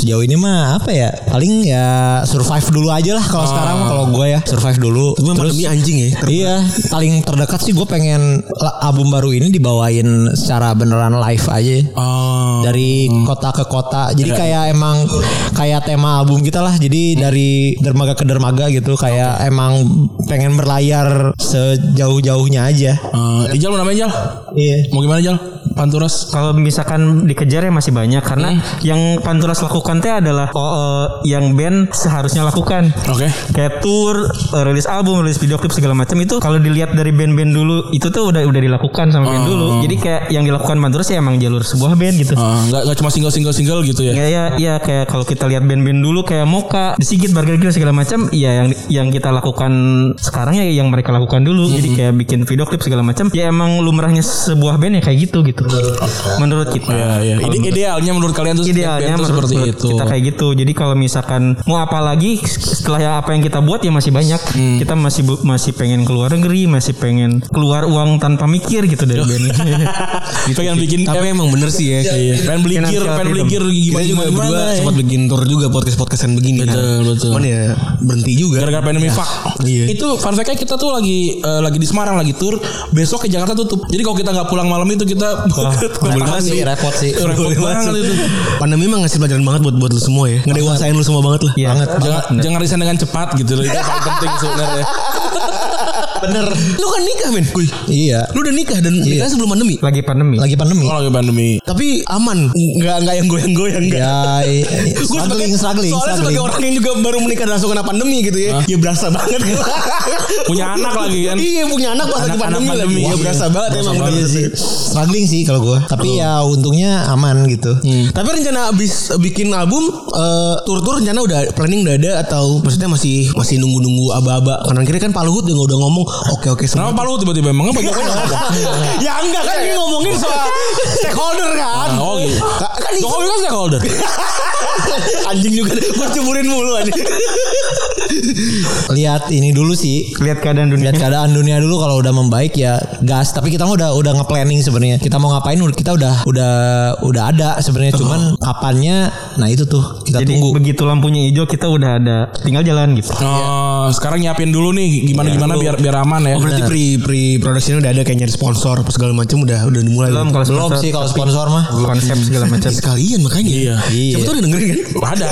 Sejauh ini mah apa ya? Paling ya survive dulu aja lah kalau sekarang mah kalau gue ya survive dulu.
Cuma Ah. pandemi anjing ya.
Iya, paling terdekat sih gue pengen la- album baru ini dibawain secara beneran live aja.
Oh.
Dari kota ke kota. Jadi kayak emang kayak tema album kita lah. Jadi dari dermaga ke dermaga gitu. Kayak emang pengen berlayar sejauh-jauhnya aja.
Eh, Ijal mau namanya Ijal?
Iya.
Mau gimana Jal? Panturas.
Kalau misalkan dikejar ya masih banyak karena yang Panturas lakukan teh adalah oh, eh, yang band seharusnya lakukan.
Oke.
Kayak tour, eh, rilis album, rilis video klip segala macam itu kalau dilihat dari band-band dulu itu tuh udah udah dilakukan sama band dulu. Jadi kayak yang dilakukan Panturas ya emang jalur sebuah band gitu.
Ah, nggak nggak cuma single single single gitu ya.
Iya.
Ya ya ya kayak kalau kita lihat band-band dulu kayak Moka, Sigit, Barger Grill segala macam, ya yang yang kita lakukan sekarang ya yang mereka lakukan dulu. Jadi kayak bikin video klip segala macam, ya emang lumrahnya sebuah band ya kayak gitu gitu. Menurut kita.
Ya, ya. Ide,
Kalau menurut-
idealnya menurut kalian tuh band
idealnya
tuh
menurut-
seperti
menurut
itu.
kita kayak gitu. Jadi kalau misalkan mau apa lagi setelah ya apa yang kita buat ya masih banyak.
Hmm.
Kita masih bu- masih pengen keluar negeri, masih pengen keluar uang tanpa mikir gitu dari band.
pengen bikin
Tapi
eh,
emang bener sih ya. Iya.
pengen beli gear,
Finansial
pengen beli gear
Kita juga
gimana gimana.
berdua
gimana ya.
sempat bikin tour juga podcast-podcastan begini.
Betul, betul.
Cuman ya berhenti juga.
Gara-gara pandemi fuck.
Iya.
Itu fun fact-nya kita tuh lagi eh, lagi di Semarang lagi tour, besok ke Jakarta tutup. Jadi kalau kita nggak pulang malam itu kita
banget sih,
repot sih.
Repot banget itu.
Pandemi emang ngasih pelajaran banget buat buat lu semua ya. Ngedewasain lu semua banget lah.
Iya.
Banget.
Jangan jangan resign dengan cepat gitu loh. Itu yang paling penting sebenarnya.
Bener.
Lu kan nikah men.
Iya.
Lu udah nikah dan nikah sebelum pandemi. Oh,
Lagi pandemi.
Lagi pandemi.
Kalau lagi pandemi.
Tapi aman. Enggak enggak yang goyang-goyang enggak.
Ya, i- i-
Gue
struggling, struggling,
soalnya sebagai
struggling.
orang yang juga baru menikah dan langsung kena pandemi gitu ya, ya berasa banget.
Punya anak lagi kan.
Iya punya anak pas lagi
Anak-anak
pandemi,
pandemi.
lagi. Ya
Wah,
berasa
iya.
banget
Berasa
emang.
banget
bener
sih.
sih.
Struggling sih kalau gue. Tapi ya untungnya aman gitu.
Hmm. Tapi rencana abis bikin album eh, tur-tur rencana udah planning udah ada atau maksudnya masih masih nunggu-nunggu aba-aba kanan kiri kan Pak Luhut juga udah ngomong oke oke semua.
Kenapa palu tiba-tiba emang apa Jokowi nggak ada?
ya enggak kan ini ngomongin soal stakeholder kan.
Ah, oh gitu.
Ka- Kan
Jokowi kan stakeholder.
anjing juga gue ceburin mulu anjing.
lihat ini dulu sih
Lihat keadaan dunia.
lihat keadaan dunia dulu kalau udah membaik ya gas tapi kita mah udah udah nge-planning sebenarnya kita mau ngapain udah- kita udah udah udah ada sebenarnya cuman
Oh.
kapannya nah itu tuh kita
Jadi
tunggu
begitu lampunya hijau kita udah ada tinggal jalan gitu.
Oh, sekarang nyiapin dulu nih gimana gimana biar biar aman ya.
Oh, berarti pre pre production udah ada kayaknya sponsor apa segala macam udah udah dimulai.
Belum kalau
belum
sponsor,
sih kalau sponsor mah
konsep
hmm.
segala macam.
Sekalian makanya. Iya.
Iya.
Siapa tuh udah dengerin kan?
Ada.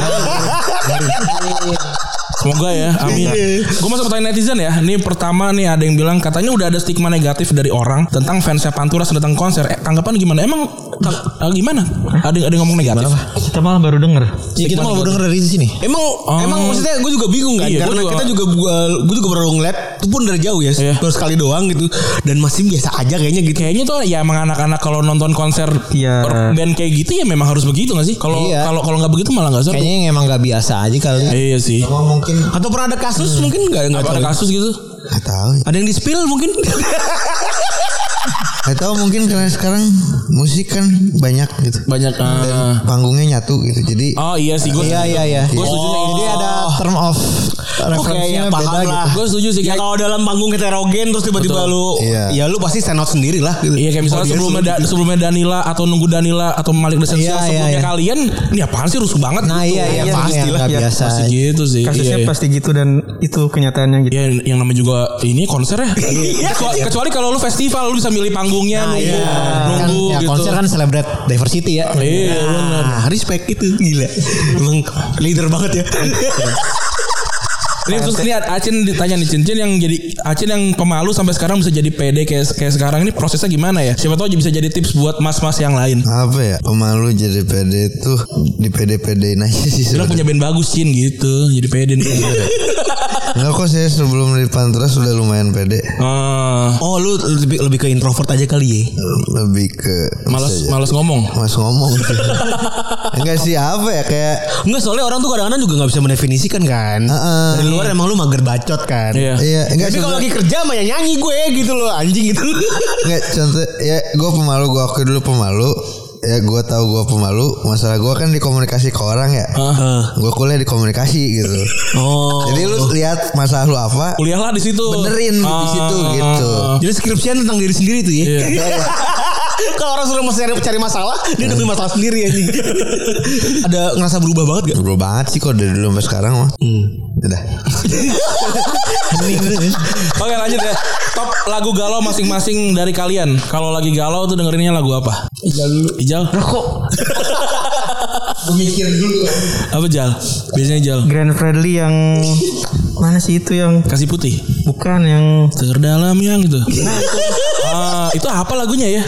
Semoga ya, amin.
Iya.
Gue masuk pertanyaan netizen ya. Ini pertama nih ada yang bilang katanya udah ada stigma negatif dari orang tentang fansnya Panturas datang konser. Eh, tanggapan gimana? Emang ta- eh, gimana? Ada ada yang ngomong negatif?
Kita malah baru denger.
ya, kita mau denger dari sini
Emang emang maksudnya gue juga bingung kan
Oh. Iya,
karena
gua juga.
kita juga gue juga baru ngeliat itu pun dari jauh ya
Iya.
baru sekali doang gitu dan masih biasa aja kayaknya gitu.
Kayaknya tuh ya emang anak-anak kalau nonton konser
Iya.
or- band kayak gitu ya memang harus begitu gak sih? Kalau
Iya.
kalau kalau nggak begitu malah nggak seru.
kayaknya yang emang nggak biasa aja kali
Iya sih.
Emang mungkin Hmm.
Atau pernah ada kasus mungkin nggak nggak
Apa
tahu. ya?
ada kasus gitu?
nggak tahu. ya.
Ada yang di spill mungkin.
Nggak tahu mungkin karena sekarang musik kan banyak gitu.
Banyak. ah.
Panggungnya nyatu gitu. Jadi
Oh iya sih gue.
iya iya iya
Gue setuju.
Oh. jadi ada term of referensinya
ya, paham
beda
lah.
gitu
Gue setuju sih
ya
kayak
kalau dalam panggung heterogen terus tiba-tiba lu
Iya.
ya lu pasti stand out sendiri lah gitu.
Iya kayak
Oh,
misalnya
Audience
sebelumnya
lu gitu.
Da- sebelumnya Danila atau nunggu Danila atau Malik Desensial
Iya, iya,
sebelumnya
iya.
kalian ini apaan sih rusuh banget
nah
gitu.
iya iya
Iya,
pasti
pastilah,
lah
ya.
iya.
biasa
Pasti gitu sih.
Kasusnya
iya, iya.
pasti gitu dan itu kenyataannya gitu.
Ya, yang namanya juga ini konser ya. kecuali, kecuali kalau lu festival lu bisa milih panggungnya
Iya, Nah,
nunggu,
iya. Kan,
nunggu
ya,
gitu.
konser kan celebrate diversity ya
Iya benar.
Nah, respect itu gila. Emang leader banget ya.
Ini terus ini Acin ditanya nih Cincin yang jadi Acin yang pemalu sampai sekarang bisa jadi PD kayak kayak sekarang ini prosesnya gimana ya? Siapa tahu bisa jadi tips buat mas-mas yang lain.
apa ya pemalu jadi PD tuh di PD PD aja sih
Bilang
sebenarnya.
punya band bagus Cin gitu, jadi PD nih.
Enggak kok saya sebelum di Pantura sudah lumayan PD
Ah,
oh, lu lebih lebih ke introvert aja kali ya.
lebih ke
malas
bisa aja.
malas ngomong.
Mas ngomong Enggak sih apa ya kayak
Enggak soalnya orang tuh kadang-kadang juga nggak bisa mendefinisikan kan.
Heeh.
Dari luar emang lu mager bacot kan.
Iya.
Iya enggak
Tapi
contoh,
kalau lagi kerja mah ya nyanyi gue gitu loh anjing gitu.
enggak contoh ya gue pemalu gue akui dulu pemalu ya gue tahu gue pemalu masalah gue kan di komunikasi ke orang ya
Ah.
gue kuliah di komunikasi gitu
Oh.
jadi lu lihat masalah lu apa
Kuliahlah di situ.
benerin di situ
Ah,
gitu
Jadi skripsian tentang diri sendiri tuh ya.
Iya. Iya.
kalau orang sudah mau cari, cari masalah, dia nemuin masalah sendiri anjing. Ada ngerasa berubah banget gak?
Bro banget sih kok dari dulu sampai sekarang mah
Hmm.
udah
Oke lanjut ya. Top lagu galau masing-masing dari kalian. Kalau lagi galau tuh dengerinnya lagu apa? Ijal dulu. Ijal. Kok?
mikir dulu
Apa Jal? Biasanya Jal.
Grand Friendly yang mana sih itu yang
Kasih putih.
bukan yang
Terdalam yang gitu. Ah, itu apa lagunya ya?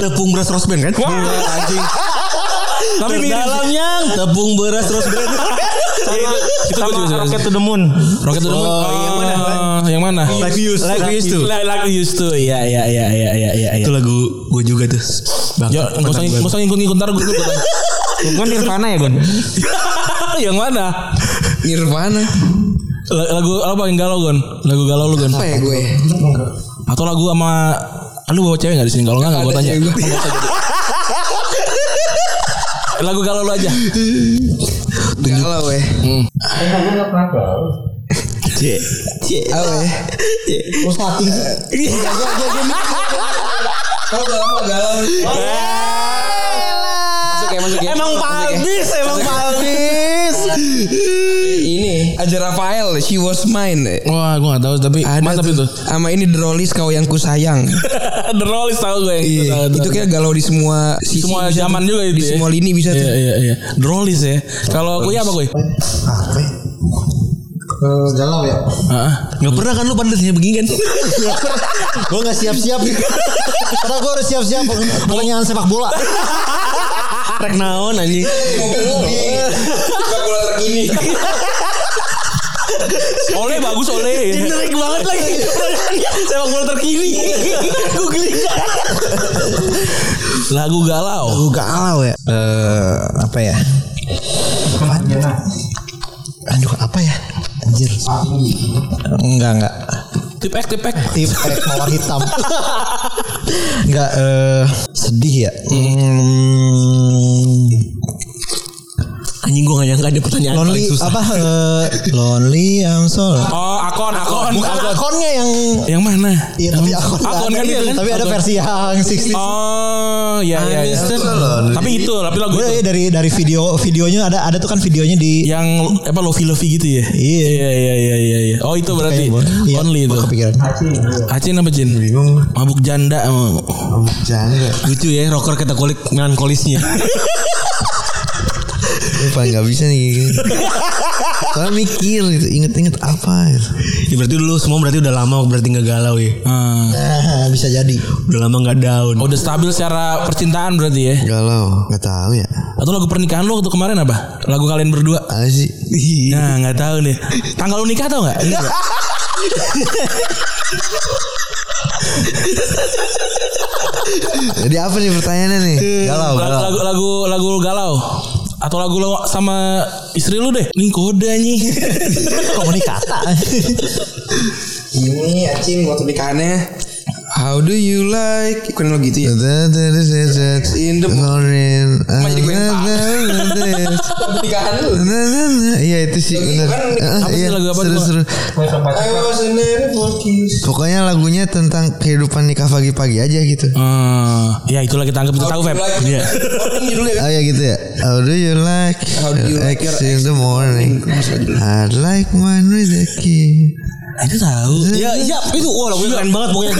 Tepung beras rose band kan? Bukan, anjing.
Tapi mirip.
Terdalam yang tepung beras rose band.
Itu gue juga suka.
Rocket to the Moon.
Rocket to the Moon. Oh, yang mana? yang mana?
iya, Like we used to.
Like we used to. Like, like we used to. Iya, iya, iya, iya, iya, iya.
Itu lagu gue juga tuh. Bang.
Ya, nggak usah nggak usah ngikut-ngikut ntar gue gue tanya.
Gon Nirvana ya Gon.
Yang mana?
Nirvana
La- Lagu apa yang galau Gon? Lagu galau lu Gon?
apa ya gue
Atau lagu sama Lu bawa cewek gak di sini? Kalau enggak gue tanya. Lagu galau lu aja.
Galau weh
Hmm.
Cie Apa ya Mau starting sih
Iya.
Gue galau galau
Masuk ya, masuk ya.
Emang palbis, emang palbis.
Ini aja Rafael, she was mine.
Wah, gue gak tahu tapi
Ada
mantap
tuh.
itu.
Sama ini The Rollies kau yang ku sayang.
The Rollies tahu gue yang
Iya, itu kayak galau di semua sisi.
semua
bisa
zaman
tuh.
juga itu
Di
ya.
semua lini bisa
Iya,
tuh.
iya, iya. The Rollies ya. Kalau gue apa ya? Eh, gue?
galau ya
Heeh.
Gak pernah kan lu pandasnya begini kan?
Gue gak siap-siap Karena gue harus siap-siap Pertanyaan sepak bola
Rek naon anjing.
Iya,
Oleh bagus oleh.
Generik banget lagi. Sepak bola terkini. Gue geli.
Lagu galau.
Gue galau ya Eh, Apa ya Apaan? Aduh apa ya Anjir Enggak enggak
Tip X, tip X.
tip eh, mawar hitam nggak eh, sedih ya hmm.
Anjing gue gak nyangka ada pertanyaan
Lonely
paling susah.
apa? eh, lonely I'm so lonely.
Oh, akon, akon.
Bukan akonnya yang
Yang mana?
Iya tapi akon,
Akon kan
ada
Iya,
itu
itu.
kan?
Tapi ada
Akon.
versi yang 60
Oh, iya iya iya.
lonely.
Tapi itu, tapi
Iya,
lagu
Gue
itu.
Oh, iya, dari dari video videonya ada ada tuh kan videonya di
Yang apa Lovey Lovey gitu ya?
Iya.
Iya iya iya iya iya. Oh, itu berarti
Iya,
only itu.
kepikiran.
Acin apa Jin?
Bingung.
Mabuk janda oh.
Jangan.
Lucu ya rocker kita kulik melankolisnya.
Gue paling gak bisa nih. gini. Soalnya mikir gitu, inget-inget apa gitu.
ya, berarti dulu semua berarti udah lama berarti nggak galau ya.
Hmm.
Ah, bisa jadi.
Udah lama nggak down. Iya.
Oh, udah stabil secara percintaan berarti ya.
Galau, gak tahu ya.
Atau lagu pernikahan lu waktu kemarin apa? Lagu kalian berdua.
Apa sih?
Nah, nggak tahu nih. Tanggal lu nikah tau nggak? Ingat nggak?
Jadi apa nih pertanyaannya nih? Galau,
lagu,
galau.
lagu lagu lagu galau atau lagu lo sama istri lu deh. Ini kode nih.
Komunikata.
Ini acing waktu ya. nikahannya. How do you like? Kurang lo gitu ya.
Iya,
In the-
Foreign.
Masih di gue
ah,
yang Waktu nikahan lu.
Iya itu sih iya, benar.
kan, Apa sih lagu apa tuh?
Seru-seru.
I was in there for kiss.
Pokoknya lagunya tentang kehidupan nikah pagi-pagi aja gitu.
Hmm, ya itulah kita anggap kita tahu Feb.
Like-
Iya.
Ini judulnya kan?
Oh ya gitu ya. How do you like?
How do you
your
like
ex
your
in the morning? I like mine with a key.
Itu tahu.
Ya, iya itu wah lagunya keren banget pokoknya.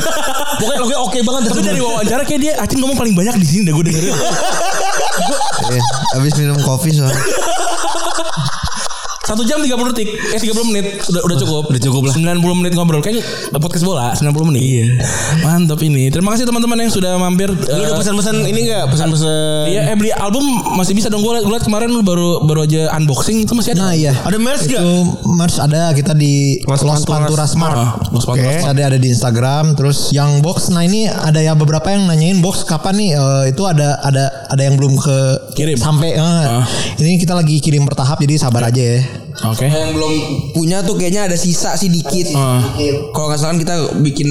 pokoknya lagunya oke banget.
Tapi dari wawancara kayak dia Acin ngomong paling banyak di sini dah gue dengerin.
Eh,
Ya, abis minum kopi soalnya.
Satu jam 30 detik Eh 30 menit Udah, udah cukup Udah cukup lah 90 menit ngobrol Kayaknya podcast bola 90 menit Iya Mantap ini Terima kasih teman-teman yang sudah mampir
Lu udah
Eh,
pesan-pesan ini enggak? Pesan-pesan
Iya, eh beli album masih bisa dong gue liat, gua liat kemarin lu baru baru aja unboxing itu masih
Nah
ada.
iya.
Ada merch
Itu
gak?
Mars ada kita di Los, Pantura Smart.
Ah, Los
Oke.
Pantura
Terus Ada ada di Instagram. Terus yang box. Nah ini ada ya beberapa yang nanyain box kapan nih? Eh, itu ada ada ada yang belum ke
Kirim.
sampai. eh. Ini kita lagi kirim bertahap jadi sabar aja ya.
Oke. Ah.
Yang belum punya tuh kayaknya ada sisa sih dikit. Kalau nggak salah kan kita bikin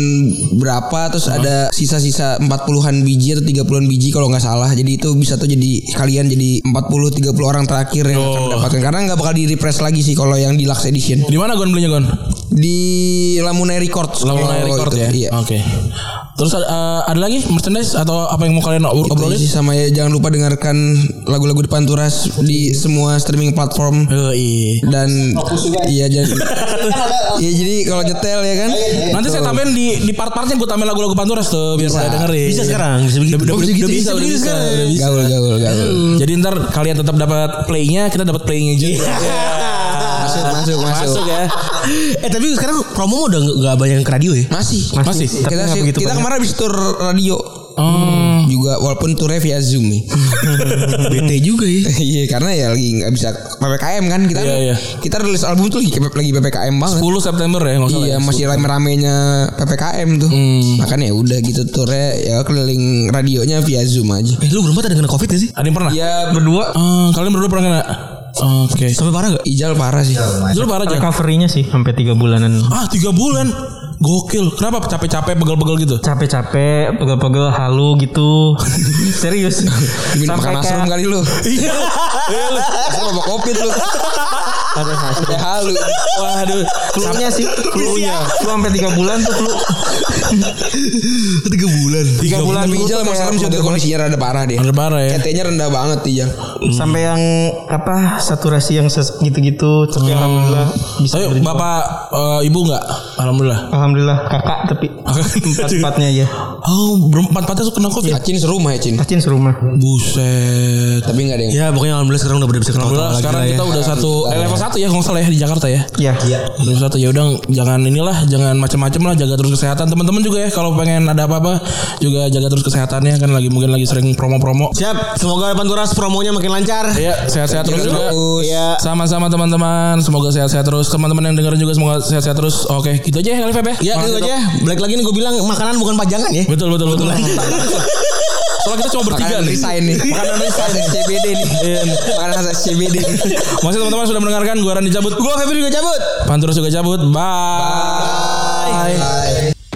berapa terus
Ah.
ada sisa-sisa 40-an biji atau 30-an biji kalau nggak salah. Jadi itu bisa tuh jadi kalian jadi 40 30 orang terakhir yang
Oh.
akan mendapatkan karena nggak bakal di repress lagi sih kalau yang deluxe edition.
Di mana Gon belinya Gon?
Di Lamunai Records.
Lamunai
Kalau
Record
itu,
ya.
Iya.
Oke. Terus ada, eh, ada lagi merchandise atau apa yang mau kalian
Itu
ob- obrolin?
sih sama ya jangan lupa dengarkan lagu-lagu di Panturas di semua streaming platform.
Eh, iya.
dan iya jadi iya jadi kalau nyetel ya kan
Nanti saya tambahin di di part-partnya gue tambahin lagu-lagu Panturas tuh biar pada dengerin.
Gitu. Bisa sekarang, bisa begitu.
Udah, udah, ya,
Oh, bisa
udah
gitu, bisa
bisa, udah
gitu
bisa,
sekarang.
udah bisa.
gaul gaul gaul
Jadi ntar kalian tetap dapat playnya, kita dapat playnya juga.
Iya.
masuk masuk masuk
Masuk ya.
Eh tapi sekarang promo udah nggak- nggak banyak ke radio ya?
masih
Masih.
Tapi
kita
nggak
sih-
begitu
kita
banyak.
kemarin habis tur radio
Oh.
juga walaupun turnya via zoom nih
BT juga ya.
iya karena ya lagi nggak bisa ppkm kan kita
Iya, iya.
kita rilis album tuh lagi lagi ppkm banget
10 September ya nggak salah
Iya
ya?
masih rame-ramenya PPKM tuh Makanya ya udah gitu turnya ya keliling radionya via Zoom aja
Eh lu berempat ada kena covid gak sih?
Ada yang pernah?
Ya berdua
Eh, kalian berdua pernah kena? Oke.
Sampai parah gak?
Ijal parah sih
Dulu parah aja.
Recovery-nya sih sampai tiga bulanan.
Ah tiga bulan Gokil Kenapa capek-capek Pegel-pegel gitu
capek-capek, pegel-pegel, halu gitu. Serius.
Dimin makan
Sampai kayak
mushroom kali lu
Iya
Lu mabok covid lu
ada hasil.
Ya halu
Waduh
Flu-nya sih,
iya.
flu-nya. Flu sampai 3 bulan tuh flu.
Tiga bulan.
Tiga bulan
Tapi
Ijal
Ijal sama Salam sudah kondisinya rada parah dia.
Rada parah ya.
CT-nya rendah banget iya. Ijal.
Hmm.
Sampai yang apa? Saturasi yang ses- gitu-gitu. Tapi
Ya
alhamdulillah bisa.
Ayo
berjuang.
bapak eh, Ibu enggak Alhamdulillah
Alhamdulillah kakak iya. tapi empat-empatnya aja.
Oh berempat empatnya tuh kena covid
Acin serumah ya Cin.
Acin serumah.
Buset
Tapi enggak ada yang.
Ya pokoknya alhamdulillah sekarang udah bisa ketawa
Alhamdulillah
lagi
sekarang
lah ya. Iya.
kita udah satu eh, level satu ya kalau nggak salah ya di Jakarta ya
Ya.
level satu ya udah jangan inilah jangan macam-macam lah jaga terus kesehatan teman-teman juga ya kalau pengen ada apa-apa juga jaga terus kesehatannya kan lagi mungkin lagi sering promo-promo
Siap, semoga Panturas promonya makin lancar. Iya.
Iya sehat-sehat terus juga
Terus
Sama-sama teman-teman, semoga sehat-sehat terus. Teman-teman yang dengerin juga semoga sehat-sehat terus. Oke, gitu aja ya kali Feb ya.
Ya gitu aja. Balik lagi nih gue bilang makanan bukan pajangan ya.
Betul betul betul. Soalnya kita cuma bertiga
Makanan
nih.
resign nih. Iya. Makanan resign SCBD nih. Makanan khas SCBD nih.
Masih teman-teman sudah mendengarkan gue Randy cabut. Gue Febri juga cabut. Panturus juga cabut. Bye.
Bye.